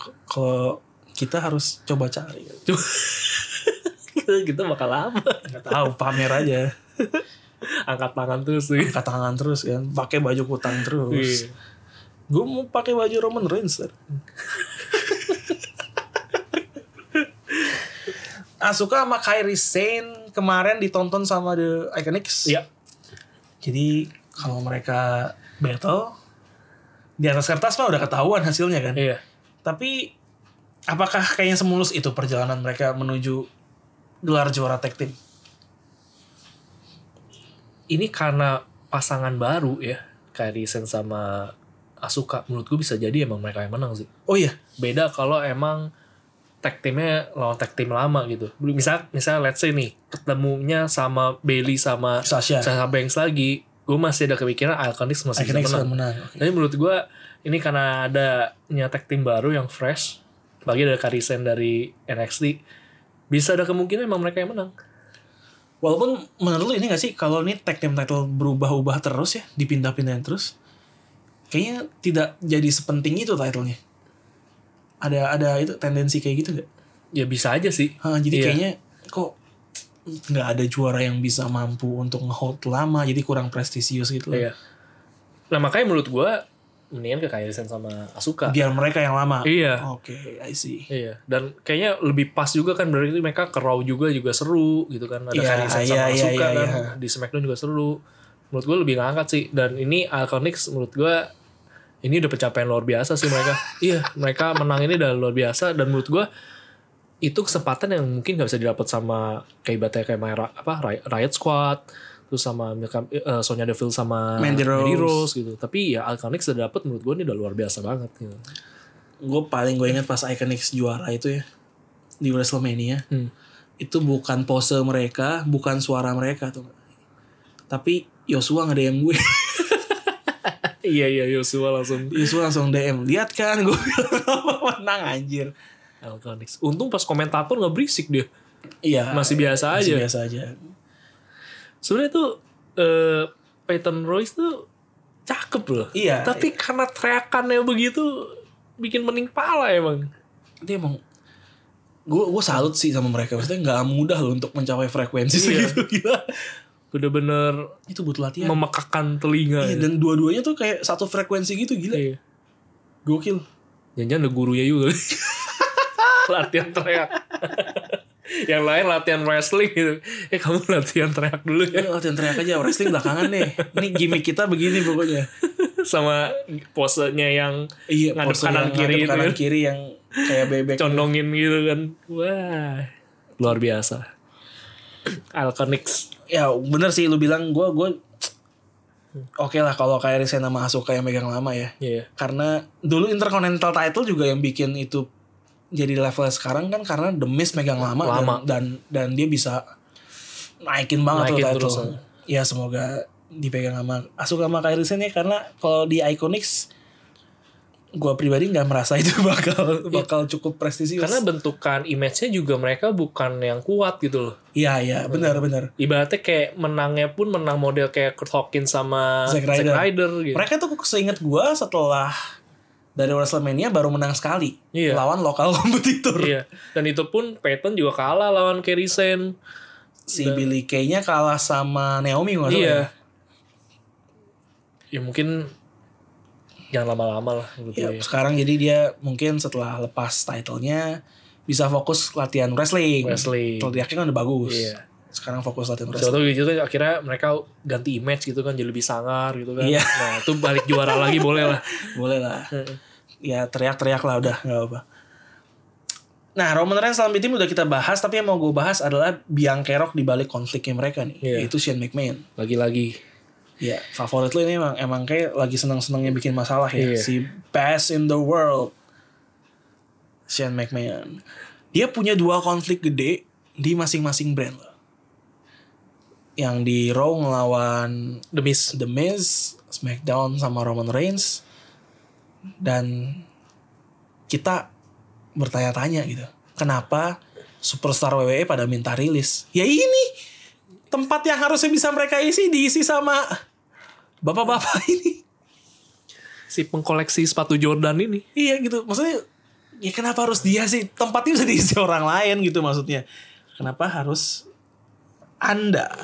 A: k- kalau kita harus coba cari.
B: Cuma- kita bakal apa?
A: Nggak tahu pamer aja.
B: Angkat tangan terus sih.
A: Angkat tangan terus kan, pakai baju kutang terus.
B: Iya.
A: Gue mau pakai baju Roman Reigns. Ter. Asuka Ah, sama Kairi Sane kemarin ditonton sama The Iconics.
B: Iya.
A: Jadi kalau mereka battle di atas kertas mah udah ketahuan hasilnya kan.
B: Iya.
A: Tapi apakah kayaknya semulus itu perjalanan mereka menuju gelar juara tag team?
B: Ini karena pasangan baru ya. Kayak Risen sama Asuka. Menurut gue bisa jadi emang mereka yang menang sih.
A: Oh iya,
B: beda kalau emang tag teamnya lawan tag team lama gitu misal misal let's say nih ketemunya sama Bailey sama
A: Sasha.
B: Sasha Banks lagi gue masih ada kepikiran Iconics masih bisa
A: Akhirnya
B: menang
A: bisa menang. Oke.
B: tapi menurut gue ini karena adanya tag team baru yang fresh bagi dari Karisen dari NXT bisa ada kemungkinan emang mereka yang menang
A: Walaupun menurut lu ini gak sih kalau ini tag team title berubah-ubah terus ya, dipindah-pindahin terus, kayaknya tidak jadi sepenting itu titlenya. Ada ada itu tendensi kayak gitu gak?
B: ya bisa aja sih
A: Hah, jadi
B: Iya.
A: kayaknya kok nggak ada juara yang bisa mampu untuk ngehold lama, jadi kurang prestisius gitu. loh.
B: iya nah makanya menurut gue mendingan ke Karisen sama Asuka
A: Biar mereka yang lama.
B: iya
A: Oke, I see.
B: Iya, dan kayaknya lebih pas juga kan berarti mereka ke Raw juga juga seru gitu kan. Ada
A: Iya, iya,
B: Karisen sama
A: iya,
B: Asuka
A: iya,
B: kan
A: iya.
B: di SmackDown juga seru. Menurut gue lebih ngangkat sih dan ini Iconics menurut gue ini udah pencapaian luar biasa sih mereka. iya, mereka menang ini udah luar biasa dan menurut gue itu kesempatan yang mungkin gak bisa didapat sama kayak ibaratnya kayak Myra, apa Riot- Riot Squad terus sama Milka, eh, Sonya Deville sama
A: Mandy Rose.
B: gitu. Tapi ya Iconics udah dapet menurut gue ini udah luar biasa banget gitu.
A: Gue paling gue ingat pas Iconics juara itu ya di WrestleMania.
B: Hmm.
A: Itu bukan pose mereka, bukan suara mereka tuh. Tapi Yosua nge DM gue.
B: iya iya Yosua langsung
A: Yosua langsung DM. Lihat kan gue bilang menang anjir.
B: Alconix. Untung pas komentator nggak berisik dia.
A: Iya.
B: Masih biasa
A: masih
B: aja.
A: biasa aja.
B: Sebenarnya tuh eh, Peyton Royce tuh cakep loh.
A: Iya.
B: Tapi karena teriakannya begitu bikin mening pala emang.
A: dia emang gue gue salut sih sama mereka maksudnya nggak mudah loh untuk mencapai frekuensi
B: Iya.
A: segitu gila
B: Bener-bener
A: itu butuh latihan
B: memekakkan telinga.
A: Iya,
B: ya.
A: dan dua-duanya tuh kayak satu frekuensi gitu gila
B: Iya.
A: gokil
B: Jangan-jangan ada gurunya juga. latihan teriak. Yang lain latihan wrestling gitu. Eh kamu latihan teriak dulu ya.
A: Ini latihan teriak aja wrestling belakangan deh ini gimmick kita begini pokoknya
B: Sama posenya yang
A: iya
B: Ngadep
A: pose yang
B: kanan kiri
A: ngadep
B: itu
A: kanan
B: ya.
A: kiri yang kayak bebek
B: condongin gitu kan wah luar biasa Alconix
A: ya bener sih lu bilang gue gue oke lah kalau kayak Risen sama Asuka yang megang lama ya
B: Iya
A: karena dulu Intercontinental title juga yang bikin itu jadi level sekarang kan karena The Miz megang lama,
B: Lama.
A: Dan, dan dan dia bisa naikin banget
B: Naikin
A: tuh
B: terus,
A: title. Ya semoga dipegang sama Asuka sama Kairi Sen ya karena kalau di Iconics gua pribadi nggak merasa itu bakal bakal cukup prestisius.
B: Karena bentukan image-nya juga mereka bukan yang kuat gitu loh.
A: iya iya benar benar.
B: Ibaratnya kayak menangnya pun menang model kayak Kurt Hawkins sama
A: Zack
B: Zack
A: Ryder.
B: Ryder, gitu.
A: Mereka tuh seingat gua setelah dari WrestleMania baru menang sekali
B: Iya.
A: lawan lokal kompetitor.
B: Iya. Dan itu pun Peyton juga kalah lawan Kerry Sen.
A: Si Billy Kay-nya kalah sama Naomi nggak salah ya?
B: Iya. Ya mungkin jangan lama-lama lah menurut
A: Ya,
B: gue ya.
A: sekarang jadi dia mungkin setelah lepas titlenya bisa fokus latihan wrestling.
B: Wrestling.
A: Title dia kan udah bagus.
B: Iya.
A: Sekarang fokus latihan wrestling.
B: Contoh gitu kan akhirnya mereka ganti image gitu kan jadi lebih sangar gitu kan.
A: Iya.
B: Nah, itu balik juara lagi boleh lah.
A: Boleh lah. ya teriak-teriak lah udah nggak apa. Nah Roman Reigns lawan Big Team udah kita bahas tapi yang mau gue bahas adalah biang kerok di balik konfliknya mereka nih.
B: Iya.
A: Yaitu Shane McMahon.
B: Lagi-lagi.
A: Ya favorit lo ini emang emang kayak lagi senang-senangnya bikin masalah ya.
B: Iya.
A: Si best in the world. Shane McMahon. Dia punya dua konflik gede di masing-masing brand loh. Yang di Raw ngelawan
B: The Miz.
A: The Miz, SmackDown sama Roman Reigns dan kita bertanya-tanya gitu. Kenapa superstar WWE pada minta rilis? Ya ini tempat yang harusnya bisa mereka isi diisi sama bapak-bapak ini.
B: Si pengkoleksi sepatu Jordan ini.
A: Iya gitu. Maksudnya ya kenapa harus dia sih? Tempatnya bisa diisi orang lain gitu maksudnya. Kenapa harus Anda?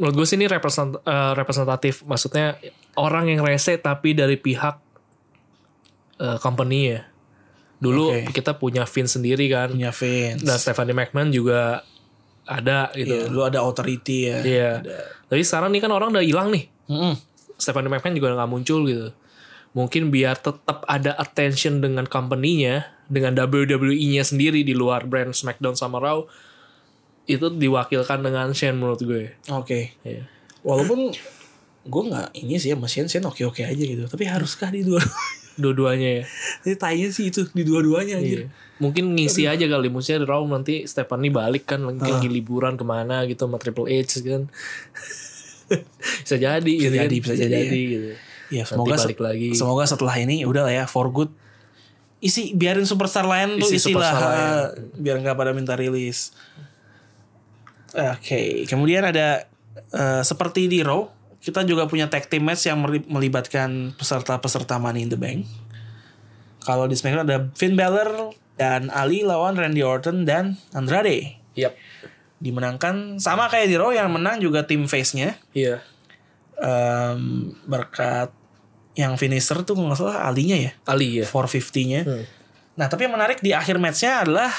B: menurut gue sih ini represent- eh, representatif maksudnya orang yang rese tapi dari pihak eh, company ya dulu
A: Oke. Iya.
B: kita punya Vin sendiri kan
A: Punya fans.
B: dan Stephanie McMahon juga ada
A: Iya,
B: gitu
A: lu ada authority ya.
B: iya tapi sekarang nih kan orang udah hilang nih
A: Mm-mm.
B: Stephanie McMahon juga nggak muncul gitu mungkin biar tetap ada attention dengan company-nya dengan WWE-nya sendiri di luar brand SmackDown sama Raw itu diwakilkan dengan Shane menurut gue
A: Oke.
B: Iya.
A: walaupun gue nggak ini sih ya, sama Shen Shen oke oke aja gitu tapi haruskah di dua
B: dua-duanya ya
A: Jadi tanya sih itu di dua-duanya
B: Iya.
A: anjir
B: Mungkin ngisi aja kali Maksudnya Raw nanti Stephanie balik kan Mungkin
A: Ah.
B: lagi liburan kemana gitu Sama Triple H kan Bisa jadi gitu kan.
A: jadi, bisa jadi,
B: gitu.
A: ya semoga
B: balik
A: se-
B: lagi.
A: semoga setelah ini udah lah ya for good isi biarin superstar lain tuh
B: Isi
A: isilah
B: superstar
A: ha, biar nggak pada minta rilis oke kemudian ada eh, seperti di Raw kita juga punya tag team match yang meli- melibatkan peserta-peserta Money in the Bank kalau di SmackDown ada Finn Balor dan Ali lawan Randy Orton dan Andrade
B: Yap.
A: dimenangkan sama kayak di Raw yang menang juga tim face-nya
B: Iya.
A: Em, berkat yang finisher tuh kalau nggak salah alinya ya
B: Ali ya.
A: 450-nya.
B: Hmm.
A: Nah tapi yang menarik di akhir match-nya adalah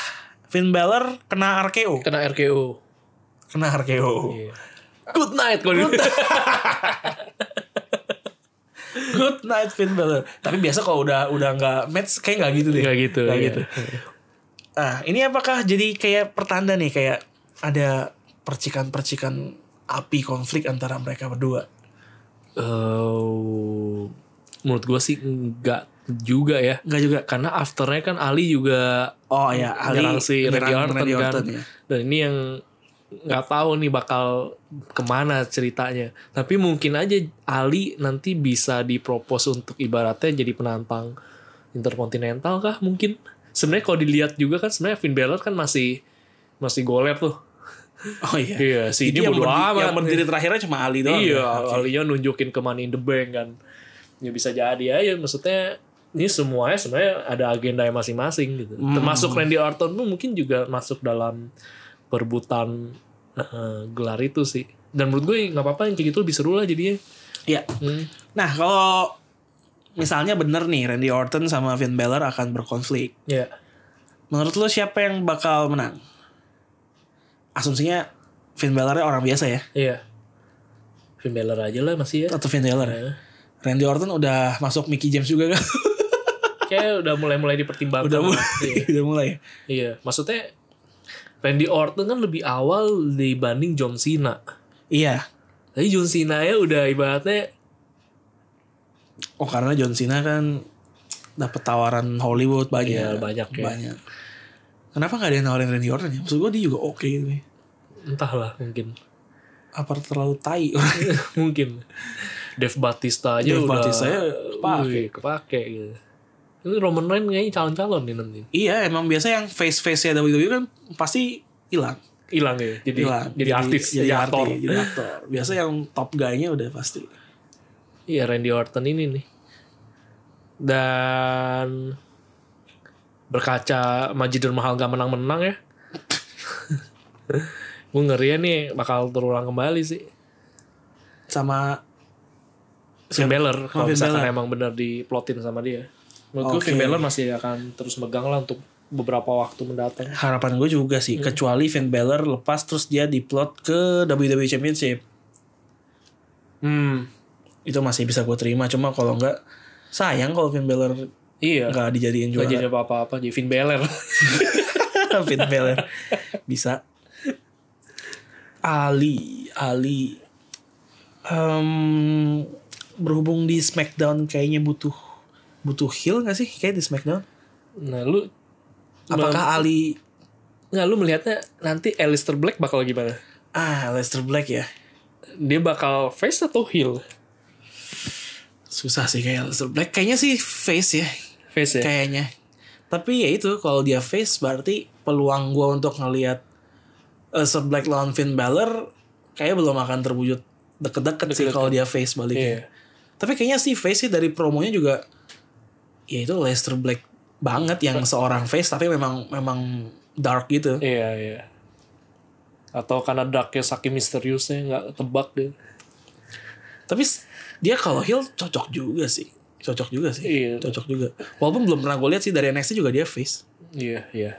A: Finn Balor kena RKO,
B: Kena RKO.
A: kena RKO.
B: Iya. Good night kalau gitu.
A: Good night Finn Balor. Tapi biasa kalau udah udah nggak match kayak nggak gitu deh.
B: Nggak gitu,
A: Nggak
B: iya.
A: gitu. Nah ini apakah jadi kayak pertanda nih kayak ada percikan-percikan api konflik antara mereka berdua?
B: Eh, menurut gue sih enggak juga ya.
A: Nggak juga.
B: Karena afternya kan Ali juga
A: Oh ya, Ali
B: nyerang si Randy
A: nyerang
B: Orton,
A: Randy
B: kan.
A: Orton, ya.
B: Dan ini yang nggak tahu nih bakal kemana ceritanya. Tapi mungkin aja Ali nanti bisa dipropos untuk ibaratnya jadi penantang Intercontinental kah mungkin. Sebenarnya kalau dilihat juga kan sebenarnya Finn Balor kan masih masih goler tuh.
A: Oh iya.
B: Iya, si
A: Jadi
B: ini
A: yang
B: bodo
A: berdiri-
B: amat.
A: Yang berdiri terakhirnya cuma Ali doang.
B: iya,
A: ya? Oke.
B: Alinya nunjukin ke Money in the Bank kan. Ya bisa jadi aja maksudnya ini semuanya sebenarnya ada agenda yang masing-masing gitu.
A: Hmm.
B: Termasuk Randy Orton pun mungkin juga masuk dalam perebutan eh, gelar itu sih. Dan menurut gue nggak apa-apa yang kayak gitu lebih seru lah jadinya.
A: Iya.
B: Hmm.
A: Nah, kalau misalnya bener nih Randy Orton sama Finn Balor akan berkonflik.
B: Ya.
A: Menurut lo siapa yang bakal menang? Asumsinya Finn Balor orang biasa ya
B: Iya. Finn Balor aja lah masih ya.
A: atau Finn Balor? ya? Randy Orton udah masuk Mickey James juga kan?
B: Kayak udah mulai-mulai dipertimbangkan.
A: udah mulai.
B: Iya.
A: udah mulai. ya?
B: Iya. Maksudnya Randy Orton kan lebih awal dibanding John Cena.
A: Iya.
B: Tapi John Cena ya udah ibaratnya
A: Oh karena John Cena kan dapat tawaran Hollywood banyak.
B: Iya, banyak ya.
A: Banyak. Kenapa nggak ada yang nawarin Randy Orton ya? Maksud gue dia juga oke gitu ya.
B: entahlah mungkin
A: apa terlalu tai
B: mungkin Dev Batista aja
A: Dave
B: udah
A: Bautista ya kepake.
B: Wih, kepake gitu ini Roman Reigns kayaknya calon-calon nih nanti
A: iya emang biasa yang face face ya WWE kan pasti hilang
B: hilang ya jadi
A: hilang
B: jadi, artis
A: jadi, gitu.
B: jadi, aktor
A: arti- jadi aktor biasa yang top guy-nya udah pasti
B: iya Randy Orton ini nih dan berkaca Majidur Mahal gak menang-menang ya gue ngeri ya nih bakal terulang kembali sih
A: sama
B: Finn Balor kalau
A: Finn
B: misalkan
A: Balor.
B: emang bener diplotin sama dia menurut gue
A: Oke.
B: Finn Balor masih akan terus megang lah untuk beberapa waktu mendatang
A: harapan gue juga sih
B: Hmm.
A: kecuali Finn Balor lepas terus dia diplot ke WWE Championship
B: hmm
A: itu masih bisa gue terima cuma kalau enggak sayang kalau Finn Balor
B: iya
A: enggak dijadiin
B: gak
A: juara
B: jadi apa-apa jadi Finn Balor
A: Finn Balor bisa Ali Ali Em, berhubung di SmackDown kayaknya butuh butuh heel gak sih kayak di SmackDown
B: nah lu
A: apakah Ali
B: nggak lu melihatnya nanti Alistair Black bakal gimana
A: ah Lester Black ya
B: dia bakal face atau heel
A: susah sih kayak Lester Black kayaknya sih face ya
B: face ya
A: kayaknya tapi ya itu kalau dia face berarti peluang gua untuk ngelihat Lester Black lawan Finn Balor kayaknya belum akan terwujud deket-deket sih kalau dia face baliknya
B: iya
A: Tapi kayaknya sih face sih dari promonya juga ya itu Leicester Black banget yang seorang face tapi memang memang dark gitu.
B: iya iya atau karena darknya saking misteriusnya nggak tebak deh
A: Tapi s- dia kalau heel cocok juga sih. Cocok juga sih.
B: Iya.
A: Cocok juga. Walaupun belum pernah gue lihat sih dari NXT juga dia face.
B: iya iya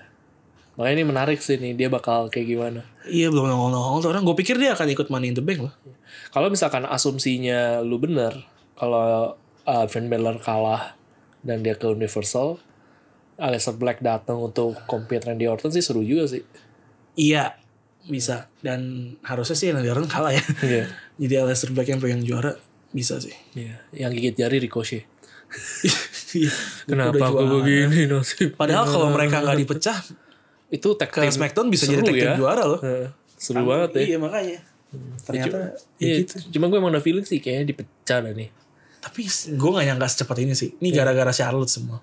B: makanya ini menarik sih nih dia bakal kayak gimana
A: Iya belum nongol-nongol tuh orang. Gue pikir dia akan ikut Money in the Bank loh.
B: kalau misalkan asumsinya lu bener kalau uh, Finn Balor kalah dan dia ke Universal Alistair Black datang untuk compete Randy Orton sih seru juga sih
A: Iya bisa. Dan harusnya sih Randy Orton kalah ya.
B: iya
A: Jadi Leicester Black yang pegang juara bisa sih.
B: Iya. yang gigit jari Ricochet
A: Iya. Udah
B: kenapa Iya. aku
A: juara. kan?
B: begini nasib
A: Padahal kalau mereka nggak dipecah
B: itu tag
A: ke
B: team
A: SmackDown bisa jadi
B: Seru
A: tag team
B: ya.
A: juara loh.
B: Heeh. seru banget ya
A: Iya makanya. Ternyata ya
B: Hmm. Iya,
A: gitu.
B: Cuma gue emang udah feeling sih kayaknya dipecah dah nih.
A: Tapi gue gak nyangka secepat ini sih. Ini gara-gara Charlotte semua.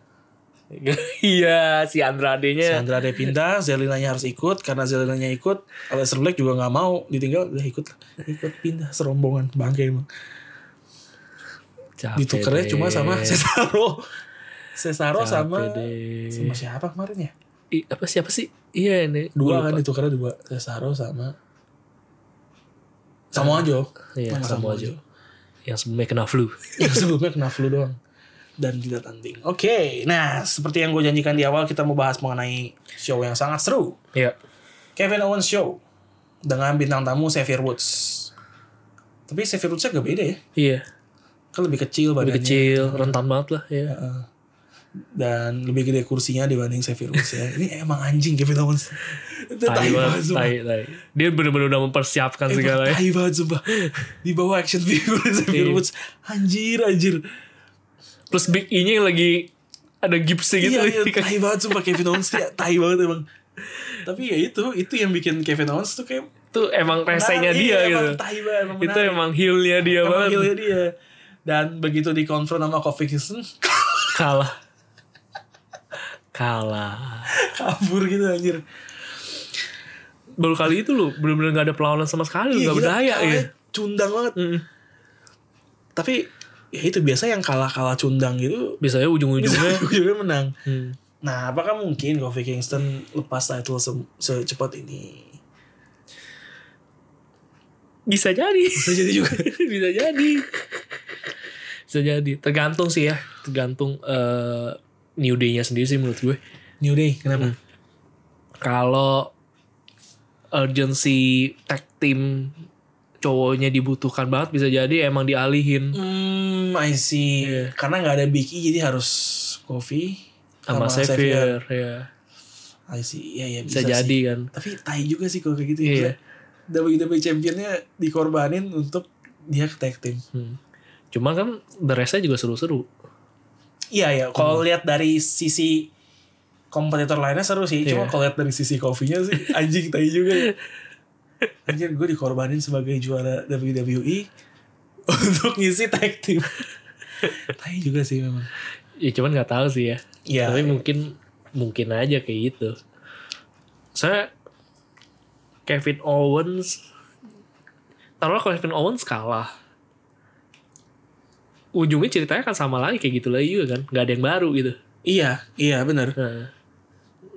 B: Iya, si
A: Si
B: Andrade-nya.
A: Andrade pindah, Zelinanya harus ikut. Karena Zelinanya ikut, Aleister Black juga gak mau ditinggal. Udah ikut lah. Ikut pindah serombongan. Bangke emang.
B: Capek
A: Ditukernya
B: deh.
A: cuma sama Cesaro. Cesaro
B: Capek
A: sama...
B: deh.
A: Sama siapa kemarin ya?
B: I- apa siapa sih? Iya ini
A: Dua kan
B: Gua lupa.
A: ditukernya dua. Cesaro sama... Samoa Joe.
B: Iya, Samoa
A: Joe.
B: Yang sebelumnya kena flu.
A: yang sebelumnya kena flu doang dan tidak tanding. Oke, nah seperti yang gue janjikan di awal kita mau bahas mengenai show yang sangat seru,
B: Iya.
A: Kevin Owens Show dengan bintang tamu Xavier Woods. Tapi Xavier Woodsnya agak beda ya,
B: Iya.
A: kan lebih kecil
B: Lebih
A: badannya
B: kecil, rentan banget lah ya.
A: dan lebih gede kursinya dibanding Xavier Woods ya. Ini emang anjing Kevin Owens. Itu
B: Tai
A: tai
B: banget,
A: banget sumpah.
B: tai, tai. Dia bener-bener udah mempersiapkan
A: Emang
B: segala ya.
A: tai banget sumpah. Di bawah action figure Xavier
B: Iya.
A: Woods. Anjir, anjir.
B: Plus Big E-nya yang lagi ada gipsnya gitu.
A: iya, iya,
B: di
A: tai
B: kaki.
A: banget sumpah Kevin Owens dia tai banget emang. Tapi ya itu, itu yang bikin Kevin Owens tuh kayak
B: Itu emang resenya
A: menarik,
B: dia
A: iya,
B: gitu.
A: Emang tai banget, emang
B: Itu
A: menarik.
B: emang heel-nya dia
A: Emang
B: banget.
A: heel-nya dia. Dan begitu dikonfront sama Kofi Kingston
B: Kalah. Kalah.
A: kabur gitu anjir.
B: Baru kali itu lu bener-bener gak ada perlawanan sama sekali. Lu
A: Iya,
B: gak
A: gila,
B: berdaya ya.
A: kalahnya Cundang banget. Tapi ya itu biasa yang kalah-kalah cundang gitu
B: Biasanya ujung-ujungnya.
A: ujungnya menang.
B: Hmm.
A: Nah, apakah mungkin Kofi Kingston lepas title se- secepat ini?
B: Bisa jadi.
A: Bisa jadi juga.
B: bisa jadi bisa jadi tergantung sih ya tergantung eh, new day-nya sendiri sih menurut gue
A: New Day, kenapa?
B: kalau urgency tag team cowoknya dibutuhkan banget bisa jadi emang dialihin
A: Hmm, I see.
B: Iya.
A: Karena nggak ada Big E jadi harus Kofi
B: sama Xavier ya
A: I see. Iya iya
B: bisa,
A: bisa,
B: jadi
A: sih.
B: kan
A: Tapi tai juga sih kalau kayak gitu ya.
B: Iya.
A: WWE E championnya dikorbanin untuk dia ke tag team.
B: Hmm. cuman kan the rest-nya juga seru-seru
A: Iya ya,
B: Hmm.
A: kalau lihat dari sisi kompetitor lainnya seru sih. Cuma
B: Iya.
A: kalau lihat dari sisi Kofinya sih anjing tai juga. ya. Anjir gue dikorbanin sebagai juara WWE untuk ngisi tag team. Tapi juga sih memang.
B: Ya cuman nggak tahu sih ya.
A: Iya.
B: Tapi mungkin mungkin aja kayak gitu. Saya Kevin Owens taruhlah kalau Kevin Owens kalah. Ujungnya ceritanya kan sama lagi kayak gitu lagi juga kan. Gak ada yang baru gitu.
A: Iya, iya benar.
B: Nah,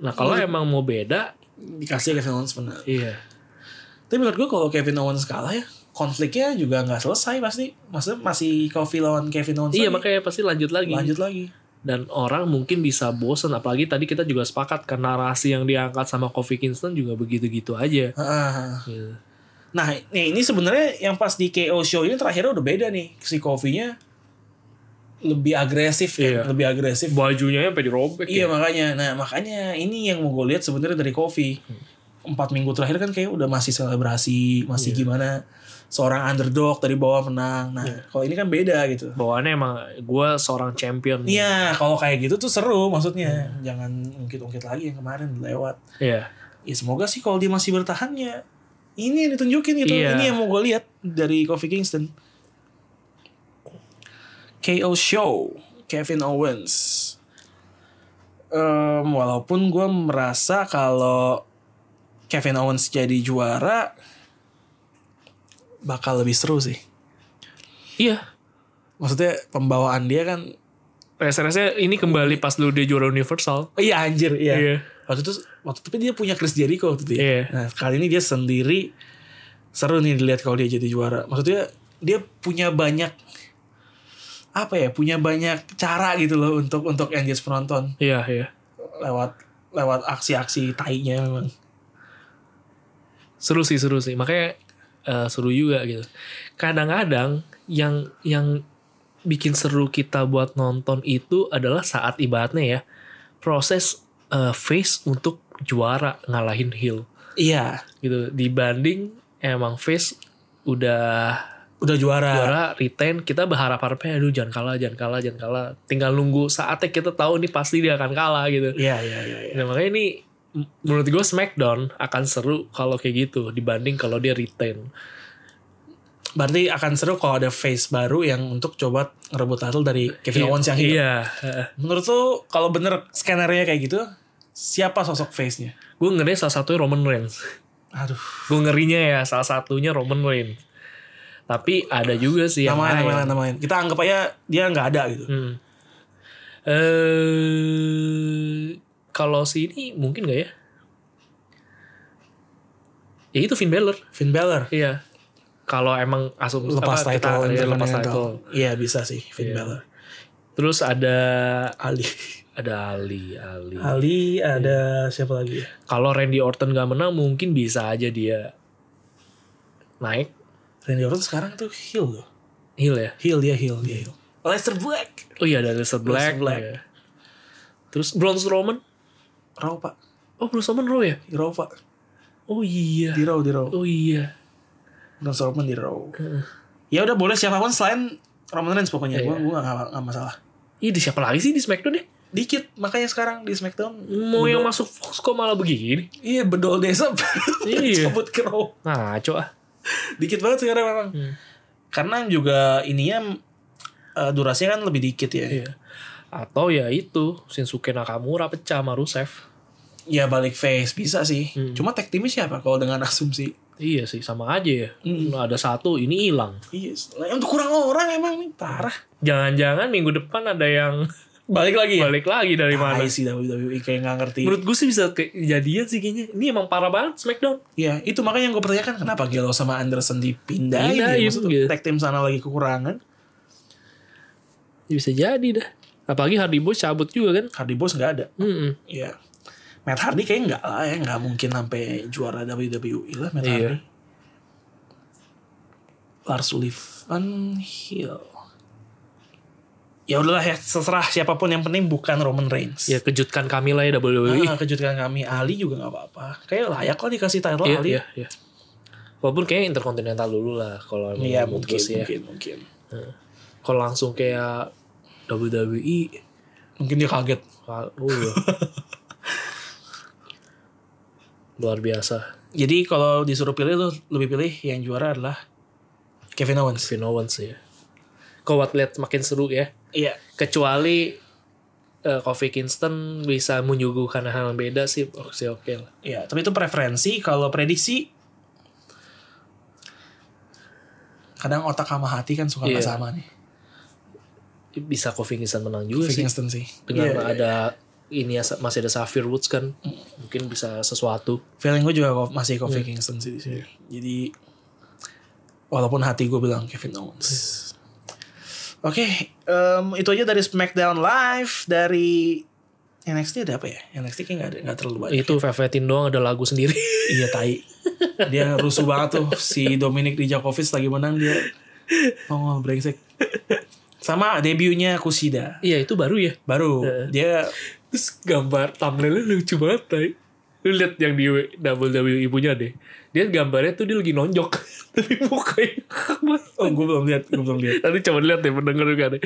B: nah kalau emang mau beda,
A: Dikasih Kevin Owens benar.
B: iya.
A: Tapi menurut gue kalau Kevin Owens kalah ya konfliknya juga nggak selesai pasti. Maksudnya masih Kofi lawan Kevin Owens.
B: Iya
A: lagi.
B: makanya pasti lanjut lagi.
A: lanjut lagi.
B: Dan orang mungkin bisa bosen. Apalagi tadi kita juga sepakat kan narasi yang diangkat sama Kofi Kingston juga begitu-gitu aja.
A: Heeh.
B: Gitu.
A: Nah, nih, ini sebenarnya yang pas di KO show ini terakhirnya udah beda nih. Si Kofinya lebih agresif kan?
B: Iya. ya.
A: lebih agresif.
B: Bajunya sampai dirobek
A: Iya makanya. Nah, makanya ini yang mau gue lihat sebenarnya dari Kofi.
B: Hmm.
A: Empat minggu terakhir kan kayak udah masih selebrasi, masih
B: Iya.
A: gimana seorang underdog dari bawah menang. Nah,
B: Iya.
A: kalau ini kan beda gitu.
B: bawaannya emang gue seorang champion
A: Iya, kalau kayak gitu tuh seru maksudnya. Jangan ungkit-ungkit lagi yang kemarin lewat.
B: Iya.
A: Ya semoga sih kalau dia masih bertahannya ini yang ditunjukin gitu.
B: Iya.
A: Ini yang mau gue lihat dari Kofi Kingston. KO Show, Kevin Owens. Em, walaupun gue merasa kalau Kevin Owens jadi juara bakal lebih seru sih.
B: iya
A: Maksudnya pembawaan dia kan
B: rasa-rasanya ini kembali pas dulu dia juara universal
A: Oh, iya anjir, iya.
B: Iya.
A: Waktu itu waktu itu dia punya Chris Jericho waktu itu. ya.
B: Iya.
A: Nah, kali ini dia sendiri seru nih dilihat kalau dia jadi juara. Maksudnya dia punya banyak apa ya? Punya banyak cara gitu loh untuk untuk engage penonton
B: iya iya
A: lewat lewat aksi-aksi tainya memang.
B: seru sih seru sih makanya eh, seru juga gitu kadang-kadang yang yang bikin seru kita buat nonton itu adalah saat ibaratnya ya proses eh, face untuk juara ngalahin heel
A: Iya,
B: gitu dibanding emang face udah
A: udah juara.
B: juara retain kita berharap harapnya aduh jangan kalah jangan kalah jangan kalah tinggal nunggu saatnya kita tahu nih pasti dia akan kalah gitu
A: Iya, iya, iya. iya.
B: nah makanya ini m- menurut gue Smackdown akan seru kalau kayak gitu dibanding kalau dia retain
A: Berarti akan seru kalau ada face baru yang untuk coba ngerebut title dari Kevin Owens yang hilang.
B: iya heeh.
A: Menurut tuh kalau bener skenario kayak gitu, siapa sosok face-nya?
B: gue ngeri salah satunya Roman Reigns
A: Aduh.
B: gue ngerinya ya salah satunya Roman Reigns tapi ada juga sih yang
A: nama lain,
B: lain.
A: nama lain, nama lain. Kita anggap aja dia nggak ada gitu.
B: Hmm. eh kalau si ini mungkin gak ya ya itu Finn Balor
A: Finn Balor
B: Iya. Kalau emang asumsi
A: lepas
B: apa, kita-
A: title
B: iya, lepas
A: Intercontinental.
B: title.
A: Iya bisa sih Finn Balor.
B: Terus ada
A: Ali.
B: ada Ali, Ali.
A: Ali ada siapa lagi? ya?
B: Kalau Randy Orton gak menang mungkin bisa aja dia naik
A: Randy Orton sekarang tuh heel loh.
B: heel ya.
A: Heel dia heel dia heel. Lester Black.
B: Oh iya ada Lester Black.
A: Black.
B: iya. Terus Braun Strowman.
A: Raw pak.
B: Oh Braun Strowman Raw ya?
A: Raw pak.
B: Oh iya.
A: Di Raw di Raw.
B: Oh iya.
A: Dan Strowman di Raw. Ya udah boleh siapapun selain Roman Reigns pokoknya. Gue gue nggak nggak masalah.
B: Iya di siapa lagi sih di SmackDown ya?
A: Dikit makanya sekarang di SmackDown.
B: Mau yang masuk Fox kok malah begini?
A: Iya bedol desa.
B: Iya.
A: Cabut ke Raw.
B: Ngaco ah.
A: dikit banget sekarang memang
B: Hmm.
A: karena juga ininya eh, durasinya kan lebih dikit ya
B: Iya. Atau ya itu Shinsuke Nakamura pecah sama Rusev.
A: ya balik face bisa sih
B: Hmm.
A: cuma tag teamnya siapa kalau dengan asumsi
B: Iya sih sama aja ya. Ada satu ini hilang.
A: iya lah, untuk kurang orang emang nih parah
B: Jangan-jangan minggu depan ada yang
A: balik lagi ya
B: balik lagi dari mana?
A: Ay, sih WWE kayak nggak ngerti
B: Menurut gue sih bisa kejadian sih kayaknya. Ini emang parah banget SmackDown.
A: ya itu makanya yang gue pertanyakan kenapa Gelo sama Anderson dipindahin ya
B: Pindahin,
A: maksud
B: gitu.
A: tag team sana lagi kekurangan
B: Ya bisa jadi dah. Apalagi Hardy Boy cabut juga kan.
A: Hardy Boys nggak ada
B: Mm-mm.
A: ya Matt Hardy kayaknya nggak lah ya nggak mungkin sampai juara WWE lah Matt Hardy
B: Iya.
A: Lars Sullivan Hill. Ya udahlah ya terserah siapapun yang penting bukan Roman Reigns.
B: Ya kejutkan kami lah ya WWE.
A: Ah, kejutkan kami Ali juga nggak apa-apa. Kayak layak lah dikasih title
B: Iya,
A: Ali.
B: iya, iya. Walaupun kayaknya Intercontinental dulu lah kalau emang
A: Iya
B: menurut
A: mungkin,
B: gue sih ya.
A: mungkin mungkin
B: Kalau langsung kayak E, WWE uh.
A: mungkin dia kaget.
B: Wah, Oh, luar biasa
A: Jadi kalau disuruh pilih lu lebih pilih yang juara adalah
C: Kevin Owens.
B: Kevin Owens ya kok lihat makin seru ya
A: iya
B: kecuali eh, Kofi Kingston bisa menyuguhkan hal yang beda sih oke oke lah
A: iya tapi itu preferensi kalau prediksi kadang otak sama hati kan suka
B: Iya.
A: nggak sama nih
B: bisa Kofi Kingston Iya, menang juga Iya sih
A: Livingston sih
B: dengan ada ini ya masih ada Xavier Woods kan mungkin bisa sesuatu
A: feeling gue juga ko- masih Kofi Kingston sih di sini. Jadi walaupun hati gue bilang Kevin Owens. Oke, em, itu aja dari SmackDown Live dari NXT ada apa ya? NXT kayak nggak ada nggak terlalu banyak.
B: itu Vevetin doang ada lagu sendiri
A: Iya tai. Dia rusuh banget tuh si Dominic Dijakovic lagi menang dia. Tongol brengsek. Sama debutnya Kushida.
B: iya itu baru ya
A: Baru dia
B: terus gambar thumbnailnya lucu banget tay lu lihat yang di WWE punya deh dia gambarnya tuh dia lagi nonjok tapi mukanya
A: oh gue belum lihat, gue belum lihat.
B: nanti coba lihat deh pendengar juga deh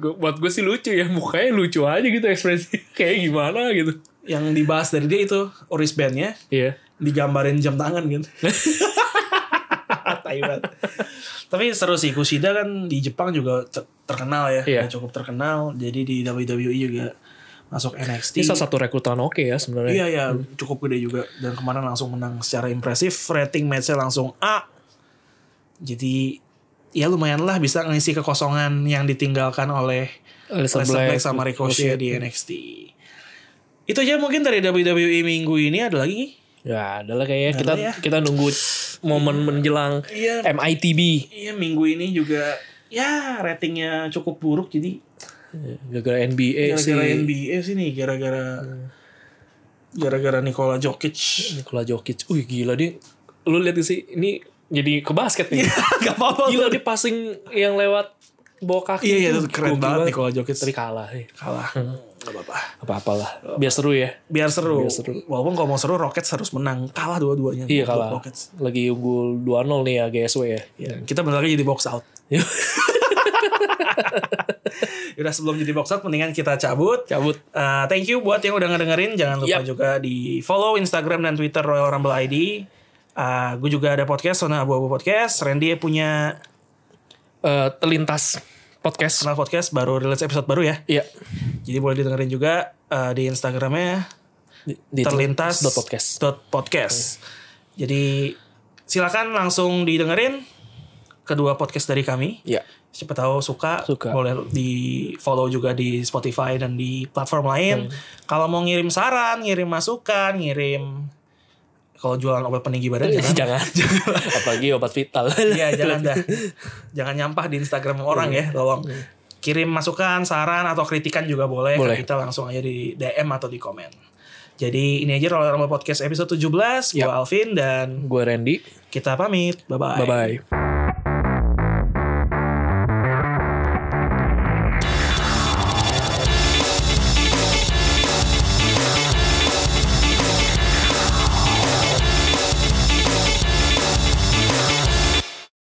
B: Gua- buat gue sih lucu ya mukanya lucu aja gitu ekspresi kayak gimana gitu
A: Yang dibahas dari dia itu Oris Bandnya
B: iya
A: digambarin jam tangan kan. Tai banget. Tapi seru sih Kushida kan di Jepang juga ter- terkenal ya,
B: Iya.
A: Udah cukup terkenal. Jadi di WWE juga masuk
B: ini
A: NXT.
B: salah satu rekrutan oke ya sebenarnya
A: Iya ya, cukup gede juga dan kemarin langsung menang secara impresif, rating matchnya langsung A. Jadi ya lumayan lah bisa ngisi kekosongan yang ditinggalkan oleh Alistair
B: Alistair
A: Black
B: Black,
A: sama ya. Ricochet di NXT. Itu aja mungkin dari WWE minggu ini ada lagi?
B: ya adalah kayaknya kita
A: ada ya.
B: kita nunggu momen menjelang
A: Iya.
B: MITB
A: Iya minggu ini juga ya ratingnya cukup buruk jadi
B: gara-gara NBA sih
A: gara-gara NBA Iya sih Iya. nih gara-gara gara-gara Nikola Jokic.
B: Nikola Jokic Wih gila dia Lu lihat sih Ini jadi ke basket nih
A: Gak apa-apa.
B: Gila dia passing yang lewat Bawa kaki
A: Iya iya
B: itu
A: itu keren
B: gokil
A: banget Nikola Jokic
B: Tapi kalah eh.
A: kalah. Gak apa-apa.
B: Apa-apalah Biar seru ya
A: Biar seru.
B: Biar seru.
A: Walaupun kalau mau seru Rockets harus menang. Kalah dua-duanya.
B: Iya kalah
A: Rockets.
B: Lagi unggul 2-0 nih ya GSW ya
A: Ya, kita bentar lagi jadi box out.
B: Yuk,
A: Udah sebelum jadi box out mendingan kita cabut.
B: Cabut
A: Eh, thank you buat yang udah ngedengerin. Jangan lupa
B: Yap.
A: juga di follow Instagram dan Twitter Royal Rumble ID. Eh, gue juga ada podcast, Sona Abu Abu Podcast. Randy punya
B: Eh, Terlintas Podcast
A: kenal podcast baru rilis episode baru ya.
B: Iya
A: Jadi boleh didengerin juga eh, di Instagramnya
B: Di- di
A: terlintas
B: dot podcast
A: dot podcast. Jadi silakan langsung didengerin kedua podcast dari kami.
B: Iya
A: Siapa tahu suka,
B: Suka.
A: boleh di follow juga di Spotify dan di platform lain. Kalau mau ngirim saran, ngirim masukan, ngirim kalau jualan obat peninggi badan jangan.
B: Jangan Apalagi obat vital
A: Iya jangan dah. Jangan nyampah di Instagram orang ya, tolong. Kirim masukan, saran atau kritikan juga boleh.
B: Boleh.
A: Kita langsung aja di DM atau di komen. Jadi ini aja Roller Rumble Podcast episode 17. Gue
B: Yap.
A: Alvin dan
B: Gue Randy
A: kita pamit. Bye-bye.
B: Bye-bye